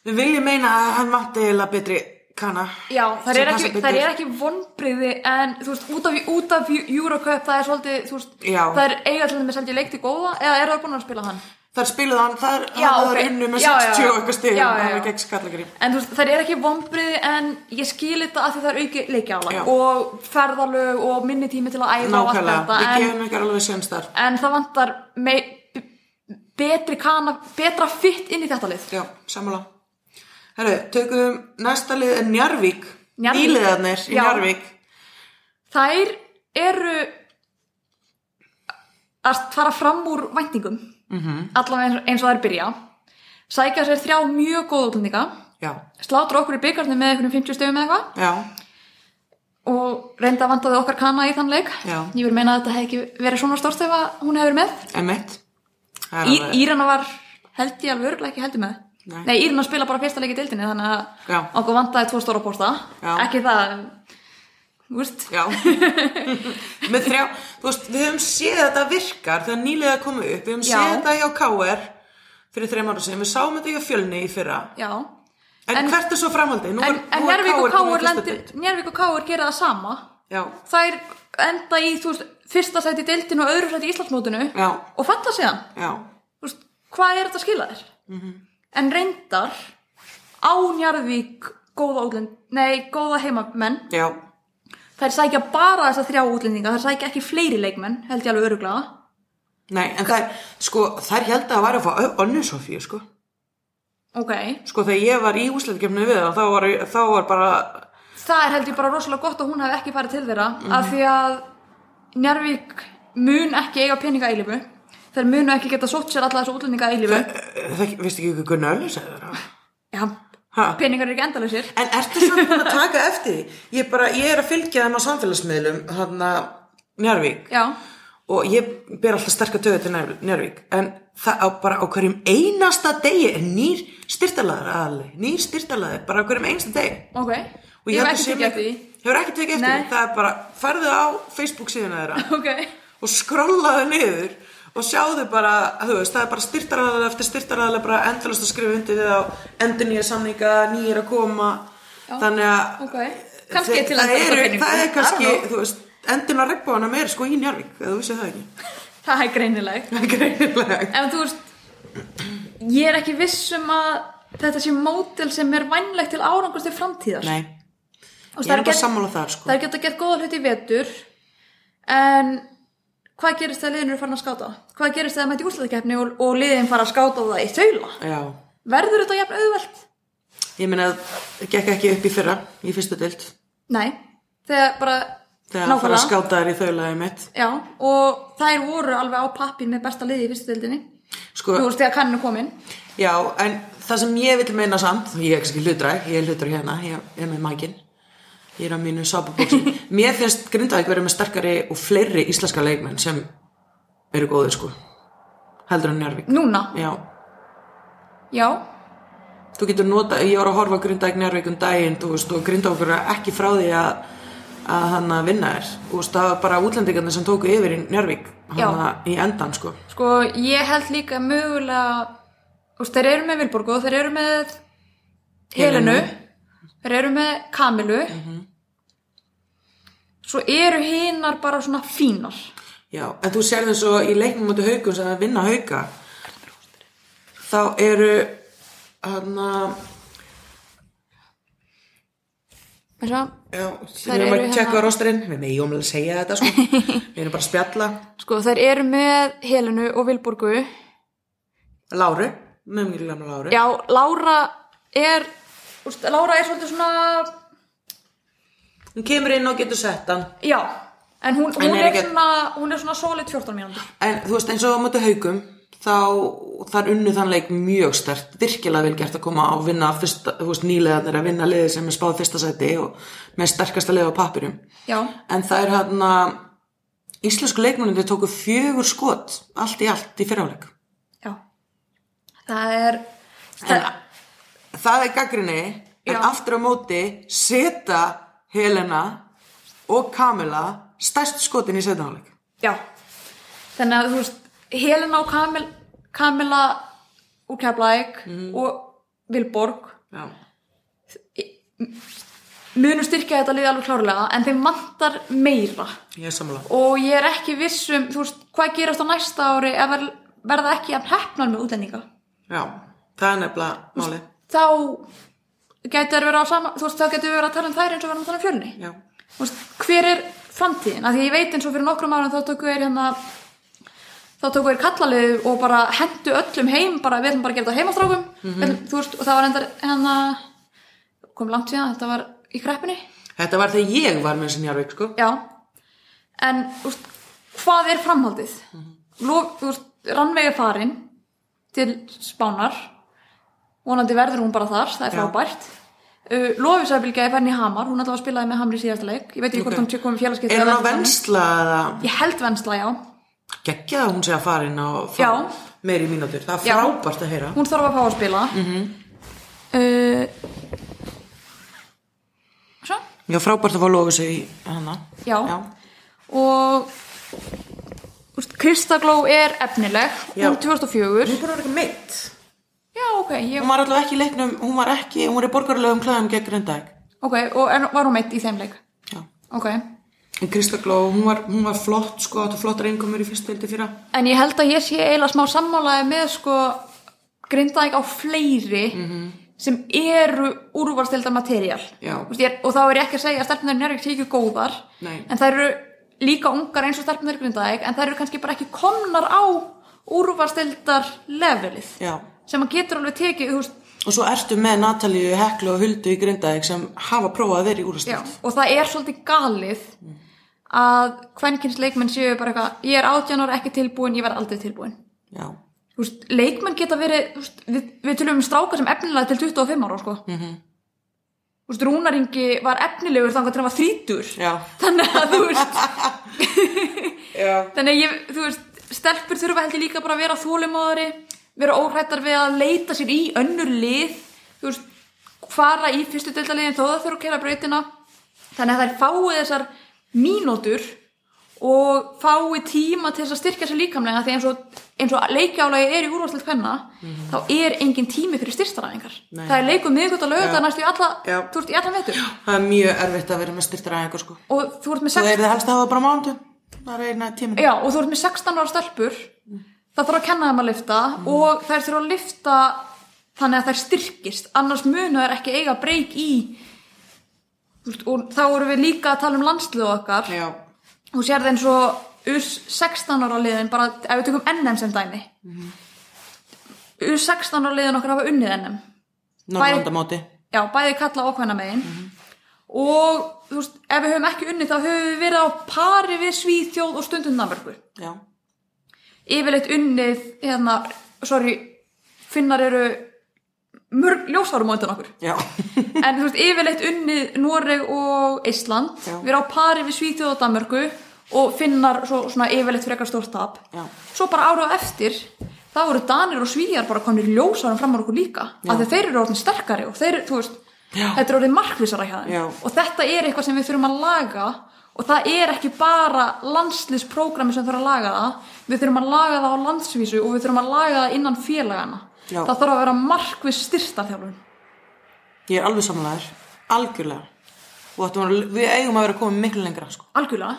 [SPEAKER 1] við viljum meina að hann vanti heila betri kanna
[SPEAKER 2] Já, það
[SPEAKER 1] sem
[SPEAKER 2] er,
[SPEAKER 1] passa
[SPEAKER 2] ekki,
[SPEAKER 1] betur.
[SPEAKER 2] það er ekki vonbriði en þú veist, út af, út af Eurocup það er svolítið, þú veist,
[SPEAKER 1] Já.
[SPEAKER 2] það er eiga til þeim seldi leikti góða eða er það búin að spila hann?
[SPEAKER 1] Þar spilaði hann, þar
[SPEAKER 2] Já,
[SPEAKER 1] hann
[SPEAKER 2] ok.
[SPEAKER 1] okay. unnu með
[SPEAKER 2] Já, já,
[SPEAKER 1] 60
[SPEAKER 2] já.
[SPEAKER 1] og eitthvað stig
[SPEAKER 2] Já, já,
[SPEAKER 1] hann
[SPEAKER 2] já.
[SPEAKER 1] er gegn skallagri
[SPEAKER 2] En þú veist, það er ekki vonbriði en ég skil þetta að því það er auki
[SPEAKER 1] Já.
[SPEAKER 2] leikjálag og ferðalög og minni tími til að æfa og allt
[SPEAKER 1] nákvæmlega,
[SPEAKER 2] þetta
[SPEAKER 1] við
[SPEAKER 2] en,
[SPEAKER 1] gefum ykkur alveg sjöns þar
[SPEAKER 2] en það vantar mei, b- betri kana, betra fitt inn í þetta lið.
[SPEAKER 1] já, sammála herru, tökum næsta lið er Njarvík
[SPEAKER 2] Njarðvík.
[SPEAKER 1] nýliðarnir í
[SPEAKER 2] Já.
[SPEAKER 1] Njarvík
[SPEAKER 2] Þær eru að fara fram úr væntingum
[SPEAKER 1] Mhm.
[SPEAKER 2] -hmm. allavega eins, eins og þær byrja sækja sér þrjá mjög góða útlendinga
[SPEAKER 1] já,
[SPEAKER 2] slátra okkur í byggarnir með einhvernum 50 stöfum eða eitthvað
[SPEAKER 1] Já,
[SPEAKER 2] og reynda vantaði okkar kana í þann leik
[SPEAKER 1] Já.
[SPEAKER 2] ég vil meina að þetta hefði ekki verið svona stórt ef að hún hefur með
[SPEAKER 1] emitt
[SPEAKER 2] Í, Írana var held ég alveg örgulega ekki heldur með
[SPEAKER 1] Nei.
[SPEAKER 2] Nei, Írana spila bara fyrsta leik í deildinni þannig að
[SPEAKER 1] Já.
[SPEAKER 2] okkur vantaði tvo stóra posta
[SPEAKER 1] Já.
[SPEAKER 2] ekki það þú veist,
[SPEAKER 1] Já Með þrjá, þú veist, við höfum séð að þetta virkar þegar nýlega komið upp, við höfum
[SPEAKER 2] Já.
[SPEAKER 1] séð þetta hjá KR fyrir þreim ára sem við sáum þetta hjá fjölni í fyrra
[SPEAKER 2] já
[SPEAKER 1] En,
[SPEAKER 2] En-
[SPEAKER 1] hvert er svo framhaldið? Nú
[SPEAKER 2] En, en
[SPEAKER 1] nú
[SPEAKER 2] Njárvík
[SPEAKER 1] komið í
[SPEAKER 2] og Káur
[SPEAKER 1] fyrsta
[SPEAKER 2] lendir,
[SPEAKER 1] deild.
[SPEAKER 2] Njárvík og Káur gera það sama.
[SPEAKER 1] Já,
[SPEAKER 2] Þær enda í, þú veist, fyrsta sæti í deildinu og öðru sæti í Íslandsmótinu
[SPEAKER 1] Já.
[SPEAKER 2] og falla síðan.
[SPEAKER 1] já,
[SPEAKER 2] Þú veist, hvað er þetta að skila þér?
[SPEAKER 1] Mhm.
[SPEAKER 2] -hmm. En reyndar á Njárvík góða útlend, nei, góða heimamenn.
[SPEAKER 1] já
[SPEAKER 2] Þær sækja bara þessa þrjá útlendinga, þær sækja ekki fleiri leikmenn, held ég alveg öruglega.
[SPEAKER 1] Nei, en þær, sko, þær held að það væri að fá Ö- Önnu Sofíu, sko
[SPEAKER 2] Ok,
[SPEAKER 1] Sko, þegar ég var í úsleitkefni við það, þá var, þá var bara
[SPEAKER 2] það er held ég bara rosalega gott að hún hefði ekki farið til þeirra
[SPEAKER 1] Mhm.
[SPEAKER 2] af því að Njárvík mun ekki eiga peninga eilifu þeir munu ekki geta sótt sér alla þessu útlendinga eilifu
[SPEAKER 1] það, eh, Veistu ekki hvað Gunnar Öllu segir það?
[SPEAKER 2] Já,
[SPEAKER 1] Ha?
[SPEAKER 2] peningar eru ekki endalausir
[SPEAKER 1] En ertu samt búin að taka eftir því? Ég, bara, ég er að fylgja þeim á samfélagsmiðlum, hann að Njárvík
[SPEAKER 2] Já,
[SPEAKER 1] og ég ber alltaf sterka töðu til Njár- Njárvík en það á bara á hverjum einasta degi er nýr styrtalaður aðli, nýr styrtalaður bara á hverjum einasta degi
[SPEAKER 2] ok
[SPEAKER 1] Og
[SPEAKER 2] Ég hef
[SPEAKER 1] held
[SPEAKER 2] ekki
[SPEAKER 1] að sé
[SPEAKER 2] tekið eftir
[SPEAKER 1] mikið-
[SPEAKER 2] því
[SPEAKER 1] Hefur ekki tekið eftir
[SPEAKER 2] Nei.
[SPEAKER 1] því, það er bara farðu á Facebook síðuna þeirra
[SPEAKER 2] Ok,
[SPEAKER 1] og skrollaðu niður og sjáðu bara, þú veist, það er bara styrtaraðalega eftir styrtaraðalega bara endalast að skrifa undir við á endur nýja samninga, nýjir að koma
[SPEAKER 2] Já,
[SPEAKER 1] þannig að
[SPEAKER 2] ok. Kannski
[SPEAKER 1] þeir-
[SPEAKER 2] til að
[SPEAKER 1] það,
[SPEAKER 2] skapa
[SPEAKER 1] eru,
[SPEAKER 2] peninga.
[SPEAKER 1] það er
[SPEAKER 2] I
[SPEAKER 1] kannski,
[SPEAKER 2] don't know.
[SPEAKER 1] þú veist, endurinn að regnbóðanum er sko í Njarvík, eða þú vissið það ekki
[SPEAKER 2] það er greinilegt
[SPEAKER 1] greinilega,
[SPEAKER 2] En þú veist Ég er ekki viss um að þetta sé mótil sem er vænlegt til árangust til framtíðar
[SPEAKER 1] nei,
[SPEAKER 2] Þú
[SPEAKER 1] ég er
[SPEAKER 2] veist, það er
[SPEAKER 1] bara
[SPEAKER 2] gert-
[SPEAKER 1] sammála þar
[SPEAKER 2] Það
[SPEAKER 1] sko
[SPEAKER 2] er gett að geta góða hluti í vetur en hvað gerist þegar liðin eru farin að skáta? Hvað gerist þegar mæti úrslutakeppni og, og liðin fara að skáta það í þaula?
[SPEAKER 1] já,
[SPEAKER 2] Verður þetta jafn auðvelt?
[SPEAKER 1] ég meina að það gekk ekki upp í fyrra, í fyrstu dild
[SPEAKER 2] Nei, þegar bara
[SPEAKER 1] þegar það fara að skáta þær í þaulaði mitt
[SPEAKER 2] Já, og þær voru alveg á pappin með besta liði í fyrstu deildinni
[SPEAKER 1] sko,
[SPEAKER 2] Þú veist þegar kanninu komin
[SPEAKER 1] Já, en það sem ég vil meina samt, ég er kannski hlutræk, ég er hlutræk hérna, ég er með mækin, ég er á mínu sápabóksi. Mér finnst Grindavík verið með sterkari og fleiri íslenska leikmenn sem eru góðir sko, heldur en Njárvík.
[SPEAKER 2] Núna,
[SPEAKER 1] Já,
[SPEAKER 2] já,
[SPEAKER 1] þú getur nota, ég var að horfa á Grindavík Njárvík um daginn, þú veist, og Grindavík er ekki frá því að, að hann að vinna þér. Þú veist, það var bara útlendingarnir sem tóku yfir í Njárvík,
[SPEAKER 2] Já.
[SPEAKER 1] hann að í endan sko.
[SPEAKER 2] sko ég held líka mögulega Þú veist þeir eru með Vilborgu og þeir eru með Helenu Þeir eru með Kamilu Svo eru hinar bara svona fínar
[SPEAKER 1] Já, en þú sér þess að í leiknum mútu haugum sem að vinna hauga þá eru hérna, hann
[SPEAKER 2] Þess að
[SPEAKER 1] já,
[SPEAKER 2] Þær
[SPEAKER 1] við erum
[SPEAKER 2] eru
[SPEAKER 1] að tjekka
[SPEAKER 2] hérna-
[SPEAKER 1] á rosturinn við meðjum að segja þetta sko við erum bara að spjalla
[SPEAKER 2] Sko þeir eru með Helenu og Vilborgu
[SPEAKER 1] Láru, með mjög lamma Láru
[SPEAKER 2] Já, Lára er úst, Lára er svolítið svona
[SPEAKER 1] hún kemur inn og getur sett hann
[SPEAKER 2] Já, en hún, hún,
[SPEAKER 1] En er
[SPEAKER 2] er,
[SPEAKER 1] ekki-
[SPEAKER 2] svona, hún er svona solid 14 mínútur
[SPEAKER 1] En þú veist, eins og á móti haugum þá þar unnu þann leik mjög stert virkilega vel gert að koma á að vinna fyrsta, þú veist, nýlegaðnir að vinna liðið sem er spáð fyrsta sæti og með sterkasta liðið á pappirum
[SPEAKER 2] já,
[SPEAKER 1] en það er hann íslensku leikmennir tóku fjögur skot allt í allt í fyrráleik
[SPEAKER 2] já það er það,
[SPEAKER 1] það er gaggrinni en
[SPEAKER 2] Já.
[SPEAKER 1] aftur á móti seta Helena og Kamila stærst skotin í setnáleik
[SPEAKER 2] já þannig að þú veist, Helena og Kamil, Kamila úr Keflæk og Vilborg
[SPEAKER 1] Já.
[SPEAKER 2] munu styrkja þetta lið alveg klárlega en þeim vantar meira
[SPEAKER 1] ég er sammála
[SPEAKER 2] og ég er ekki viss um þú veist, hvað gerast á næsta ári ef ver, verða ekki að hefnar með útlendinga
[SPEAKER 1] Já, það er nefnilega máli
[SPEAKER 2] þá getur verið á sama þú veist, þá getur verið að tala um þær eins og verða að tala um fjölni
[SPEAKER 1] Já.
[SPEAKER 2] Þú veist, hver er framtíðin? Af því ég veit eins og fyrir nokkrum árum þá tóku er hérna þá tóku er kallalið og bara hendu öllum heim, bara við ætlum bara að gera þetta heimastrákum mm þú veist, og það var endar hérna, kom langt síðan, þetta var í kreppinni,
[SPEAKER 1] Þetta var þegar ég var með þessi njárvík sko
[SPEAKER 2] já en, þú veist, hvað er framhaldið? Mm
[SPEAKER 1] Mhm.
[SPEAKER 2] -hmm. Lof, þú veist, rannvegi farin til Spánar vonandi verður hún bara þar, það er
[SPEAKER 1] Já.
[SPEAKER 2] frábært Uh, Lofisæfylgja er fenni Hamar, hún alltaf spilaði með Hamar í síðasta leik ég veit ekki hvort
[SPEAKER 1] Ok.
[SPEAKER 2] hún sé komið félagskeitt
[SPEAKER 1] Er hún á vensla eða
[SPEAKER 2] Ég held vennsla, já.
[SPEAKER 1] geggja það hún sé að fara inn og fá
[SPEAKER 2] Já.
[SPEAKER 1] meiri mínútur Það
[SPEAKER 2] Já.
[SPEAKER 1] er frábært að heyra
[SPEAKER 2] Hún þarf að fá að spila. Mm
[SPEAKER 1] Mhm.
[SPEAKER 2] -hmm. svo?
[SPEAKER 1] Já, frábært að fá lofu sig í hana
[SPEAKER 2] Já.
[SPEAKER 1] Já.
[SPEAKER 2] Og úst, Kristagló er efnileg.
[SPEAKER 1] Já.
[SPEAKER 2] Hún er
[SPEAKER 1] Hún
[SPEAKER 2] 2004.
[SPEAKER 1] bara var ekki meitt
[SPEAKER 2] Já, ok. Ég,
[SPEAKER 1] Hún var allavega ekki í leiknum, hún var ekki, hún er í borgarlegum klæðum gegn grindag
[SPEAKER 2] ok, og en, var hún meitt í þeim leik?
[SPEAKER 1] Já
[SPEAKER 2] Ok.
[SPEAKER 1] En Krista Gló, hún var, hún var flott sko, áttu flottar einkomur í fyrstu hildi fyrra
[SPEAKER 2] En ég held að ég sé eiginlega smá sammálaði með sko grindaðik á fleiri sem eru úrvalstildar materiál.
[SPEAKER 1] Mhm. Já.
[SPEAKER 2] Þú veist, ég er- Og þá er ég ekki að segja að stelpunar njörg sé ekki góðar.
[SPEAKER 1] Nei.
[SPEAKER 2] En þær eru líka ungar eins og stelpunar grindaðik en þær eru kannski bara ekki komnar á úrvalstildar levelið.
[SPEAKER 1] Já
[SPEAKER 2] Sem að getur alveg tekið, þú veist,
[SPEAKER 1] Og svo ertu með Natalíu, Heklu og Huldu í Grindavík sem hafa prófað að vera í
[SPEAKER 2] Já,
[SPEAKER 1] úrastöld.
[SPEAKER 2] og það er svolítið galið
[SPEAKER 1] Mhm.
[SPEAKER 2] að kvenkins leikmenn séu bara eitthvað, ég er 18 ára ekki tilbúin, ég verð aldrei tilbúin.
[SPEAKER 1] Já.
[SPEAKER 2] Þú veist, leikmenn geta verið þú veist, við, við tölum um stráka sem efnilega til 25 ára sko. mm -hmm. veist, Rúnar Ingi var efnilegur þangar til hann var þrítur
[SPEAKER 1] Já.
[SPEAKER 2] þannig að þú veist
[SPEAKER 1] Já.
[SPEAKER 2] þannig að ég, þú veist stelpur þurfa heldur líka bara að vera þólimáðari vera óhrættar við að leita sér í önnur lið þú veist, fara í fyrstu deildaliðin þó það þurfa að kera brautina þannig að þær fái þessar mínútur og fái tíma til þess að styrkja sér líkamlega því eins og, eins og leikjálagi er í úrvarsleitt hvenna þá er engin tími fyrir styrstaræðingar
[SPEAKER 1] Mhm. Nei.
[SPEAKER 2] það er leikum miðgut að lauga það næstu í alla,
[SPEAKER 1] Já.
[SPEAKER 2] þú veist, í alla vetur
[SPEAKER 1] Það er mjög erfitt að vera með styrtir aðeins sko.
[SPEAKER 2] og þú ert með
[SPEAKER 1] Þú
[SPEAKER 2] 16
[SPEAKER 1] er það helst að hafa bara mándu. Það er eina tíminn.
[SPEAKER 2] Já, og þú ert með 16 ára stelpur það þarf að kenna þeim að lifta og þær þurfa að lifta þannig að þær styrkist, annars munu þær ekki eiga breyk í Þú veist, og þá erum við líka að tala um landsliðu okkar
[SPEAKER 1] Já.
[SPEAKER 2] og sér það eins og us 16 ára liðin, bara ef við tökum NM sem dæmi us 16 ára liðin okkar hafa unnið NM
[SPEAKER 1] Norðlandamóti.
[SPEAKER 2] já, bæði kalla og hvenna megin og þú veist, ef við höfum ekki unnið þá höfum við verið á pari við Svíþjóð og stundum Danmörku
[SPEAKER 1] Já.
[SPEAKER 2] yfirleitt unnið hérna, sorry, finnar eru mörg ljósvarum á undan okkur
[SPEAKER 1] Já.
[SPEAKER 2] en þú veist, yfirleitt unnið Noreg og Ísland
[SPEAKER 1] Já.
[SPEAKER 2] við erum á pari við Svíþjóð og Danmörku og finnar svo, svona yfirleitt frekar stórt tap
[SPEAKER 1] Já.
[SPEAKER 2] svo bara ára á eftir þá eru Danir og Svíjar bara komnir ljósvarum fram á okkur líka af því að þeir eru orðin sterkari og þeir, eru, þú veist,
[SPEAKER 1] Já.
[SPEAKER 2] þetta er orðin markvísara hjá þeim
[SPEAKER 1] Já.
[SPEAKER 2] og þetta er eitthvað sem við þurfum að laga og það er ekki bara landslýsprógrami sem þurfum að laga það við þurfum að laga það á landsvísu og við þurfum að laga það innan félagana
[SPEAKER 1] Já.
[SPEAKER 2] það þarf að vera markvís styrtarþjálfun
[SPEAKER 1] Ég er alveg samanlegaður. Algjörlega. Og áttum að- Við eigum að vera komið miklu lengra sko.
[SPEAKER 2] algjörlega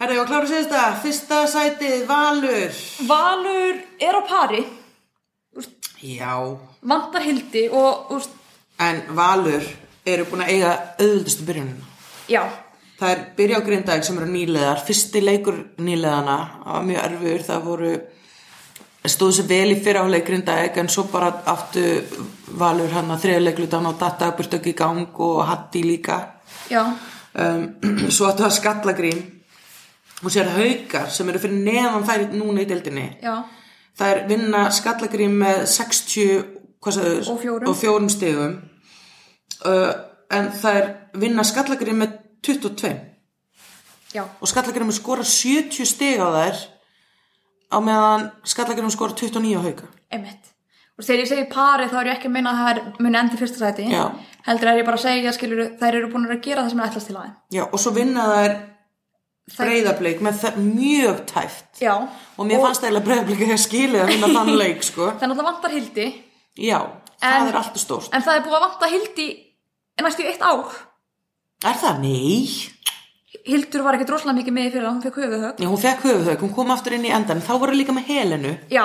[SPEAKER 1] Herra, ég var klára að segja þetta. Fyrsta sætið, Valur.
[SPEAKER 2] Valur er á pari
[SPEAKER 1] Já.
[SPEAKER 2] vantar hildi og úst,
[SPEAKER 1] En Valur eru búin að eiga auðvöldustu byrjunina.
[SPEAKER 2] já,
[SPEAKER 1] Það er byrja á grindaðið sem eru nýleðar. Fyrsti leikur nýleðana var mjög erfur. Það voru stóðu sér vel í fyrráleik grindaðið en svo bara aftu valur hann að þriðleiklutan og datta burtu ekki í gang og hatti líka.
[SPEAKER 2] já
[SPEAKER 1] um, svo áttu að skallagrín og sér haukar sem eru fyrir neðan þær núna í deildinni
[SPEAKER 2] já,
[SPEAKER 1] þær vinna skallagrín með 60 hvað sagður,
[SPEAKER 2] Og fjórum.
[SPEAKER 1] og fjórum stigum uh, en þær vinna skallagrín með 22
[SPEAKER 2] já,
[SPEAKER 1] og skallagrín skora 70 stig á þær á meðan skallagrín skora 29 á hauka
[SPEAKER 2] einmitt og þegar ég segi pari þá er ég ekki að meina að það er muni endi fyrsta sæti
[SPEAKER 1] Já.
[SPEAKER 2] heldur er ég bara að segja skilur þær eru búin að gera það sem er ætlast til aðeim
[SPEAKER 1] Já, og svo vinna þær
[SPEAKER 2] Þær-
[SPEAKER 1] breyðableik með það mjög tæft
[SPEAKER 2] já,
[SPEAKER 1] og mér fannst eiginlega breyðableik að skilja að vinna þann leik sko.
[SPEAKER 2] það er náttúrulega vantar hildi
[SPEAKER 1] Já, það
[SPEAKER 2] En-
[SPEAKER 1] er alltaf stórt
[SPEAKER 2] en það er búið að vanta hildi næstu í eitt ár
[SPEAKER 1] Er það? Nei
[SPEAKER 2] Hildur var ekkert rosalega mikið með í fyrir að hún fekk höfuðhögg
[SPEAKER 1] Já, hún fekk höfuðhauk, hún kom aftur inn í endan þá voru líka með Helenu
[SPEAKER 2] já,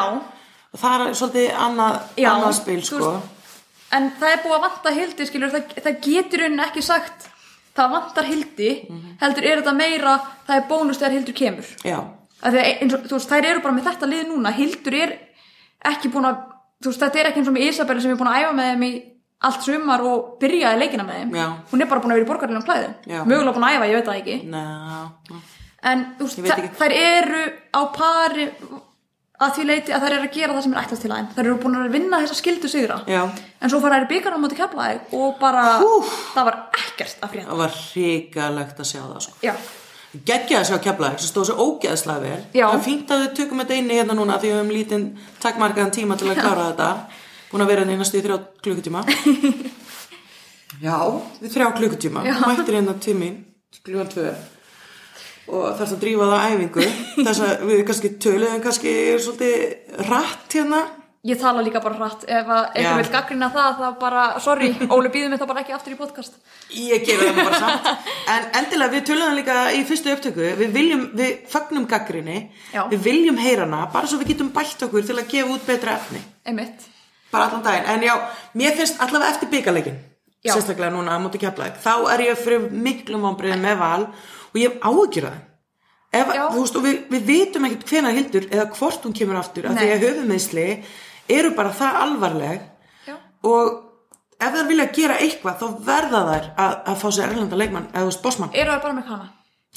[SPEAKER 1] og það er svolítið annað,
[SPEAKER 2] Já,
[SPEAKER 1] annað spil
[SPEAKER 2] þú
[SPEAKER 1] sko.
[SPEAKER 2] veist- en það er búið að vanta hildi skilur, það, það getur raunin ekki sagt það vantar hildi
[SPEAKER 1] Mhm.
[SPEAKER 2] heldur er þetta meira, það er bónus þegar hildur kemur
[SPEAKER 1] Já,
[SPEAKER 2] Af því að eins og, þú veist, þær eru bara með þetta lið núna Hildur er ekki búin að þú veist, þetta er ekki eins og með Isabel sem er búin að æfa með þeim í allt sumar og byrjaði leikina með þeim
[SPEAKER 1] Já.
[SPEAKER 2] hún er bara búin að vera í borgarlunum klæðum
[SPEAKER 1] Já.
[SPEAKER 2] mögulega búin að æfa, ég veit það ekki
[SPEAKER 1] Ná,
[SPEAKER 2] en þú veist,
[SPEAKER 1] Ég veit
[SPEAKER 2] þær-
[SPEAKER 1] ekki.
[SPEAKER 2] þær eru á pari að því leiti að þær eru að gera það sem er ætlast til aðeim þær eru búin að vinna þessa skildu sigra
[SPEAKER 1] Já.
[SPEAKER 2] en svo fara þær byggarna á móti keflaði og bara, það var ekkert að frétta
[SPEAKER 1] það var hrikalegt að sjá það sko.
[SPEAKER 2] já,
[SPEAKER 1] Gekkja að sjá keflaðið, sem stóð sér ógeðslega vel
[SPEAKER 2] Já.
[SPEAKER 1] Það er fínt að við tökum þetta inni hérna núna því við höfum lítinn takkmarkaðan tíma til að klára þetta Búin að vera hérna í næstu í þrjá klukkutíma Já, við þrjá klukkutíma Já. Mættir hérna tími, klukkan tvö og þarf að drífa það á æfingu þess að við kannski töluðum kannski svolítið rætt hérna
[SPEAKER 2] ég tala líka bara hratt ef
[SPEAKER 1] Já.
[SPEAKER 2] að einhver vil gaggrina það þá bara, sorry, Óli býðum mig þá bara ekki aftur í podcast
[SPEAKER 1] Ég gefa það nú bara samt En endilega við töluðum líka í fyrstu upptöku Við viljum, við fagnum gaggrinni
[SPEAKER 2] Já.
[SPEAKER 1] Við viljum heyra hana Bara svo við getum bætt okkur til að gefa út betra efni
[SPEAKER 2] einmitt,
[SPEAKER 1] Bara allan daginn En já, mér finnst allavega eftir byggalegin
[SPEAKER 2] Já.
[SPEAKER 1] Sérstaklega núna á móti keflaðið Þá er ég fyrir miklum vombriðum með val Og ég hef áhyggjur það Ef,
[SPEAKER 2] Já.
[SPEAKER 1] þú veist, og við, við vitum ekkert hvenær hildur eða hvort hún kemur aftur af því
[SPEAKER 2] Nei.
[SPEAKER 1] að höfumeisli eru bara það alvarleg
[SPEAKER 2] já,
[SPEAKER 1] og ef þær vilja gera eitthvað þá verða þær að, að fá sér erlenda leikmann eða þú veist bossmann
[SPEAKER 2] eru það bara með hana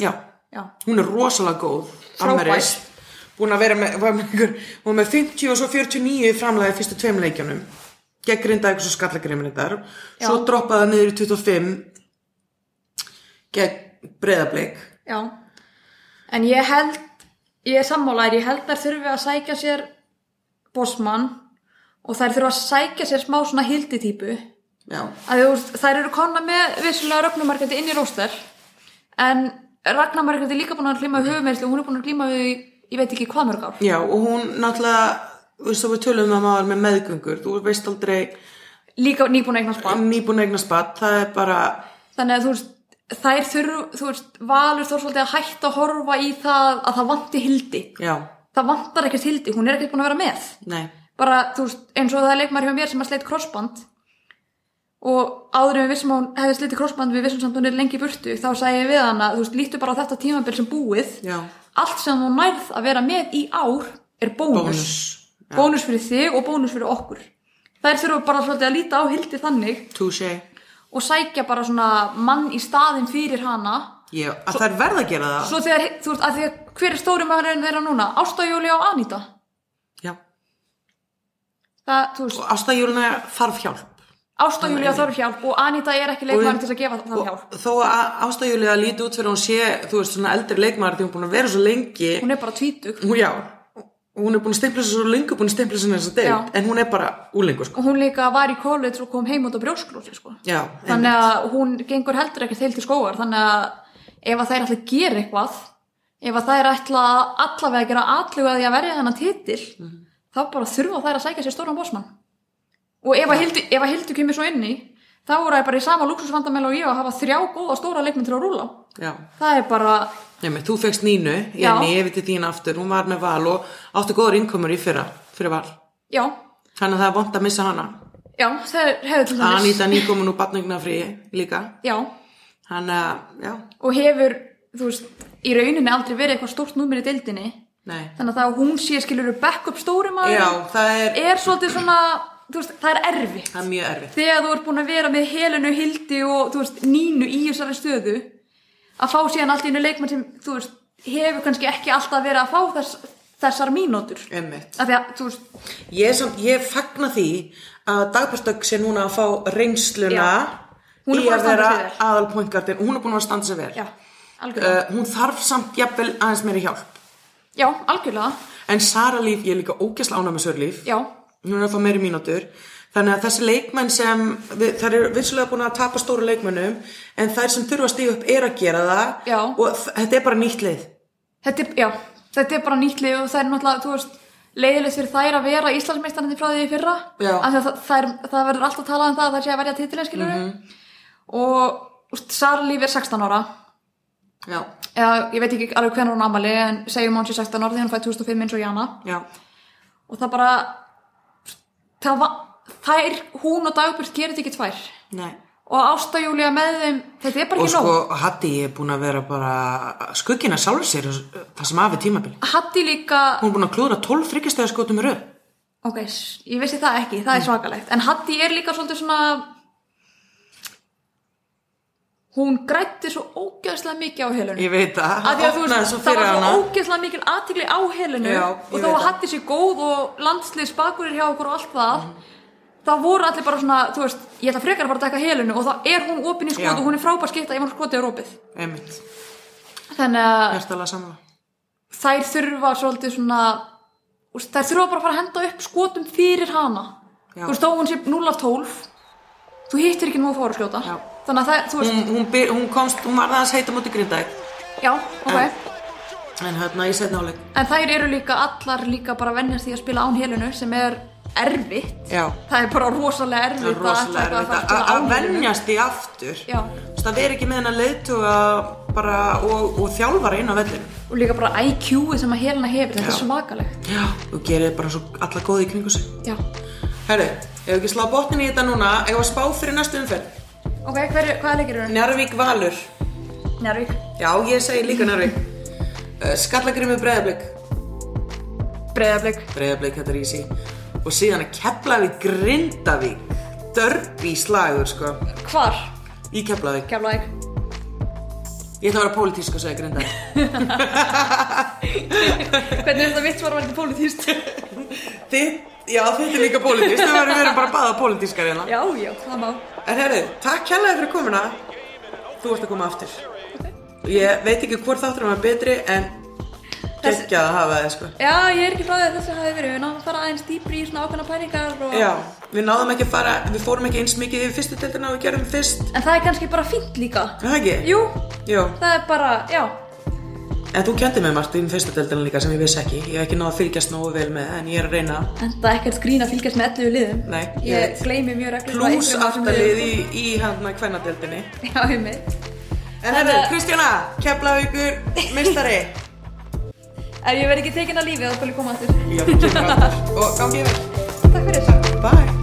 [SPEAKER 1] já,
[SPEAKER 2] já,
[SPEAKER 1] hún er rosalega góð
[SPEAKER 2] Frábær.
[SPEAKER 1] Ameris. búin að vera með, var með, ykkur, hún var með 50 og svo 49 framlega í fyrstu tveim leikjunum gegn grindaðið og skallagrimmin þetta svo
[SPEAKER 2] Já.
[SPEAKER 1] droppaði það niður í 25 gegn breyðablík
[SPEAKER 2] já en ég held, ég er sammálaðir ég held þær þurfi að sækja sér bossmann og þær þurfi að sækja sér smá svona hildi típu
[SPEAKER 1] já,
[SPEAKER 2] að þú veist, þær eru konna með vissulega Ragnarmarkandi inn í róster en Ragnarmarkandi er líka búin að glíma við höfumeislu og hún er búin að glíma við í- ég veit ekki hvað mörg ár
[SPEAKER 1] já, og hún náttúrulega þú veist þá við tölum að maður með meðgöngur þú veist aldrei
[SPEAKER 2] líka nýbúin að eignast barn
[SPEAKER 1] nýbúin eignast bat það er bara,
[SPEAKER 2] þannig að þú veist þær þurru, þú veist, valur þó svolítið að hætta að horfa í það að það vanti hildi
[SPEAKER 1] já,
[SPEAKER 2] það vantar ekkert hildi, hún er ekkert búin að vera með
[SPEAKER 1] nei
[SPEAKER 2] bara, þú veist, eins og það er leikmar hjá mér sem að sleit krossband og áður en við vissum að hún hefði slitið krossband við vissum samt að hún er lengi í burtu þá sagði ég við hana, þú veist, lítu bara á þetta tímabil sem búið
[SPEAKER 1] Já.
[SPEAKER 2] allt sem hún nærð að vera með í ár er bónus
[SPEAKER 1] Bónus, já.
[SPEAKER 2] Bónus fyrir þig og bónus fyrir okkur þær þurfa bara svolítið að líta á hildi þannig
[SPEAKER 1] Touché.
[SPEAKER 2] og sækja bara svona mann í staðin fyrir hana
[SPEAKER 1] Já, að þær verða að gera það.
[SPEAKER 2] svo þegar, þú veist, að því að hver er stóri maðurinn þeirra núna? Ásta Júli og Anita
[SPEAKER 1] Já.
[SPEAKER 2] það, þú veist,
[SPEAKER 1] Og ástæðjúluna þarf hjálp.
[SPEAKER 2] Ásta Júli þarf hjálp og Anita er ekki leikmaður til að gefa það hjálp
[SPEAKER 1] Og þó að ástæðjúluna líti út fyrir að hún sé, þú veist, svona eldri leikmaður því hún er búin að vera svo lengi.
[SPEAKER 2] hún er bara tvítug
[SPEAKER 1] Hún, já, hún er búin að stimpla sig svo lengi, búin að stimpla sig þess að
[SPEAKER 2] Já.
[SPEAKER 1] deild, en hún er bara úlengur, sko.
[SPEAKER 2] og hún líka var í college og kom heim út á brjósklósi sko.
[SPEAKER 1] Já, en,
[SPEAKER 2] þannig að hún gengur heldur ekkert heil til skógar þannig að ef að þær ætla að gera eitthvað ef að þær ætla allavega að gera alluga því að verja hennan titil
[SPEAKER 1] Mhm.
[SPEAKER 2] þá bara þurfa þær að sækja sér stóran bósmann og ef að Hildu, ef að Hildu kemur svo inn í þá eru þær bara í sama luxusvandamæla og ég að hafa þrjá góða stóra leikminn til að rúla á.
[SPEAKER 1] já.
[SPEAKER 2] það er bara,
[SPEAKER 1] Nefnir, þú fegst Nínu,
[SPEAKER 2] Já.
[SPEAKER 1] Jenny, ég veit til þín aftur, hún var með val og áttu góður innkomur í fyrra, fyrir val.
[SPEAKER 2] já
[SPEAKER 1] Þannig að það er vond að missa hana.
[SPEAKER 2] já, það er hefur til
[SPEAKER 1] Anita nýkomin úr batningnafríi líka.
[SPEAKER 2] já,
[SPEAKER 1] Þannig að, já,
[SPEAKER 2] og hefur, þú veist í rauninni aldrei verið eitthvað stórt númer í deildinni
[SPEAKER 1] nei.
[SPEAKER 2] þannig að það að hún sé skilur backup stóri maður
[SPEAKER 1] Já, það er,
[SPEAKER 2] er svolítið svona þú veist, það er erfitt
[SPEAKER 1] það er mjög erfitt
[SPEAKER 2] þegar þú ert búin að vera með Helenu Hildi og þú veist, Nínu í þessari stöðu að fá síðan allt í einu leikmann sem, þú veist, hefur kannski ekki alltaf verið að fá þess, þessar mínútur.
[SPEAKER 1] Einmitt.
[SPEAKER 2] Af því að, þú veist,
[SPEAKER 1] Ég, er samt, ég fagna því að Dagbjörnstögg sé núna að fá reynsluna
[SPEAKER 2] Já. Hún er
[SPEAKER 1] í
[SPEAKER 2] búin að
[SPEAKER 1] að
[SPEAKER 2] standa
[SPEAKER 1] vera
[SPEAKER 2] sig vel.
[SPEAKER 1] aðalpoingartin, hún er búin að standa sér vel
[SPEAKER 2] já, algjörlega.
[SPEAKER 1] uh, hún þarf samt jafnvel aðeins meiri hjálp
[SPEAKER 2] já, algjörlega,
[SPEAKER 1] en Sara Líf, ég er líka ógæsla ána með Sör Líf
[SPEAKER 2] já,
[SPEAKER 1] hún er að fá meiri mínútur þannig að þessi leikmenn sem við, þær eru vissulega búin að tapa stóru leikmennum en þær sem þurfa að stíga upp er að gera það
[SPEAKER 2] Já.
[SPEAKER 1] og þ- þetta er bara nýtt leið
[SPEAKER 2] þetta er, já, þetta er bara nýtt lið og það er náttúrulega, þú veist, leiðilegt fyrir þær að vera Íslandsmeistarandi frá því í fyrra.
[SPEAKER 1] Já.
[SPEAKER 2] Af því að það, það, er, það verður alltaf talað um það að það sé að verja titilin, skilur við.
[SPEAKER 1] Mhm.
[SPEAKER 2] Og, þú veist, Sara Líf er 16 ára.
[SPEAKER 1] Já,
[SPEAKER 2] Eða, ég veit ekki alveg hvernig hún ámali, en segjum að hún sé 16 ára því hún fæði 2005 eins og Jana.
[SPEAKER 1] já,
[SPEAKER 2] og það bara það var, þær, hún og dagbjörn gerir þetta ekki tvær
[SPEAKER 1] nei
[SPEAKER 2] og Ásta Júlia með þeim þetta er bara
[SPEAKER 1] Og
[SPEAKER 2] ekki
[SPEAKER 1] sko,
[SPEAKER 2] nóg
[SPEAKER 1] Hatti er búin að vera bara skuggina sjálfur sér það sem af er tímabili.
[SPEAKER 2] Hatti líka,
[SPEAKER 1] Hún er búin að klúðra 12 þryggjastega skotum í röð.
[SPEAKER 2] ok, s- ég vissi það ekki
[SPEAKER 1] Mm.
[SPEAKER 2] það er svakalegt, en Hatti er líka svolítið svona hún grætti svo ógeðslega mikið á helunum
[SPEAKER 1] Ég veit það.
[SPEAKER 2] Af því að þú
[SPEAKER 1] Opnaði
[SPEAKER 2] veist,
[SPEAKER 1] svo
[SPEAKER 2] það
[SPEAKER 1] fyrir
[SPEAKER 2] var svo
[SPEAKER 1] hana.
[SPEAKER 2] ógeðslega mikil aðtikli á helinu
[SPEAKER 1] Já, ég
[SPEAKER 2] og
[SPEAKER 1] veit
[SPEAKER 2] þó að
[SPEAKER 1] það.
[SPEAKER 2] hattir sér góð og landsliðs bakurir hjá okkur og allt það
[SPEAKER 1] Mm.
[SPEAKER 2] þá voru allir bara svona, þú veist ég ætla frekar að fara að taka helinu og þá er hún opin í skot
[SPEAKER 1] Já.
[SPEAKER 2] og hún er frábær skita ef hún skotið er opið
[SPEAKER 1] Einmitt.
[SPEAKER 2] þannig að
[SPEAKER 1] Hjartalega samanlega.
[SPEAKER 2] þær þurfa svolítið svona úst, þær þurfa bara að fara að henda upp skotum fyrir hana
[SPEAKER 1] Já.
[SPEAKER 2] þú veist, þó hún sé 0 af 12 þú hittir ekki nú að fóra að skjóta
[SPEAKER 1] Já.
[SPEAKER 2] þannig að það, þú veist,
[SPEAKER 1] Hún, hún, byr, hún komst, hún var aðeins heita múti grindag.
[SPEAKER 2] já, ok
[SPEAKER 1] En- En hérna, ég setna áleik.
[SPEAKER 2] En þær eru líka allar líka bara að vennjast því að spila án helinu sem er erfitt.
[SPEAKER 1] Já.
[SPEAKER 2] Það er bara rosalega erfitt
[SPEAKER 1] Það er
[SPEAKER 2] ætla
[SPEAKER 1] rosalega
[SPEAKER 2] eitthvað
[SPEAKER 1] erfitt
[SPEAKER 2] fara
[SPEAKER 1] að-
[SPEAKER 2] spila
[SPEAKER 1] að
[SPEAKER 2] án helinu.
[SPEAKER 1] vennjast því aftur.
[SPEAKER 2] Já.
[SPEAKER 1] Þú veist, Það veri ekki með hennar leiðtuga bara og, og þjálfara inn á vellinu.
[SPEAKER 2] Og líka bara IQ-ið sem að helina hefur, þetta er
[SPEAKER 1] Já.
[SPEAKER 2] svakalegt.
[SPEAKER 1] Já. Þú gerir bara svo alla góði í kringu sig.
[SPEAKER 2] Já.
[SPEAKER 1] Herru, ef við ekki slá botnin í þetta núna, ef að spá fyrir næstu umferð.
[SPEAKER 2] Ok, hver, hvaða leikir eru?
[SPEAKER 1] Njarvík Valur.
[SPEAKER 2] Njárvík.
[SPEAKER 1] Já, ég segi líka Njarvík. Uh, Skallagrimmi Breiðablík.
[SPEAKER 2] Breiðarblik.
[SPEAKER 1] Breiðablík, þetta er easy. Og síðan að Keflavík Grindavík. Dörbi slagur, sko.
[SPEAKER 2] Hvar?
[SPEAKER 1] Í Keflavík.
[SPEAKER 2] Keflavík.
[SPEAKER 1] Ég ætla að vera pólitísk og segja Grindavík.
[SPEAKER 2] Hvernig er þetta vitt svar að vera politíst?
[SPEAKER 1] Þið, já, þetta er líka pólitísk. Þau verður verið bara báða pólitískar hérna.
[SPEAKER 2] já, já, það má.
[SPEAKER 1] En herru, takk kærlega fyrir komuna. Þú ert að koma aftur. Ég veit ekki hvort þáttur var betri, en
[SPEAKER 2] Þessi-
[SPEAKER 1] geggjað að hafa þið, sko.
[SPEAKER 2] Já, ég er ekki frá því að þessi hafi verið. Við náðum að fara aðeins dýpri í svona ákveðna pælingar og...
[SPEAKER 1] Já, við náðum ekki að fara, við fórum ekki eins mikið í fyrstu deildina og við gerum fyrst,
[SPEAKER 2] En það er kannski bara fínt líka.
[SPEAKER 1] er það ekki?
[SPEAKER 2] Jú,
[SPEAKER 1] Jú,
[SPEAKER 2] það er bara, já,
[SPEAKER 1] en þú kendi mig margt í fyrstu deildina líka sem ég vissi ekki, ég hef ekki náða að fylgjast nógu vel með, en ég er að reyna
[SPEAKER 2] En það er ekkert grín að fylgjast með 11 liðum.
[SPEAKER 1] Nei,
[SPEAKER 2] ég,
[SPEAKER 1] ég veit.
[SPEAKER 2] gleymi mjög reglum.
[SPEAKER 1] plus aftalið í, í hérna kvennadeildinni.
[SPEAKER 2] Já, ég mitt.
[SPEAKER 1] En herru, Kristjana, Keflavíkur, mistari.
[SPEAKER 2] Ef ég verð ekki tekin að lífi, þá skal ég koma aftur.
[SPEAKER 1] Já, við kemur aftur. Og gangi yfir.
[SPEAKER 2] Takk fyrir.
[SPEAKER 1] Bye.